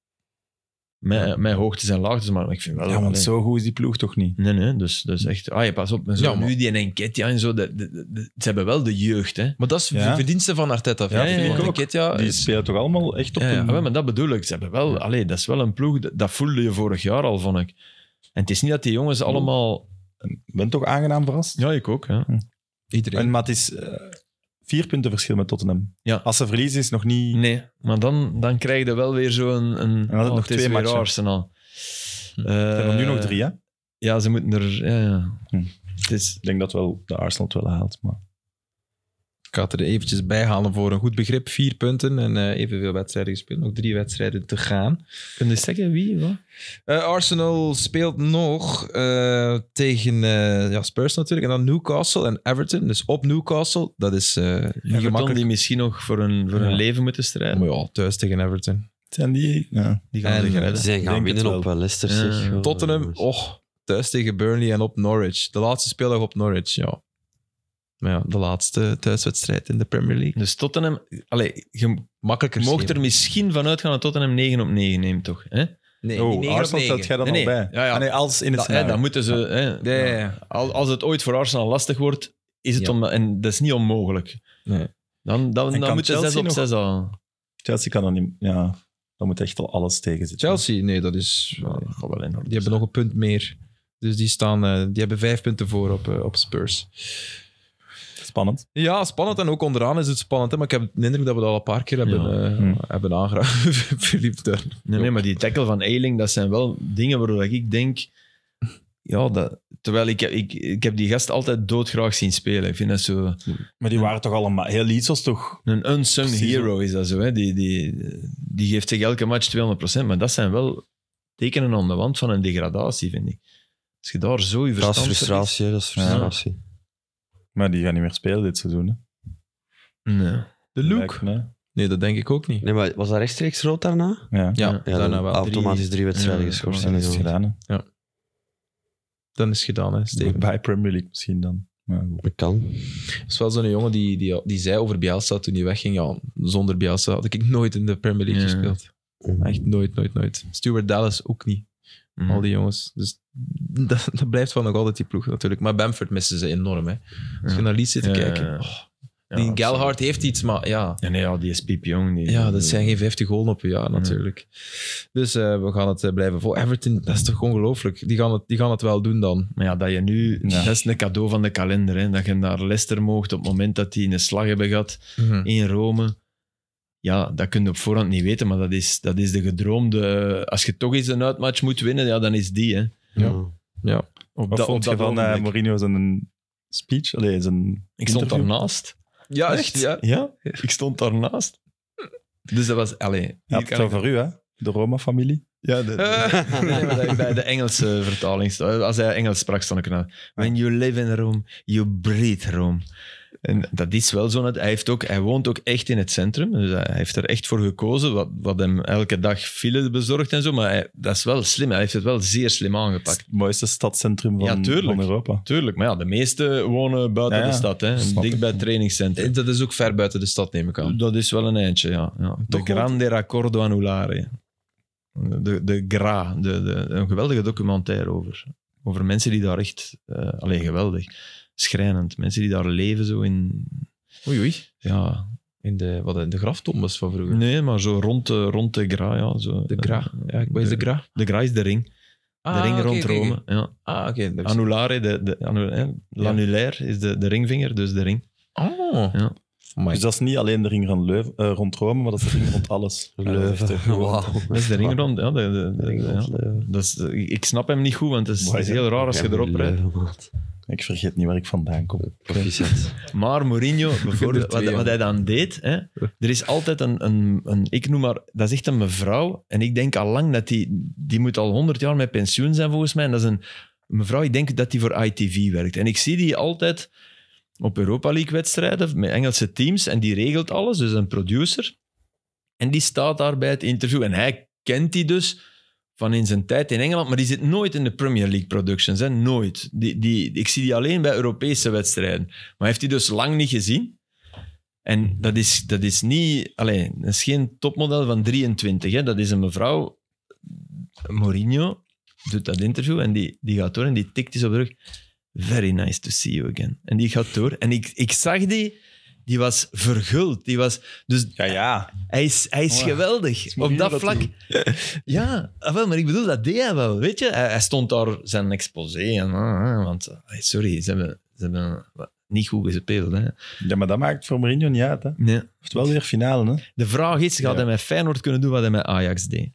Mijn, mijn hoogtes en laagtes, maar ik vind wel... Ja, want nee. zo goed is die ploeg toch niet? Nee, nee, dus, dus echt... Ah, je pas op. Maar zo, Ja, maar- Nu die en Enketia en zo, dat- dat- dat- ze hebben wel de jeugd, hè. Maar dat is Ja. de verdienste van Arteta. Ja, vind ik. ja, ja. Want Nketiah Die Ah, is- spelen toch allemaal echt op Ja, ja. een... Ah, wel, maar dat bedoel ik. Ze hebben wel... Allee, dat is wel een ploeg, dat, dat voelde je vorig jaar al, vond ik. En het is niet dat die jongens allemaal... Ik ben toch aangenaam verrast? Ja, ik ook, ja. Iedereen. En, maar het is eh, vier punten verschil met Tottenham. Ja. Mm. Als ze verliezen is nog niet... Nee, maar dan, dan krijg je wel weer zo'n... Een, oh, dan had het nog is twee weer matchen. Arsenal. Eh, Er zijn er nu nog drie, hè? Ik Ja, ze moeten er... Ja, ja. Hm. Het is... denk dat wel de Arsenal het wel haalt. Maar... Ik ga het er eventjes bij halen voor een goed begrip. Vier punten en eh, evenveel wedstrijden gespeeld. Nog drie wedstrijden te gaan. Kun je zeggen wie? Wat? Eh, Arsenal speelt nog eh, tegen eh, ja, Spurs natuurlijk. En dan Newcastle en Everton. Dus op Newcastle. Dat is eh, niet Everton gemakkelijk. die misschien nog voor een, voor een Ja. leven moeten strijden. Maar ja, oh, thuis tegen Everton. Zijn die... Ja. Die En- gaan zich Ze redden. zijn Ik gaan denk het winnen wel. op eh, Leicester. Ja. zeg. Wel, oh, Tottenham, oh, jongens. och. Thuis tegen Burnley en op Norwich. De laatste speeldag op Norwich, ja. Maar ja, de laatste thuiswedstrijd in de Premier League. Dus Tottenham, allee, je Makkelijker mocht er misschien vanuit gaan dat Tottenham 9 op 9 neemt, toch? Hè? Nee, Oh, niet negen op Arsenal negen. stelt jij dan Nee, al nee. bij. Ja, ja. Ah, nee, als in het Dat, hè, scenario. dan moeten ze... Hè, Ja, ja, ja. Al- Als het ooit voor Arsenal lastig wordt, is het Ja. om, en dat is niet onmogelijk. Nee. Dan, dan, En dan kan moet je Chelsea 6 op nog- 6 al. Chelsea kan dan niet... Ja, dan moet echt al alles tegen zitten. Chelsea, nee, dat is... Ja, dat gaat wel in orde Die hebben nog een punt meer. Dus die, staan, eh, die hebben vijf punten voor op, eh, op Spurs. Spannend. Ja, spannend. En ook onderaan is het spannend. Hè? Maar ik heb de indruk dat we dat al een paar keer hebben, Ja. eh, Hm. hebben [laughs] aangeraakt. Philippe Dunn. Nee, nee, maar die tackle van Eiling, dat zijn wel dingen waardoor ik denk... Ja, dat, terwijl ik, ik, ik heb die gast altijd doodgraag zien spelen. Ik vind dat zo... Maar die waren toch allemaal... Heel iets was toch... Een unsung Precies, hero is dat zo. Hè? Die, die, die geeft zich elke match 200%. Maar dat zijn wel tekenen aan de wand van een degradatie, vind ik. Als je daar zo je Dat verstand... is frustratie, hè, dat is frustratie. Maar die gaan niet meer spelen dit seizoen. Hè. Nee. De Lijkt Luke? me. Nee, dat denk ik ook niet. Nee, maar was dat rechtstreeks rood daarna? Ja. Ja, Ja, Ja, daarna dan wel. automatisch drie, wedstrijden nou Ja, geschorst. Dan is het Ja, gedaan. hè. Dan is het gedaan, hè, Steven. Bij Premier League misschien dan. Maar goed. dat kan. Het is wel zo'n jongen die, die, die zei over Bielsa toen hij wegging. Ja, zonder Bielsa had ik nooit in de Premier League Ja. gespeeld. Echt nooit, nooit, nooit. Stuart Dallas ook niet. Mm. Al die jongens. Dus [laughs] dat, dat blijft wel nog altijd die ploeg natuurlijk. Maar Bamford missen ze enorm. Hè. Als je Ja. naar Leeds zit te Ja, kijken. ja, ja. oh, Ja, die absoluut. Galhard heeft iets, maar ja. Ja, nee, ja, die is piepjong. Die, Ja, dat zijn geen 50 goals op een jaar natuurlijk. Dus eh, we gaan het eh, blijven vol. Everton, dat is toch ongelooflijk. Die gaan het, die gaan het wel doen dan. Maar ja, dat je nu... Ja. Dat is een cadeau van de kalender. Hè, dat je naar Leicester moogt op het moment dat die een slag hebben gehad Mhm. in Rome. Ja, dat kun je op voorhand niet weten, maar dat is, dat is de gedroomde... eh, Als je toch eens een uitmatch moet winnen, ja, dan is die. Hè. Ja. Op dat- vond op je dat van eh, ogenblik. Mourinho zijn speech? Allee, zijn Ik stond interview? daarnaast. Ja, echt? Ja. Ja, ik stond daarnaast. Dus dat was... Allee, Ja, hier het kan zou ik- voor u, hè? De Roma-familie. Ja, de, Eh. Nee, [laughs] [laughs] maar dat ik bij de Engelse vertaling stond. Als hij Engels sprak, stond ik ernaar. When you live in Rome, you breathe Rome. En dat is wel zo. net. Hij, heeft ook, hij woont ook echt in het centrum. Dus hij heeft er echt voor gekozen. Wat, wat hem elke dag file bezorgt en zo. Maar hij- dat is wel slim. Hij heeft het wel zeer slim Het aangepakt. mooiste stadscentrum van, Ja, tuurlijk. van Europa. Tuurlijk. Maar ja, de meesten wonen buiten Ja, ja. de stad. Hè. Snap Dicht ik. bij het trainingscentrum. Eh, Dat is ook ver buiten de stad, neem ik aan. Dat is wel een eindje, ja. ja. De Toch wel- Grande Raccordo Anulare. De, de Gra. De, de, een geweldige documentaire over. Over mensen die daar echt... eh alleen geweldig. Schrijnend. Mensen die daar leven zo in... Oei, oei. Ja. In de, wat, in de graftombes van vroeger. Nee, maar zo rond de, rond de Gra, ja. Zo, eh, De Gra. Ja, ik- wat is de Gra? Ah, De Gra is de ring. De ring oké, rond oké, Rome. oké. Ja. Ah, oké. dat is- Anulare, de, de, anu- hè, l'annulaire is de, de ringvinger, dus de ring. Oh. Ja. Amai. Dus dat is niet alleen de ring rond, Leuven, eh, rond Rome, maar dat is de ring rond alles. [laughs] Leuven. Wauw. Dat is de [laughs] ring rond, ja. De, de, de- ja. Leuven. Dat is, ik snap hem niet goed, want het is, Mooi, het is hè? heel raar als je erop rijdt. Leuven, maat. Ik vergeet niet waar ik vandaan kom. [laughs] Proficiat. Maar Mourinho, kunt er bijvoorbeeld, twee, wat, wat hij dan deed, hè, er is altijd een, een, een, ik noem maar, dat is echt een mevrouw, en ik denk al lang dat die, die moet al 100 jaar met pensioen zijn volgens mij, en dat is een mevrouw, ik denk dat die voor ITV werkt. En ik zie die altijd op Europa League wedstrijden met Engelse teams, en die regelt alles, dus een producer. En die staat daar bij het interview, en hij kent die dus van in zijn tijd in Engeland, maar die zit nooit in de Premier League productions, hè, nooit. Die, die, ik zie die alleen bij Europese wedstrijden. Maar heeft hij dus lang niet gezien. En dat is, dat is niet... Allee, dat is geen topmodel van 23. Hè. Dat is een mevrouw... Mourinho doet dat interview en die, die gaat door en die tikt is op de rug. Very nice to see you again. En die gaat door. En ik, ik zag die... Die was verguld. Die was, dus Ja, ja. hij is, hij is Wow. geweldig. Op dat dat vlak. [laughs] Ja, ah, wel, maar ik bedoel, dat deed hij wel. Weet je, hij, hij stond daar zijn exposé. En, ah, ah, want, eh, sorry, ze hebben, ze hebben wat- niet goed gespeeld. Hè. Ja, maar dat maakt voor Mourinho niet uit. Hè. Hij Nee. heeft wel weer finale. Hè. De vraag is, gaat Ja. hij met Feyenoord kunnen doen wat hij met Ajax deed?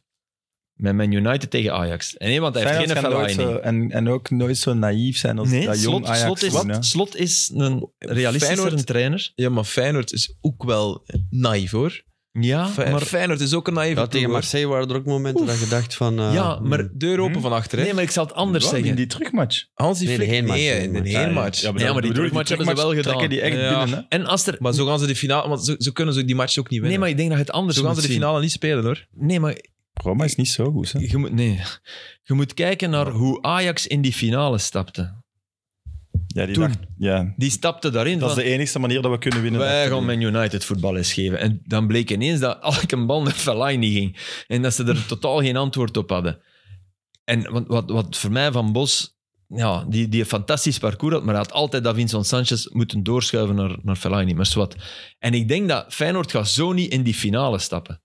Met Man United tegen Ajax. En nee, want hij heeft Feyenoord geen gaat nooit Fellaini. zo, eh, en, en ook nooit zo naïef zijn als Nee, dat jong slot, Ajax. slot, toen, hè. is, slot is een realistischere Feyenoord- trainer. Ja, maar Feyenoord is ook wel naïef, hoor. Ja, Fe- maar... Feyenoord is ook een naïef. Ja, tegen Marseille waren er ook momenten dat je dacht van... eh, Ja, maar... Deur open Hm? van achter, hè. Nee, maar ik zal het anders Wel, zeggen. In die terugmatch. Hansi Nee, de Flick- heenmatch, de Nee, in heenmatch. de Ja, heenmatch. maar dan bedoel ik, die terugmatch trekken die die echt echt binnen. binnen, Hè? En als er... Maar zo gaan ze de finale... Want zo, zo kunnen ze die match ook niet nee, winnen. maar ik denk dat je het anders zo gaan moet ze de zien. finale niet spelen, hoor. Nee, maar Roma is niet zo goed. Hè? Je moet, nee. je moet kijken naar hoe Ajax in die finale stapte. Ja, die Toen. dacht- ja. Die stapte daarin. Dat is van, de enigste manier dat we kunnen winnen. wij gaan Man United voetballers geven. En dan bleek ineens dat elke bal [laughs] naar Fellaini ging. En dat ze er totaal geen antwoord op hadden. En wat, wat, wat voor mij Van Bos... Ja, die, die een fantastisch parcours had, maar hij had altijd dat Vincent Sanchez moeten doorschuiven naar, naar Fellaini. Maar zwart. En ik denk dat Feyenoord gaat zo niet in die finale stappen.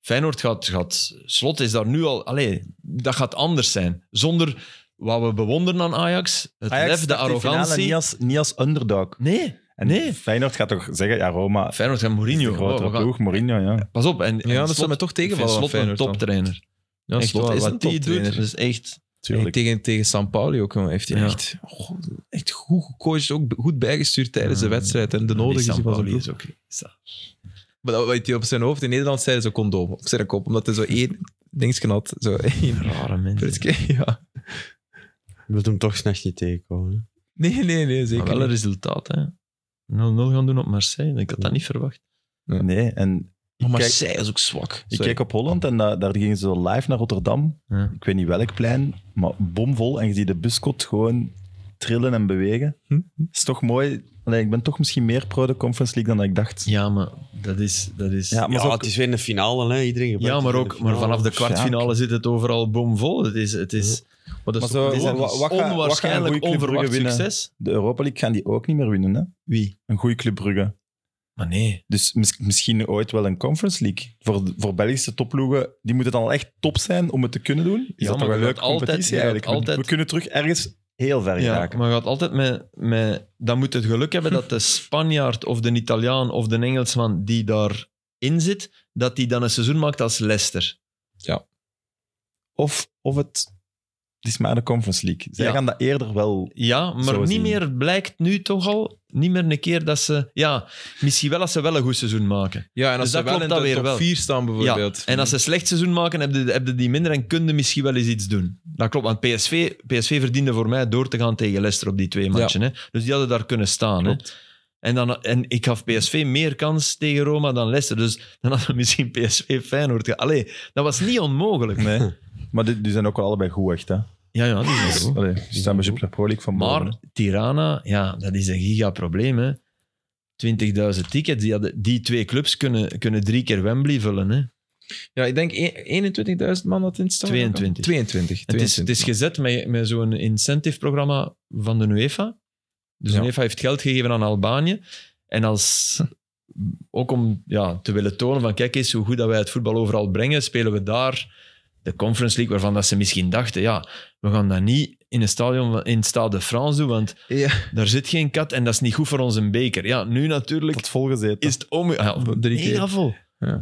Feyenoord gaat... gaat slot is daar nu al... Allee, dat gaat anders zijn. Zonder wat we bewonderen aan Ajax. Het lef, de start die finale arrogantie. Niet als, niet als underdog. Nee, En nee. Feyenoord gaat toch zeggen, ja, Roma is Feyenoord en de Mourinho. Oh, grotere we gaan- ploeg. Mourinho, ja. Pas op. En, en Ja, dat Slot- zou me toch ik vind tegenvallen. Slot aan een Feyenoord dan. toptrainer. Ja, Echt, Slot wat is wat een die doet, toptrainer. dat is echt... En Tuurlijk. tegen, tegen San Pauli ook, jongen, heeft hij Ja. echt, goh, echt goed gecoacht, ook goed bijgestuurd tijdens de Mm. Ja. wedstrijd en de Die nodige San zin van zijn Pauli ploeg. is ook... is dat- Maar dat weet hij op zijn hoofd. In Nederland zeiden ze condoom op zijn kop, omdat hij zo één dingetje had. Zo [laughs] één Rare mensen. puntje, ja. Je wilt hem toch s'nachts niet tegenkomen. hè? Nee, nee, nee, Maar zeker wel dus- een niet. resultaat, hè. 0-0 gaan doen op Marseille. Ik had dat niet verwacht. Nee, en Maar kijk- Marseille is ook zwak. ik Sorry. keek op Holland en da- daar gingen ze live naar Rotterdam. Ja. Ik weet niet welk plein, maar bomvol. En je ziet de buskot gewoon trillen en bewegen. Hm. is toch mooi. Allee, ik ben toch misschien meer pro de Conference League dan dat ik dacht. Ja, maar dat is... Dat is Ja, ja, maar maar, Ja, zo- het is weer een finale, hè. Iedereen gebruikt het in de ook, maar finale. vanaf de kwartfinale zit het overal bomvol. Het is, het is, Maar dat is Maar ook- zo- is wa- dat wa- niet- wat gaat- wat gaat een goeie onwaarschijnlijk Club Brugge onverwacht winnen? succes. De Europa League gaan die ook niet meer winnen, hè? Wie? Een goede Club Brugge. Maar nee. Dus mis- misschien ooit wel een Conference League. Voor, voor Belgische topploegen, die moeten dan al echt top zijn om het te kunnen doen. Is Ja, dat maar toch een je leuke gaat altijd- competitie je gaat eigenlijk? We- altijd- We, kunnen terug ergens heel ver Ja, raken. maar je gaat altijd met, met... Dan moet het geluk hebben dat [laughs] de Spanjaard of de Italiaan of de Engelsman die daarin zit, dat die dan een seizoen maakt als Leicester. Of, of het, het is maar de Conference League. Zij Ja. gaan dat eerder wel... Ja, maar Zo niet zien. meer, blijkt nu toch al, niet meer een keer dat ze... Ja, misschien wel als ze wel een goed seizoen maken. Ja, en als Dus ze dat wel klopt in dan de weer top wel. 4 staan, bijvoorbeeld. En als ze een slecht seizoen maken, hebben de, heb je die minder en kunnen misschien wel eens iets doen. Dat klopt, want PSV, PSV verdiende voor mij door te gaan tegen Leicester op die twee matchen. Hè? Dus die hadden daar kunnen staan. Hè? En, dan, en ik gaf PSV meer kans tegen Roma dan Leicester. Dus dan hadden we misschien PSV Feyenoord. ge- Allee, dat was niet onmogelijk. Nee. maar die, die zijn ook wel allebei goed, echt. Hè? Ja, ja, die zijn goed. Allee, die staan bij Jupiler Pro League van boven, hè. Maar Tirana, ja, dat is een gigaprobleem. hè. 20.000 tickets, die, hadden, die twee clubs kunnen, kunnen drie keer Wembley vullen. Hè. Ja, ik denk e- 21.000 man dat in het stadion 22. kwam. 22. Het is, het is 22. gezet met, met zo'n incentive-programma van de UEFA. Dus Ja. de UEFA heeft geld gegeven aan Albanië. En [laughs] als, ook om ja, te willen tonen van kijk eens hoe goed dat wij het voetbal overal brengen, spelen we daar de Conference League, waarvan dat ze misschien dachten, ja, we gaan dat niet in een stadion van- in Stade de France doen, want Ja, daar zit geen kat en dat is niet goed voor onze beker. Ja, nu natuurlijk Tot volgezeten. is het om... Ja, Drie keer. mega vol. Dat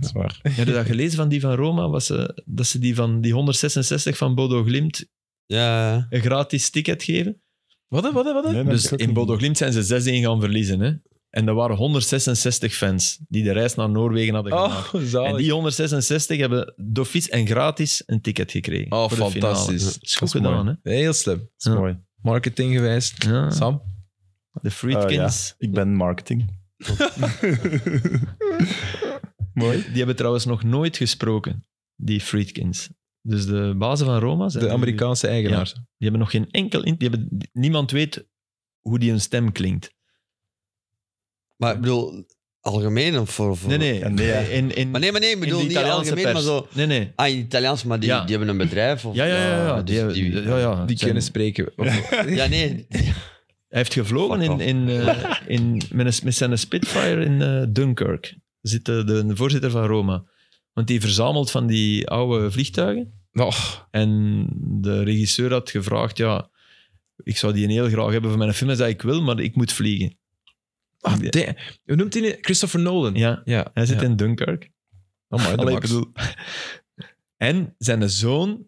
is waar. [laughs] Heb je dat gelezen van die van Roma? Was ze, dat ze die van die 166 van Bodo Glimt Ja, ja. een gratis ticket geven. wat dan, wat dan, wat dan? Nee, dat Dus is ook in niet- Bodo Glimt zijn ze 6-1 gaan verliezen. Hè? En er waren 166 fans die de reis naar Noorwegen hadden gemaakt. Oh, zalig. En die 166 hebben dofies en gratis een ticket gekregen. Oh, voor de finale. fantastisch. Dat is goed Dat is gedaan, hè? Heel slim. Dat is Ja. mooi. Marketinggewijs. Ja. Sam? De Friedkins. Oh, Ik ben marketing. [laughs] mooi. Die hebben trouwens nog nooit gesproken, die Friedkins. Dus de bazen van Roma zijn De Amerikaanse eigenaar. Die hebben nog geen enkel... In, die hebben, niemand weet hoe die een stem klinkt. Maar ik bedoel, algemeen of voor... voor... Nee, nee. Ja, nee, ja. In, in, Maar nee, maar nee, ik in de bedoel niet Italiaanse algemeen, pers. maar zo... Nee, nee. Ah, in Italiaans, maar die, Ja. die hebben een bedrijf of... Ja, ja, ja. ja, dus die, die- ja, ja. Die Zijn- kunnen spreken. Ja, nee. Hij heeft gevlogen Fuck in, in, eh, in, met, een- met zijn Spitfire in eh, Dunkirk. Zit de, de voorzitter van Roma. Want die verzamelt van die oude vliegtuigen. Oh, En de regisseur had gevraagd, ja, ik zou die een heel graag hebben voor mijn film. Hij zei, ik wil, maar ik moet vliegen. ah, damn. Hoe noemt hij nu? Christopher Nolan. Ja, ja. hij zit ja. in Dunkirk. Amai, de Allee, max. ik bedoel- En zijn zoon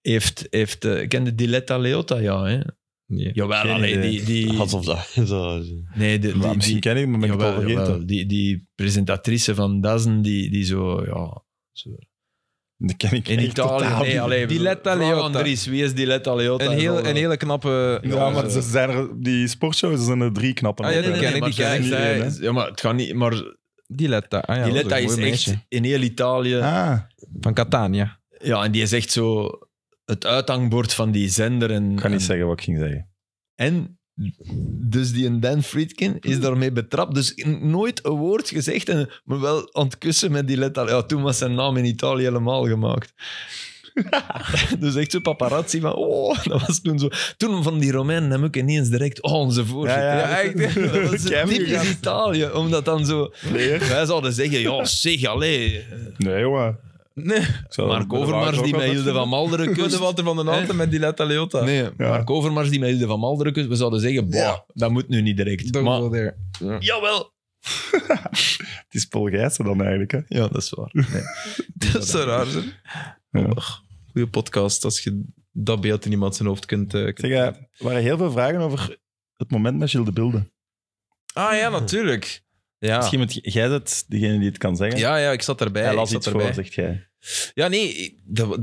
heeft, heeft eh, kende Diletta Leotta, ja. Hè? Nee. Jawel, Geen allee, idee. die, die, Alsof dat... [laughs] Zo. nee, de, Maar die, die, misschien ken ik hem, maar ben ik het al Jawel, vergeten. jawel. Die, die presentatrice van Dazen, die, die zo, ja... Zo. Dat ken ik In echt Italië, totaal nee, niet. alleen... Die Letta Leotta. Andries, wie is eh, die Letta Leotta? Een, heel, Zo, een hele knappe... Ja, maar ze zijn er, die sportshows zijn er drie knappen. Ah, ja, op, die hè. ken ik, maar die ken zij- ik. zij- Iedereen, Ja, maar het gaat niet... Maar Die Letta. Ah, ja, die dat Letta een is mooi echt meisje. in heel Italië... Ah, Van Catania. Ja, en die is echt zo het uithangbord van die zender. En, ik ga niet en- zeggen wat ik ging zeggen. En dus die Dan Friedkin is daarmee betrapt. Dus nooit een woord gezegd, en, maar wel ontkussen met die letter. Ja, toen was zijn naam in Italië helemaal gemaakt. [laughs] dus echt zo paparazzi van, oh, dat was toen zo. Toen van die Romeinen hem ook ineens direct, oh, onze voorzitter. Ja, ja. echt, dat [laughs] was Kei typisch gast. Italië, omdat dan zo... Wij zouden zeggen, ja, zeg, allee. Nee, jongen. Nee, Ik zou- Mark Overmars die met Hilde van [laughs] Malderen voor de kust. Walter [laughs] van den Hè? Alten met die Letta Leota. Nee, Mark Overmars die met Hilde van Malderen kust. We zouden zeggen, boah, Ja. dat moet nu niet direct. Don't maar, go there. jawel. Het is Paul Gijssen dan eigenlijk, hè. Ja, dat is waar. [laughs] Dat is zo raar, zeg. Ja. Och, Goeie podcast, als je dat beeld in iemand zijn hoofd kunt... eh, kunt- Zeg, eh, er waren heel veel vragen over het moment met Gilles de Bilde. Ah ja, natuurlijk. Ja. Misschien moet j- jij het, degene die het kan zeggen. Ja, ja, ik zat erbij. Hij ik las zat iets erbij. voor, zegt jij. Ja, nee, ik- dat, wa-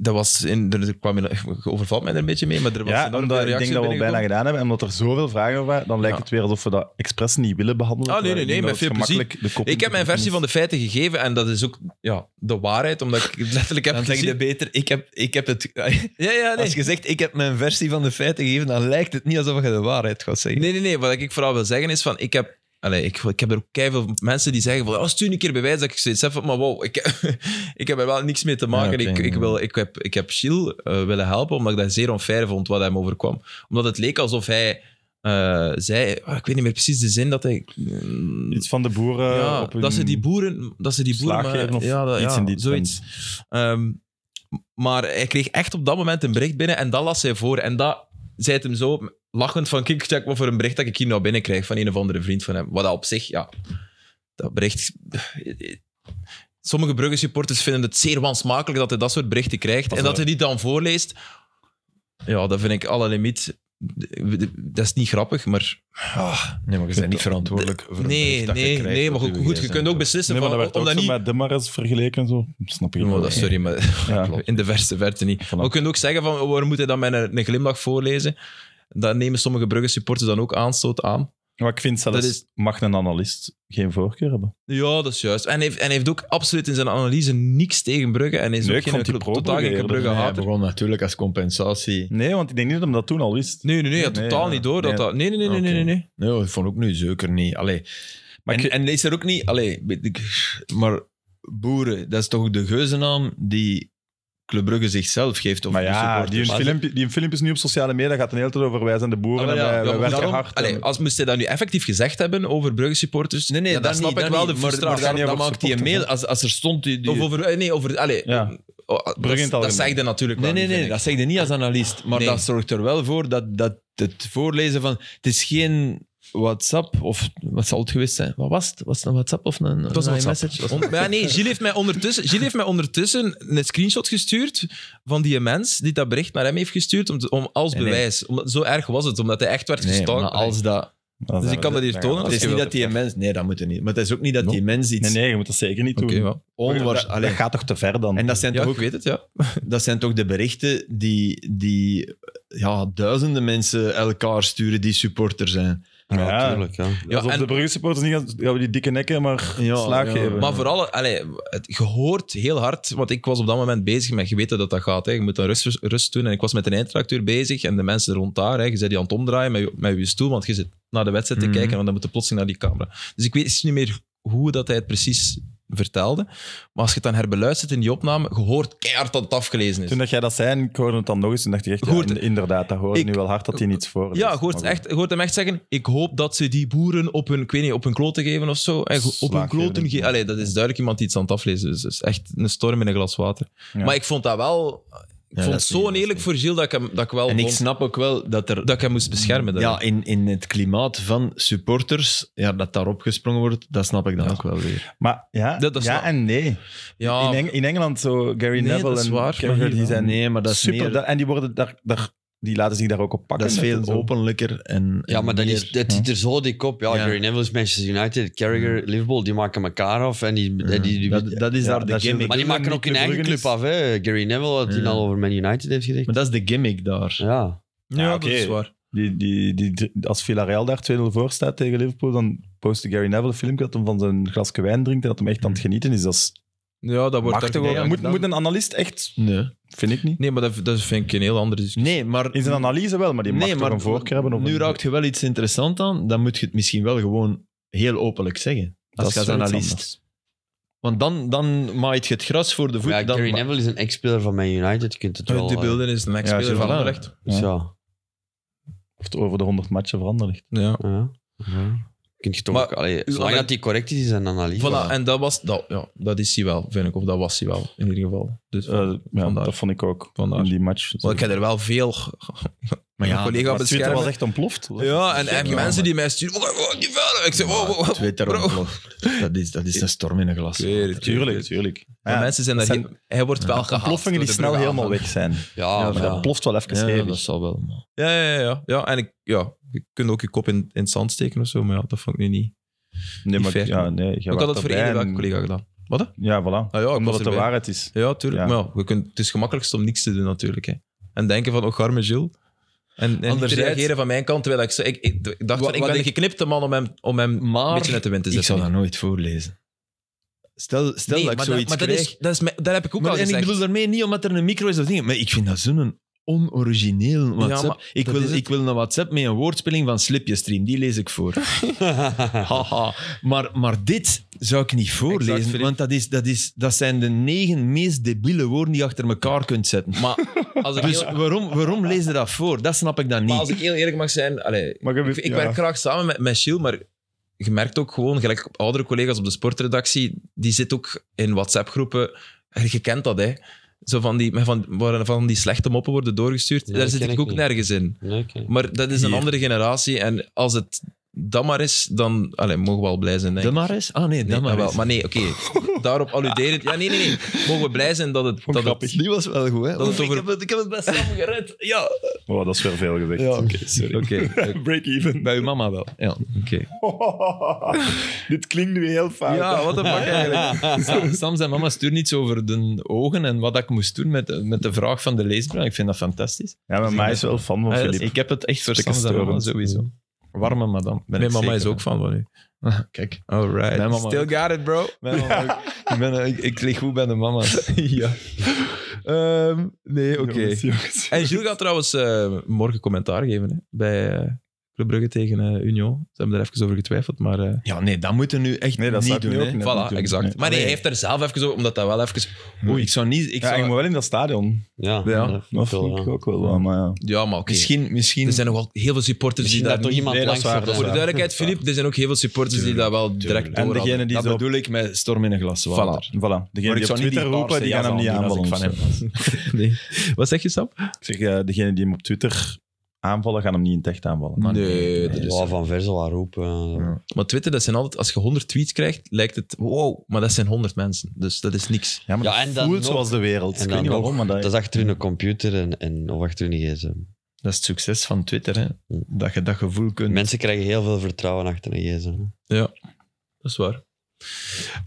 dat was... In, er kwam in, je overvalt mij er een beetje mee, maar er was Ja, enorm omdat veel ik denk reacties dat we al bijna binnengekomen. gedaan hebben. En omdat er zoveel vragen waren, dan lijkt Ja. het weer alsof we dat expres niet willen behandelen. Ah, nee, nee, Terwijl ik nee, denk met dat veel het gemakkelijk de kop in Ik te heb mijn drukken versie is. van de feiten gegeven en dat is ook ja, de waarheid, omdat ik [laughs] het letterlijk heb Dan zeg je gezien. beter, ik heb, ik heb het... [laughs] Ja, ja, nee. Als je zegt, ik heb mijn versie van de feiten gegeven, dan lijkt het niet alsof je de waarheid gaat zeggen. Nee, nee, nee. Wat ik vooral wil zeggen is van, ik heb... Allee, ik, ik heb er ook keiveel mensen die zeggen van, oh, stuur een keer bewijs dat ik zoiets heb [laughs] van, maar wow, ik, ik heb er wel niks mee te maken. Ja, oké, ik, ik, ja. wil, ik heb, ik heb Gilles eh, willen helpen, omdat ik dat zeer onfair vond wat hem overkwam. Omdat het leek alsof hij eh, zei, ah, ik weet niet meer precies de zin dat hij... mm, Iets van de boeren ja, Eh, op hun dat ze die boeren... Dat ze die boeren slaag geven of ja, dat- iets ja, in die zoiets. trant. Ehm, maar hij kreeg echt op dat moment een bericht binnen en dat las hij voor. En dat zei het hem zo lachend van, kijk, check wat voor een bericht dat ik hier nou binnenkrijg van een of andere vriend van hem. Wat dat op zich, ja, dat bericht... Sommige Brugge-supporters vinden het zeer wansmakelijk dat hij dat soort berichten krijgt. en dat hij die dan voorleest, ja, dat vind ik alle limiet... Dat is niet grappig, maar... nee maar je bent niet verantwoordelijk Nee, nee, nee, maar goed, goed, je kunt ook beslissen Nee, maar dat van, werd om ook dat zo niet... met Demares vergeleken en zo. Snap je Ja, maar dat- Oh, sorry, maar Ja. [laughs] in de verste verte niet. Maar je kunt ook zeggen, van, waarom moet hij dan met een, een glimlach voorlezen? Dat nemen sommige Brugge supporters dan ook aanstoot aan. Maar ik vind zelfs, Dat is- mag een analist geen voorkeur hebben? Ja, dat is juist. En hij heeft, en hij heeft ook absoluut in zijn analyse niks tegen Brugge. En hij is Nee, ook ik geen, vond die tot- pro totaal geen Brugge Brugge hij hater. begon natuurlijk als compensatie. Nee, want ik denk niet dat hem dat toen al wist. Nee, nee, nee, ja, Nee, totaal ja. niet door. Dat Nee. dat, nee, nee, nee, nee, nee, nee, Oké. nee. Nee, hoor, dat vond ik nu zeker niet. Allee. Maar en, ik- en is er ook niet... Allee, weet ik- maar boeren, dat is toch de geuzennaam die Club Brugge zichzelf geeft? Of maar de ja, die, supporters? een filmpje, die een filmpje is nu op sociale media, gaat een hele tijd over wij zijn de boeren Ah, maar ja, en wij, ja, wij maar eh, werken Daarom- hard. allee, en- als moest hij dat nu effectief gezegd hebben over Brugge supporters, Nee, nee, ja, dat dan snap niet, ik dat wel niet. de Maar- frustratie. Maar, Niet dan over maakt die een mail, supporters, als, als er stond... Die, die- of over, eh, nee, over, allee, Ja. oh, dat- Brugge in het dat, algemeen. zegt hij natuurlijk Nee, wel nee, niet, nee, vind dat ik. zeg je niet als analist. Maar Nee. dat zorgt er wel voor dat, dat het voorlezen van... Het is geen WhatsApp of... Wat zal het geweest zijn? Wat was het? Was het een WhatsApp of een, Het was een een iMessage? Was het- On- Maar ja, nee, Gilles heeft, mij ondertussen, Gilles heeft mij ondertussen een screenshot gestuurd van die mens die dat bericht naar hem heeft gestuurd om, te- om als Nee, nee. bewijs. Omdat, zo erg was het, omdat hij echt werd Nee, gestalkt. maar als dat... Dan Dus zijn ik kan we- dat hier dan tonen gaan we als Het is je niet wilt dat die mens... Nee, dat moet er niet. Maar het is ook niet dat die mens iets Nee, nee, je moet dat zeker niet Oké, doen. wel. onwaars... dat, dat Allee, gaat toch te ver dan? En dat zijn, Ja, toch ik ook, weet het, ja. dat zijn toch de berichten die, die ja, duizenden mensen elkaar sturen die supporter zijn. Ja, natuurlijk. Ja. ja Alsof en- de Brugge supporters niet gaan, gaan we die dikke nekken maar Ja, slaag ja. geven. Maar vooral, allee, het gehoord heel hard, want ik was op dat moment bezig met, je weet dat dat gaat, hè. je moet dan rust, rust doen. En ik was met een eindtracteur bezig en de mensen rond daar, hè, je zit die aan het omdraaien met, je- met je stoel, want je zit naar de wedstrijd te Mhm. kijken, want dan moet je plotseling naar die camera. Dus ik weet eens niet meer hoe dat hij het precies vertelde. Maar als je het dan herbeluistert in die opname, je hoort keihard dat het afgelezen is. Toen dat jij dat zei, en ik hoorde het dan nog eens, toen dacht ik echt, ja, Hoort- in- inderdaad, dat hoorde Ik- nu wel hard dat hij niets voor Ja, je hoort, echt, je hoort hem echt zeggen, ik hoop dat ze die boeren op hun, ik weet niet, op hun kloten geven of zo. En ge- op hun Slaag geven, kloten denk ik. geven. Allee, dat is duidelijk iemand die iets aan het aflezen is. Dus is echt een storm in een glas water. Ja. Maar ik vond dat wel... Ik dat vond het is zo niet- dat is oneerlijk niet. voor Gilles dat ik hem, dat ik wel En ik vond snap ook wel dat er dat ik hem moest beschermen. daarin. Ja, in, in het klimaat van supporters, ja, dat daarop gesprongen wordt, dat snap ik dan ook wel weer. Maar ja, Dat- dat ja snap- en nee. ja, In, Eng- in Engeland, zo Gary Ah. Nee, dat Neville is en waar, Carragher, maar hier die wel. zijn nee, maar dat is, super. meer, da- en die, worden daar, daar, die laten zich daar ook op pakken. dat is net veel en zo. openlijker. En, Ja, en maar dat, meer- is, dat ziet er zo dik op. Ja, Ja. Gary Neville is Manchester United, Carragher, Liverpool, die maken elkaar af. En die, en die, die- dat, dat is Ja, daar de dat is- gimmick. maar die Brugge maken ook niet hun eigen Brugge is. club af. Hè. Gary Neville, wat hij Ja. al over Man United heeft gezegd. Maar dus- dat is de gimmick daar. Ja. ja, Ja, dat oké. is waar. Die, die, die, als Villarreal daar 2-0 voor staat tegen Liverpool, dan postte Gary Neville een filmpje dat hem van zijn glasje wijn drinkt en dat hem echt aan het genieten is. Dat is Ja, Hmm. dat wordt machtig. echt- hoor. ja, moet, gedaan. moet een analist echt Nee. Vind ik niet. Nee, maar dat, dat vind ik een heel andere discussie. Nee, maar... In zijn analyse wel, maar die mag nee, toch maar een voorkeur hebben. Of nu een- raakt je wel iets interessants aan. Dan moet je het misschien wel gewoon heel openlijk zeggen. Dat Als is je als zoiets analist. anders. Maar Want dan, dan maait je het gras voor de voet. Ja, dan, Gary Neville is een ex-speler van Man United. Je kunt het wel... De eh, Beelden is een ex-speler Ja, van voilà. Anderlecht. dus ja. Of het over de 100 matchen veranderd ligt. Ja. Ja. Ja. Kun je toch Maar ook, allee, uw zolang ana- dat die correct is, is een analyse. Voilà, en dat, was, dat, ja, dat is hij wel, vind ik. Of dat was hij wel, in ieder geval. Dus, Eh, ja, Vandaar. dat vond ik ook. Vandaar. In die match. Want ik heb er wel veel... Maar ja, ja, collega Maar Twitter was beschermen. echt ontploft. Ja, en, en mensen die mij sturen... Oh, oh, die vuile. Ik zeg... Oh, oh, oh, Twitter bro. ontploft. Dat is, dat is een storm in een glas. Ik weet het, Tuurlijk, tuurlijk. Maar Ja, mensen zijn daar... zijn- heel- Hij wordt wel gehaald. Ontploffingen die door de snel Brugge helemaal aanval. weg zijn. Ja, Maar maar ja. Dat ploft wel even Ja, hevig. dat zal wel. man. Ja, ja, ja, ja. ja. En ik, ja, je kunt ook je kop in, in het zand steken of zo, maar ja, dat vond ik nu niet. Nee, maar fair. ja, nee, jij ik was had dat voor erbij iedere en- welke collega gedaan. Wat? Ja, voilà. Ah, ja, ik Omdat was het de erbij. waarheid is. Ja, tuurlijk. Ja. Maar ja, we kunnen, het is gemakkelijkst om niks te doen natuurlijk. Hè. En denken van, oh, arme Gilles. En, en niet te Anderzijds- reageren van mijn kant, terwijl ik, zo- ik, ik, ik dacht Wat- van, ik wat ben ik- een geknipte man om hem, om hem een beetje uit de wind te ik zetten. zou dat nooit voorlezen. Stel, stel Nee, dat ik maar zoiets maar krijg. Dat, is, dat, is, me- dat heb ik ook Maar- al en gezegd. ik bedoel daarmee niet omdat er een micro is of dingen, maar ik vind dat zo'n onorigineel WhatsApp. maar ik, dat is wil, het. ik wil een WhatsApp met een woordspeling van Slipje Stream, die lees ik [laughs] voor. [laughs] Haha. Maar, maar dit zou ik niet voorlezen, Exact, Filip. want dat, is, dat, is, dat zijn de negen meest debiele woorden die je achter elkaar kunt zetten. Maar als ik, [laughs] Dus heel, waarom, waarom lees je dat voor? Dat snap ik dan maar als niet. ik heel eerlijk mag zijn, allee, Maar je- ik, ik ja. werk graag samen met, met Gilles, maar je merkt ook gewoon, gelijk oudere collega's op de sportredactie, die zit ook in WhatsApp-groepen. Je kent dat, hè. Zo van die, met van, waar van die slechte moppen worden doorgestuurd. Ja, Daar dat zit ken ik ik ook niet. nergens in. Nee, oké. Maar dat is een Hier. andere generatie. En als het dat maar is, dan allee, mogen we al blij zijn. Denk. De ik. maar eens? Ah nee, Nee, dat maar wel. eens. Maar nee, oké. [laughs] Daarop alluderend. Ja, nee, nee, nee. Mogen we blij zijn dat het... Dat het Die was wel goed, hè? Dat het Oef, over- ik, heb het, ik heb het best samen gered. Ja, Oh, dat is weer veel gezegd. ja oké, sorry. Oké, [laughs] Break even. Bij uw mama wel. Ja. oké. [laughs] Dit klinkt nu heel fout. Ja, wat een fuck eigenlijk. [laughs] Sam, Sam zijn mama stuurt niets over de ogen en wat ik moest doen met de, met de vraag van de leesbril. Ik vind dat fantastisch. Ja, maar mij is wel fan van Eh, Filip. ik heb het echt voor Stukken Sam zijn mama storend. sowieso. Warme madame. ben Mijn ik mama zeker is ook van van u. Ah, [laughs] Kijk. All Mijn right. mama Still ook. got it, bro. Mijn mama ook. ik, ben, eh, ik, ik lig goed bij de [laughs] mama's. ja. Ehm, nee, oké. Jongens, jongens. En Gilles gaat trouwens eh, morgen commentaar geven hè, bij eh, Club Brugge tegen eh, Union. Ze hebben er even over getwijfeld, maar... eh, Ja, nee, dat moeten we nu echt Nee, dat niet zou ik doen. nu hè. ook net niet voilà, doen. exact. Nee. Maar nee, hij Allee. heeft er zelf even over, omdat dat wel even... Oei, ik zou niet... Ik Ja, zou, je moet wel in dat stadion. Ja, Ja, dat vind ik Dat wel, vind ik ja. ook wel wel, maar ja. Ja, maar oké. Misschien... misschien Er zijn nogal heel veel supporters Misschien die dat dat toch niet- iemand nee, dat langs is waar, gaat, Voor de hè. duidelijkheid, Filip, er zijn ook heel veel supporters die dat wel direct En doorhadden. degene die dat zo... bedoel ik met stormen in een glas water. Voilà. Voilà. Degene Maar ik die op zou niet Twitter die roepen, die paarse gaan hem jas niet aandoen als aanvallen. ik of van hem zo. was. [laughs] Nee. Wat zeg je, Sam? Ik zeg, eh, degene die hem op Twitter aanvallen, gaan hem niet in het echt aanvallen. Maar- Nee, dat is... Ja, van Verzel waar roepen. eh. Maar Twitter, dat zijn altijd... Als je 100 tweets krijgt, lijkt het... Wow, maar dat zijn 100 mensen. Dus dat is niks. Ja, maar Ja, en dat dan voelt nog- zoals de wereld. en Ik dan weet niet nog, waarom, maar dat... Dat is achter hun computer en, en, of achter hun gsm. Dat is het succes van Twitter, hè. Dat je dat gevoel kunt... Mensen krijgen heel veel vertrouwen achter een gsm. hè. Dat is waar.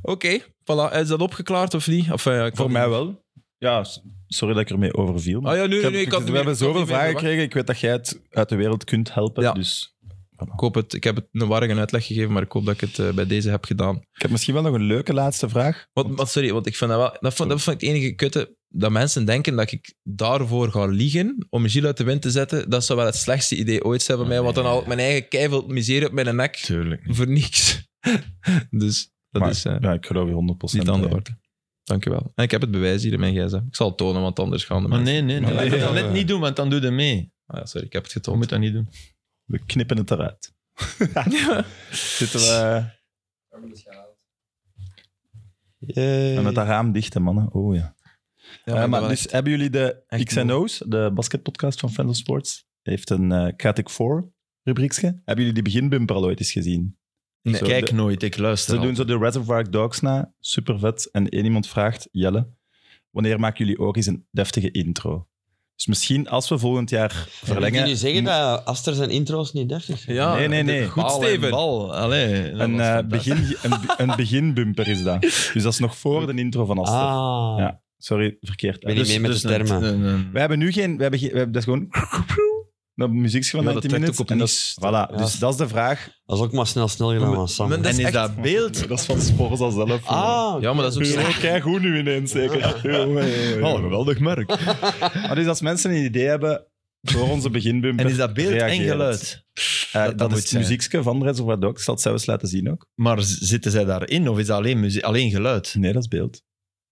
Oké, voilà. Is dat opgeklaard of niet? Of, eh, ik Voor vond- mij wel. Ja, s- sorry dat ik ermee overviel. maar Ah ja, nee, ik nee, heb- nee, ik had we meer- hebben ik had zoveel niet meer vragen verwacht. gekregen. Ik weet dat jij het uit de wereld kunt helpen. Ja. Dus Ik, hoop het, ik heb het een warrige uitleg gegeven, maar ik hoop dat ik het eh, bij deze heb gedaan. ik heb misschien wel nog een leuke laatste vraag. Want, want sorry, want ik vind dat wel... Dat vond, dat vond ik het enige kutte. Dat mensen denken dat ik daarvoor ga liegen om Gilles uit de wind te zetten. Dat zou wel het slechtste idee ooit zijn van mij. Want dan haal ik mijn eigen keiveld miserie op mijn nek Tuurlijk. voor niks. [laughs] dus dat Maar- is eh, Ja, ik geloof je 100%. niet aan de bij. orde. Dank je wel. En ik heb het bewijs hier in mijn gsm. Ik zal het tonen, want anders gaan de Maar mensen... nee, nee, nee. Maar Je moet nee, dat ja, net ja. niet doen, want dan eh, doe je mee. Ah ja, sorry, ik heb het Je getoond. moet dat niet doen. We knippen [laughs] het eruit. Zitten we en met dat raam dicht, hè, mannen. Oh ja. Ja, Eh, ik ben maar wel dus echt- hebben jullie de echt X&O's, de basketpodcast van Friends of Sports, heeft een eh Catic 4 rubriekje. Hebben jullie die beginbumper al ooit eens gezien? Nee. Zo, Kijk de- nooit, ik luister ze al. doen zo de Reservoir Dogs na, super vet. En één iemand vraagt, Jelle, wanneer maken jullie ook eens een deftige intro? Dus misschien als we volgend jaar Moet je verlengen... nu zeggen dat Aster zijn intro's niet deftig zijn? Ja, Nee, nee, nee. Goed, Bal en Steven. Bal. Allee, dat Een, was eh, fantastisch. begin, een, een beginbumper is dat. Dus dat is nog voor de intro van Aster. Ah, Ja. dus- Sorry, verkeerd. Ben je niet mee met de een- termen? een- een- We hebben nu geen... We hebben geen we hebben, dat is gewoon... Naar muzieksje van Ja, 90 dat trekt minutes. ook op en dat niets. is- voilà, dus dat is de vraag. Dat is ook maar snel, snel gedaan van Sam. Maar en is echt- dat beeld... Dat is van Spors al zelf. Ah, Ja, maar dat is ook slecht. kijk goed nu ineens, zeker. Jongen, jongen, jongen. geweldig merk. [laughs] Maar dus als mensen een idee hebben voor onze [laughs] beginbumper... En is dat beeld en reageer het. geluid? Eh, dat dat moet is het zijn. muziekje van Reservoir Dogs. Ik zal het zelfs laten zien ook. Maar z- zitten zij daarin of is dat alleen, muzie- alleen geluid? Nee, dat is beeld.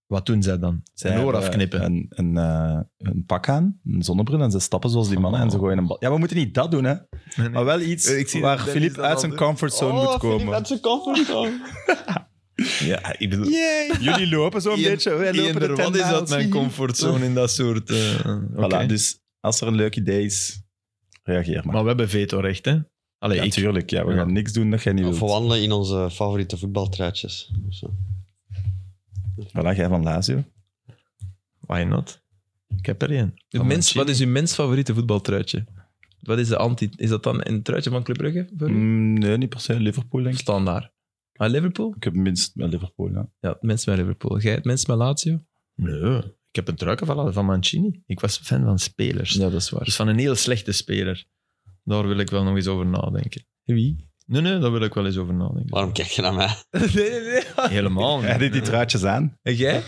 Wat doen zij dan? Zij Een oor hebben afknippen. Een, een, eh, een pak aan, een zonnebril, en ze stappen zoals die mannen en ze gooien een bal. Ja, we moeten niet dat doen, hè. Maar wel iets Eh, ik zie waar dat Dennis Filip dat uit al zijn doet. comfortzone Oh, moet komen. Dat zijn comfortzone. Ja, ik bedoel... Jullie lopen zo'n Ian- beetje, wij lopen de Iender, wat 10 is dat miles. mijn comfortzone in dat soort... eh, Voilà, oké. dus als er een leuk idee is, reageer maar. Maar we hebben veto-recht, hè? Allee, ja, ik- natuurlijk. Ja, we Ja. gaan niks doen dat jij niet Of wilt. wandelen in onze favoriete voetbaltruitjes. of zo. Voilà, jij van Lazio. Why not? Ik heb er één. Uw minst, wat is uw minst favoriete voetbaltruitje? Wat is de anti... Is dat dan een truitje van Club Brugge? Voor u? Mm, nee, niet per se. Liverpool, denk ik. Standaard. Ah, Liverpool? Ik heb minst met Liverpool, ja. Ja, het minst met Liverpool. Jij het minst met Lazio? Nee, ik heb een truiken van, van Mancini. Ik was fan van spelers. Ja, dat is [laughs] waar. Dus van een heel slechte speler. Daar wil ik wel nog eens over nadenken. Wie? Nee, nee, daar wil ik wel eens over nadenken. Waarom kijk je naar mij? nee, nee, nee. [laughs] Helemaal Hij deed die truitjes aan. En jij?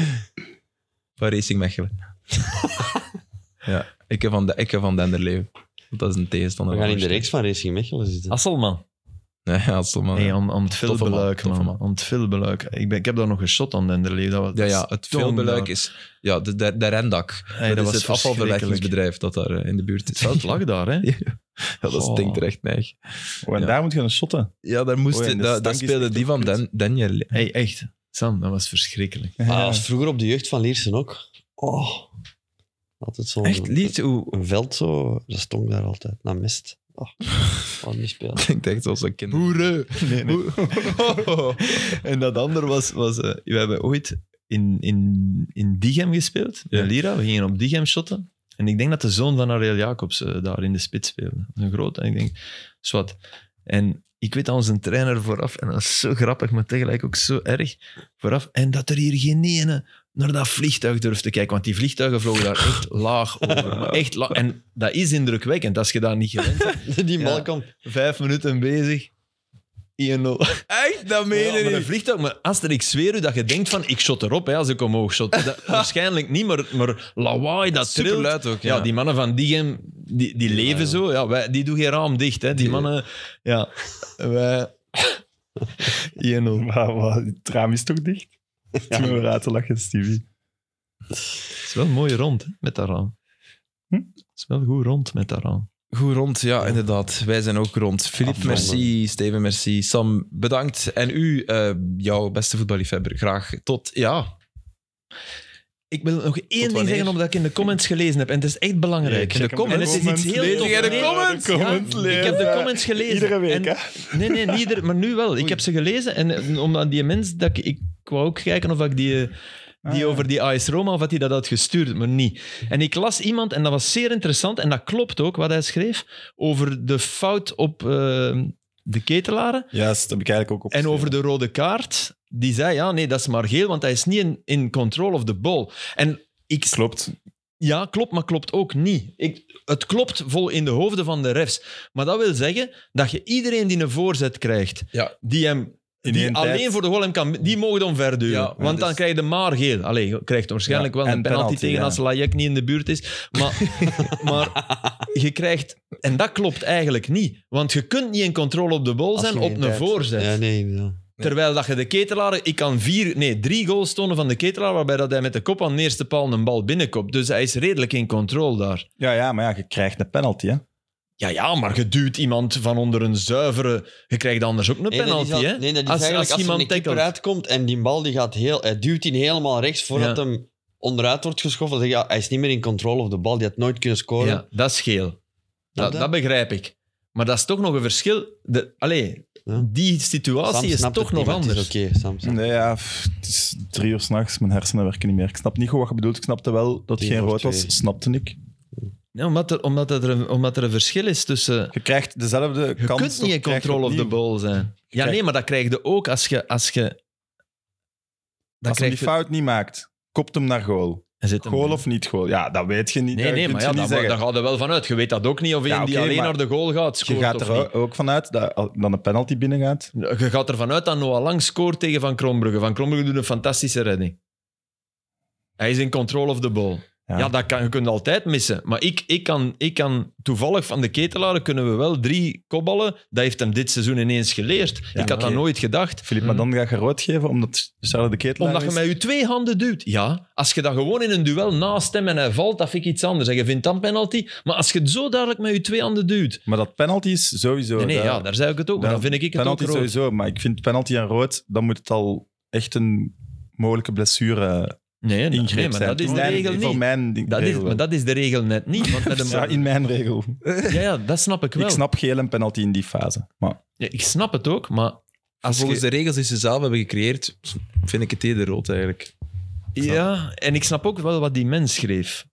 [laughs] van Racing Mechelen. ja, ik heb van, de, ik heb van Denderleeuw. Want Dat is een We tegenstander. gaan in de reeks van Racing Mechelen zitten. Asselman. Nee, Hasselman. Nee, om, om het veel Toffe man, beluik, toffe man. man. Om het veel beluik. Ik, ben, ik heb daar nog een shot aan Denderlee. Dat was, ja, ja, het stom veelbeluik daar. is... Ja, de, de, de Rendak. Hey, dat dat is was het afvalverwerkingsbedrijf dat daar eh, in de buurt [laughs] is. Het veld lag daar, hè? Ja, dat Goh. stinkt er echt neig. Oh, en Ja. daar moet je een shotten. Ja, daar moest Oh ja, en de da- daar stank is speelde echt die van kut. Dan, Daniel. [laughs] Hey, echt. Sam, dat was verschrikkelijk. Maar dat was vroeger op de jeugd van Liersen ook. Oh. Altijd zo'n Echt lied, hoe Een veld zo, dat stonk daar altijd, naar mist. [laughs] Oh, wat niet spelen. [laughs] klinkt echt zoals een kind. Boeren. [laughs] en dat ander was... was eh, we hebben ooit in, in, in Diegem gespeeld. Ja. Ja. Lira, we gingen op Diegem shotten. En ik denk dat de zoon van Ariel Jacobs eh, daar in de spits speelde. Een grote. En ik denk, zwart. En ik weet dat onze trainer vooraf, en dat is zo grappig, maar tegelijk ook zo erg, vooraf, en dat er hier geen ene naar dat vliegtuig durft te kijken. Want die vliegtuigen vlogen daar echt laag over. Maar echt laag. En dat is indrukwekkend als je daar niet gewend bent. Die bal Ja. komt. Vijf minuten bezig. 1-0. Echt? Dat Ja, maar een vliegtuig, maar Aster, ik zweer u dat je denkt van, ik shot erop hè, als ik omhoog shot. [laughs] Dat, waarschijnlijk niet, maar, maar lawaai, dat trilt. Superluid ook, Ja, die mannen van Diegem, die, die leven zo. Ja, wij, die doen geen raam dicht. Hè. Die mannen, ja. Wij... 1-0. Maar, maar, het raam is toch dicht? [laughs] Toen we raad te lachen, Stevie. Het is wel mooi rond hè, met dat raam. Hm? Het is wel goed rond met dat raam. Goed rond, ja, inderdaad. Wij zijn ook rond. Filip, Afronden. merci. Steven, merci. Sam, bedankt. En u, eh, jouw beste voetballiefhebber, graag tot... Ja, Ik wil nog één wanneer? ding zeggen, omdat ik in de comments gelezen heb. En het is echt belangrijk. check de hem. En het is iets Comments heel lezen. tof. Lees jij de Nee, comments? De comments Ja, lezen. Ik heb de comments gelezen. Iedere week, En- hè? Nee, nee, niet ieder, maar nu wel. Ik heb ze gelezen. En eh, omdat die mens, dat ik, ik wou ook kijken of ik die, eh, die Ah, ja. over die AS Roma, of wat hij dat had gestuurd, maar niet. En ik las iemand, en dat was zeer interessant, en dat klopt ook, wat hij schreef, over de fout op eh, de ketelaren. Ja, dat heb ik eigenlijk ook op. En over de rode kaart, die zei, ja, nee, dat is maar geel, want hij is niet in, in control of the ball. En ik... Klopt. Ja, klopt, maar klopt ook niet. Ik, het klopt vol in de hoofden van de refs. Maar dat wil zeggen dat je iedereen die een voorzet krijgt, Ja. die hem... In die één alleen tijd. voor de goal hem kan... Die mogen dan verduwen. Ja, want dus- dan krijg je de maar geel. Allee, je krijgt waarschijnlijk Ja, wel een en penalty, penalty, tegen ja. als Lajek niet in de buurt is. Maar, maar je krijgt... En dat klopt eigenlijk niet. Want je kunt niet in controle op de bal Als zijn je op geen een tijd- voorzet. Ja, nee, ja. Terwijl dat je de ketelaar... Ik kan vier, nee, drie goals tonen van de ketelaar, waarbij dat hij met de kop aan de eerste paal een bal binnenkopt. Dus hij is redelijk in controle daar. Ja, ja, maar ja, je krijgt een penalty, hè? Ja, ja, maar je duwt iemand van onder een zuivere... Je krijgt anders ook een Nee, penalty, dat is al- hè? Nee, dat is als, eigenlijk als, als, iemand er een keeper tackelt. uitkomt en die bal die gaat heel... Hij duwt die helemaal rechts voordat Ja. hem onderuit wordt geschoffeld. Ja, "Ah, hij is niet meer in controle of de bal. Die had nooit kunnen scoren. Nou, Ja, dat is geel. Dat, dat- dat begrijp ik. Maar dat is toch nog een verschil. De, allee, Ja. die situatie is snapt toch het nog niet, maar het is anders. Oké, Sam. snapt Nee, ja, pff, het is drie uur s'nachts, mijn hersenen werken niet meer. Ik snap niet goed wat je bedoelt. Ik snapte wel dat het Tien geen voor rood twee. was, snapte ik. Ja, omdat, er, omdat, er een, omdat er een verschil is tussen... Je krijgt dezelfde Je kans. kunt niet of in krijg je controle of the opnieuw. ball zijn. Ja, krijgt- nee, maar dat krijg je ook als je... Als je dan Als je krijg die je fout niet maakt, kopt hem naar goal. Er zit hem Goal in. of niet goal? Ja, dat weet je niet. Nee, nee, kunt maar je ja, niet daar, zeggen. daar gaat er wel van uit. Je weet dat ook niet of een Ja, die oké, alleen maar naar de goal gaat, je scoort gaat of er niet. ook- ook vanuit dat al- dan een penalty binnengaat. Je gaat ervan uit dat Noah Lang scoort tegen Van Krombrugge. Van Krombrugge doet een fantastische redding. Hij is in control of the ball. Ja, Ja. dat kan, je kunt altijd missen. Maar ik, ik, kan, ik kan toevallig van de ketelaren kunnen we wel drie kopballen. Dat heeft hem dit seizoen ineens geleerd. ik had dat oké. nooit gedacht. Filip, maar dan ga je rood geven omdat Charles de Ketel Omdat je met je twee handen duwt. Ja, als je dat gewoon in een duel naast hem en hij valt, dat vind ik iets anders. En je vindt dan penalty. Maar als je het zo duidelijk met je twee handen duwt. Maar dat penalty is sowieso... Nee, nee dat- ja, daar zei ik het ook. Maar dan dat- vind ik het ook penalty rood. sowieso, maar ik vind penalty en rood, dan moet het al echt een mogelijke blessure Nee, nee, ingreep nee, maar zijn. dat is de Mijn- regel niet. Voor mijn ding- Dat is, regel. maar dat is de regel net niet. Want [laughs] met een- Ja, in mijn regel. ja, ja, dat snap ik wel. Ik snap geel en penalty in die fase. Maar Ja, ik snap het ook, maar als Volgens je, de regels die ze zelf hebben gecreëerd, vind ik het eerder rood eigenlijk. Ja, en ik snap ook wel wat die mens schreef.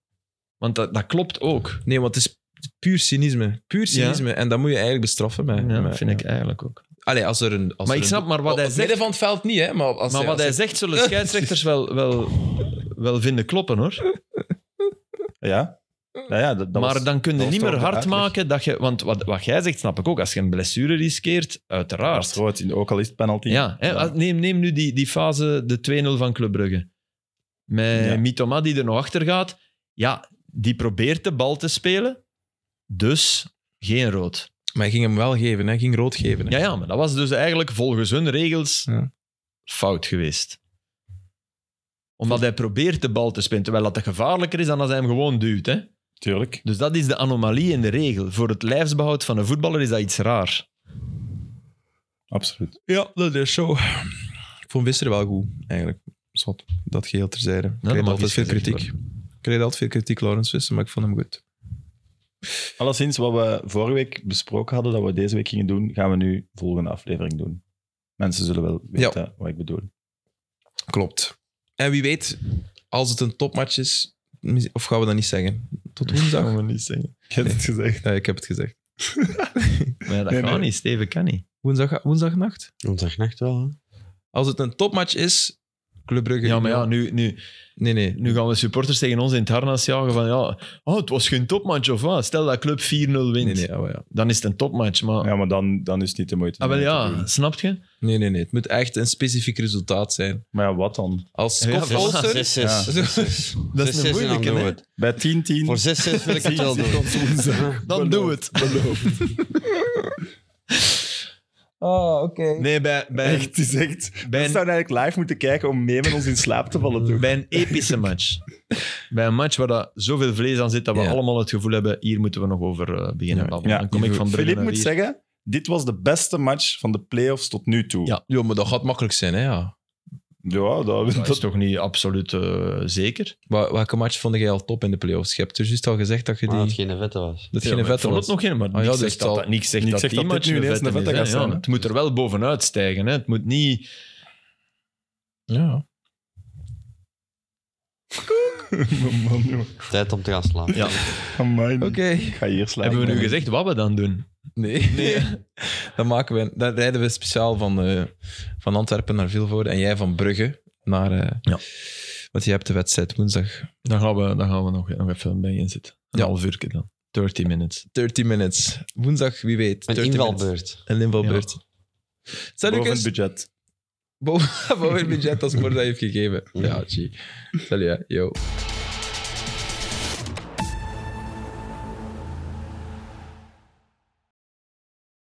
Want dat, dat klopt ook. Nee, want het is puur cynisme. Puur cynisme. En dat moet je eigenlijk bestraffen. Met, Ja, met- vind ik eigenlijk ook. Allee, als er een... Als Maar er ik een- Oh, snap maar wat Op hij het zegt. midden van het veld niet, hè. Maar, als Maar wat als hij zegt zullen scheidsrechters wel, wel, wel vinden kloppen, hoor. ja, ja, ja dat, dat maar was- dan kun je dat was niet toch meer hard uitleg. maken dat je... Want wat, wat jij zegt, snap ik ook. Als je een blessure riskeert, Dat is uiteraard. rood, in- ook al is het penalty. Ja, hè, Ja. als- Neem, neem nu die, die fase, de 2-0 van Club Brugge. Met Ja. Mitoma die er nog achter gaat. Ja, die probeert de bal te spelen. Dus geen rood. Maar hij ging hem wel geven, hè. Hij ging rood geven. hè. Ja, ja, maar dat was dus eigenlijk volgens hun regels Ja. fout geweest. Omdat hij probeert de bal te spelen, terwijl dat gevaarlijker is dan als hij hem gewoon duwt. Hè? Tuurlijk. Dus dat is de anomalie in de regel. Voor het lijfsbehoud van een voetballer is dat iets raar. Absoluut. Ja, dat is zo. Ik vond Visser wel goed, eigenlijk. Zot, dat geheel terzijde. Ik dat kreeg mag altijd iets veel gezegd kritiek. Ik kreeg altijd veel kritiek, Laurens Visser, maar ik vond hem goed. Alleszins, wat we vorige week besproken hadden dat we deze week gingen doen, gaan we nu volgende aflevering doen. Mensen zullen wel weten wat ik bedoel. Klopt. En wie weet, als het een topmatch is, mis- of gaan we dat niet zeggen? Tot [laughs] woensdag? we niet zeggen. Ik heb het gezegd. Ja, ik heb het gezegd. Maar ja, dat Nee, kan nee. niet, Steven kan niet. Woensdag, woensdagnacht? Woensdagnacht wel, hè? Als Als het een topmatch is, Club Brugge... Ja, maar ja, nu, nu, Nee, nee. nu gaan we supporters tegen ons in het harnas jagen van ja, oh, het was geen topmatch of wat. Stel dat club 4-0 wint, Nee, nee, oh ja, maar ja. dan is het een topmatch. Maar, Ja, maar dan, dan is het niet de moeite. ah, wel om te ja, doen. snap je? nee, nee, nee. Het moet echt een specifiek resultaat zijn. Maar ja, wat dan? Als Ja, dus- Scott voilà. Olsen... Ja. Dat is een moeilijke, hè? Bij 10-10. Voor 6-6 wil ik het wel doen. Dan doe het. [laughs] Oh, oké. Nee, bij, bij, [laughs] Echt, het is echt... Bij We een- zouden eigenlijk live moeten kijken om mee met ons in slaap te vallen, toch? Bij een epische match. Bij een match waar dat zoveel vlees aan zit dat we Ja. allemaal het gevoel hebben, hier moeten we nog over eh, beginnen Ja. babbelen. Ja, Dan kom ik van Brugge Filip naar moet hier. zeggen, dit was de beste match van de playoffs tot nu toe. Ja. Ja, maar dat gaat makkelijk zijn, hè, ja. Ja, dat, [laughs] Dat is toch niet absoluut eh, zeker? Wel- welke match vond jij al top in de playoffs? Je hebt er juist al gezegd dat je Maar die... dat het geen vette was. dat Ja, geen Ah, maar vette ik vond was. het nog geen, Ah, maar ja, niks dus zegt dat- dat, dat, niks zegt dat niks zegt die dat dit match nu een ineens vette een vette is, hè. gaat zijn, Ja, hè. Het moet er wel bovenuit stijgen. Hè. Het moet niet... Ja. Man, joh. Tijd om te gaan slapen. Ja. Amai. Oké. Hmm. Ik ga hier slapen. Hebben we nu gezegd wat we dan doen? Nee. [laughs] dan, maken we, dan rijden we speciaal van, eh, van Antwerpen naar Vilvoorde en jij van Brugge naar... eh, Ja. Want je hebt de wedstrijd woensdag. Dan gaan we, dan gaan we nog, nog even bij in zitten. Een Ja. half uur dan. 30 minutes. 30 minutes. Woensdag, wie weet. 30 Een minutes. invalbeurt. Een invalbeurt. Zijn [laughs] Boven het Lucas? budget. Boven boven het budget als Morda heeft gegeven. Ja, gee. Salut, hè. yo.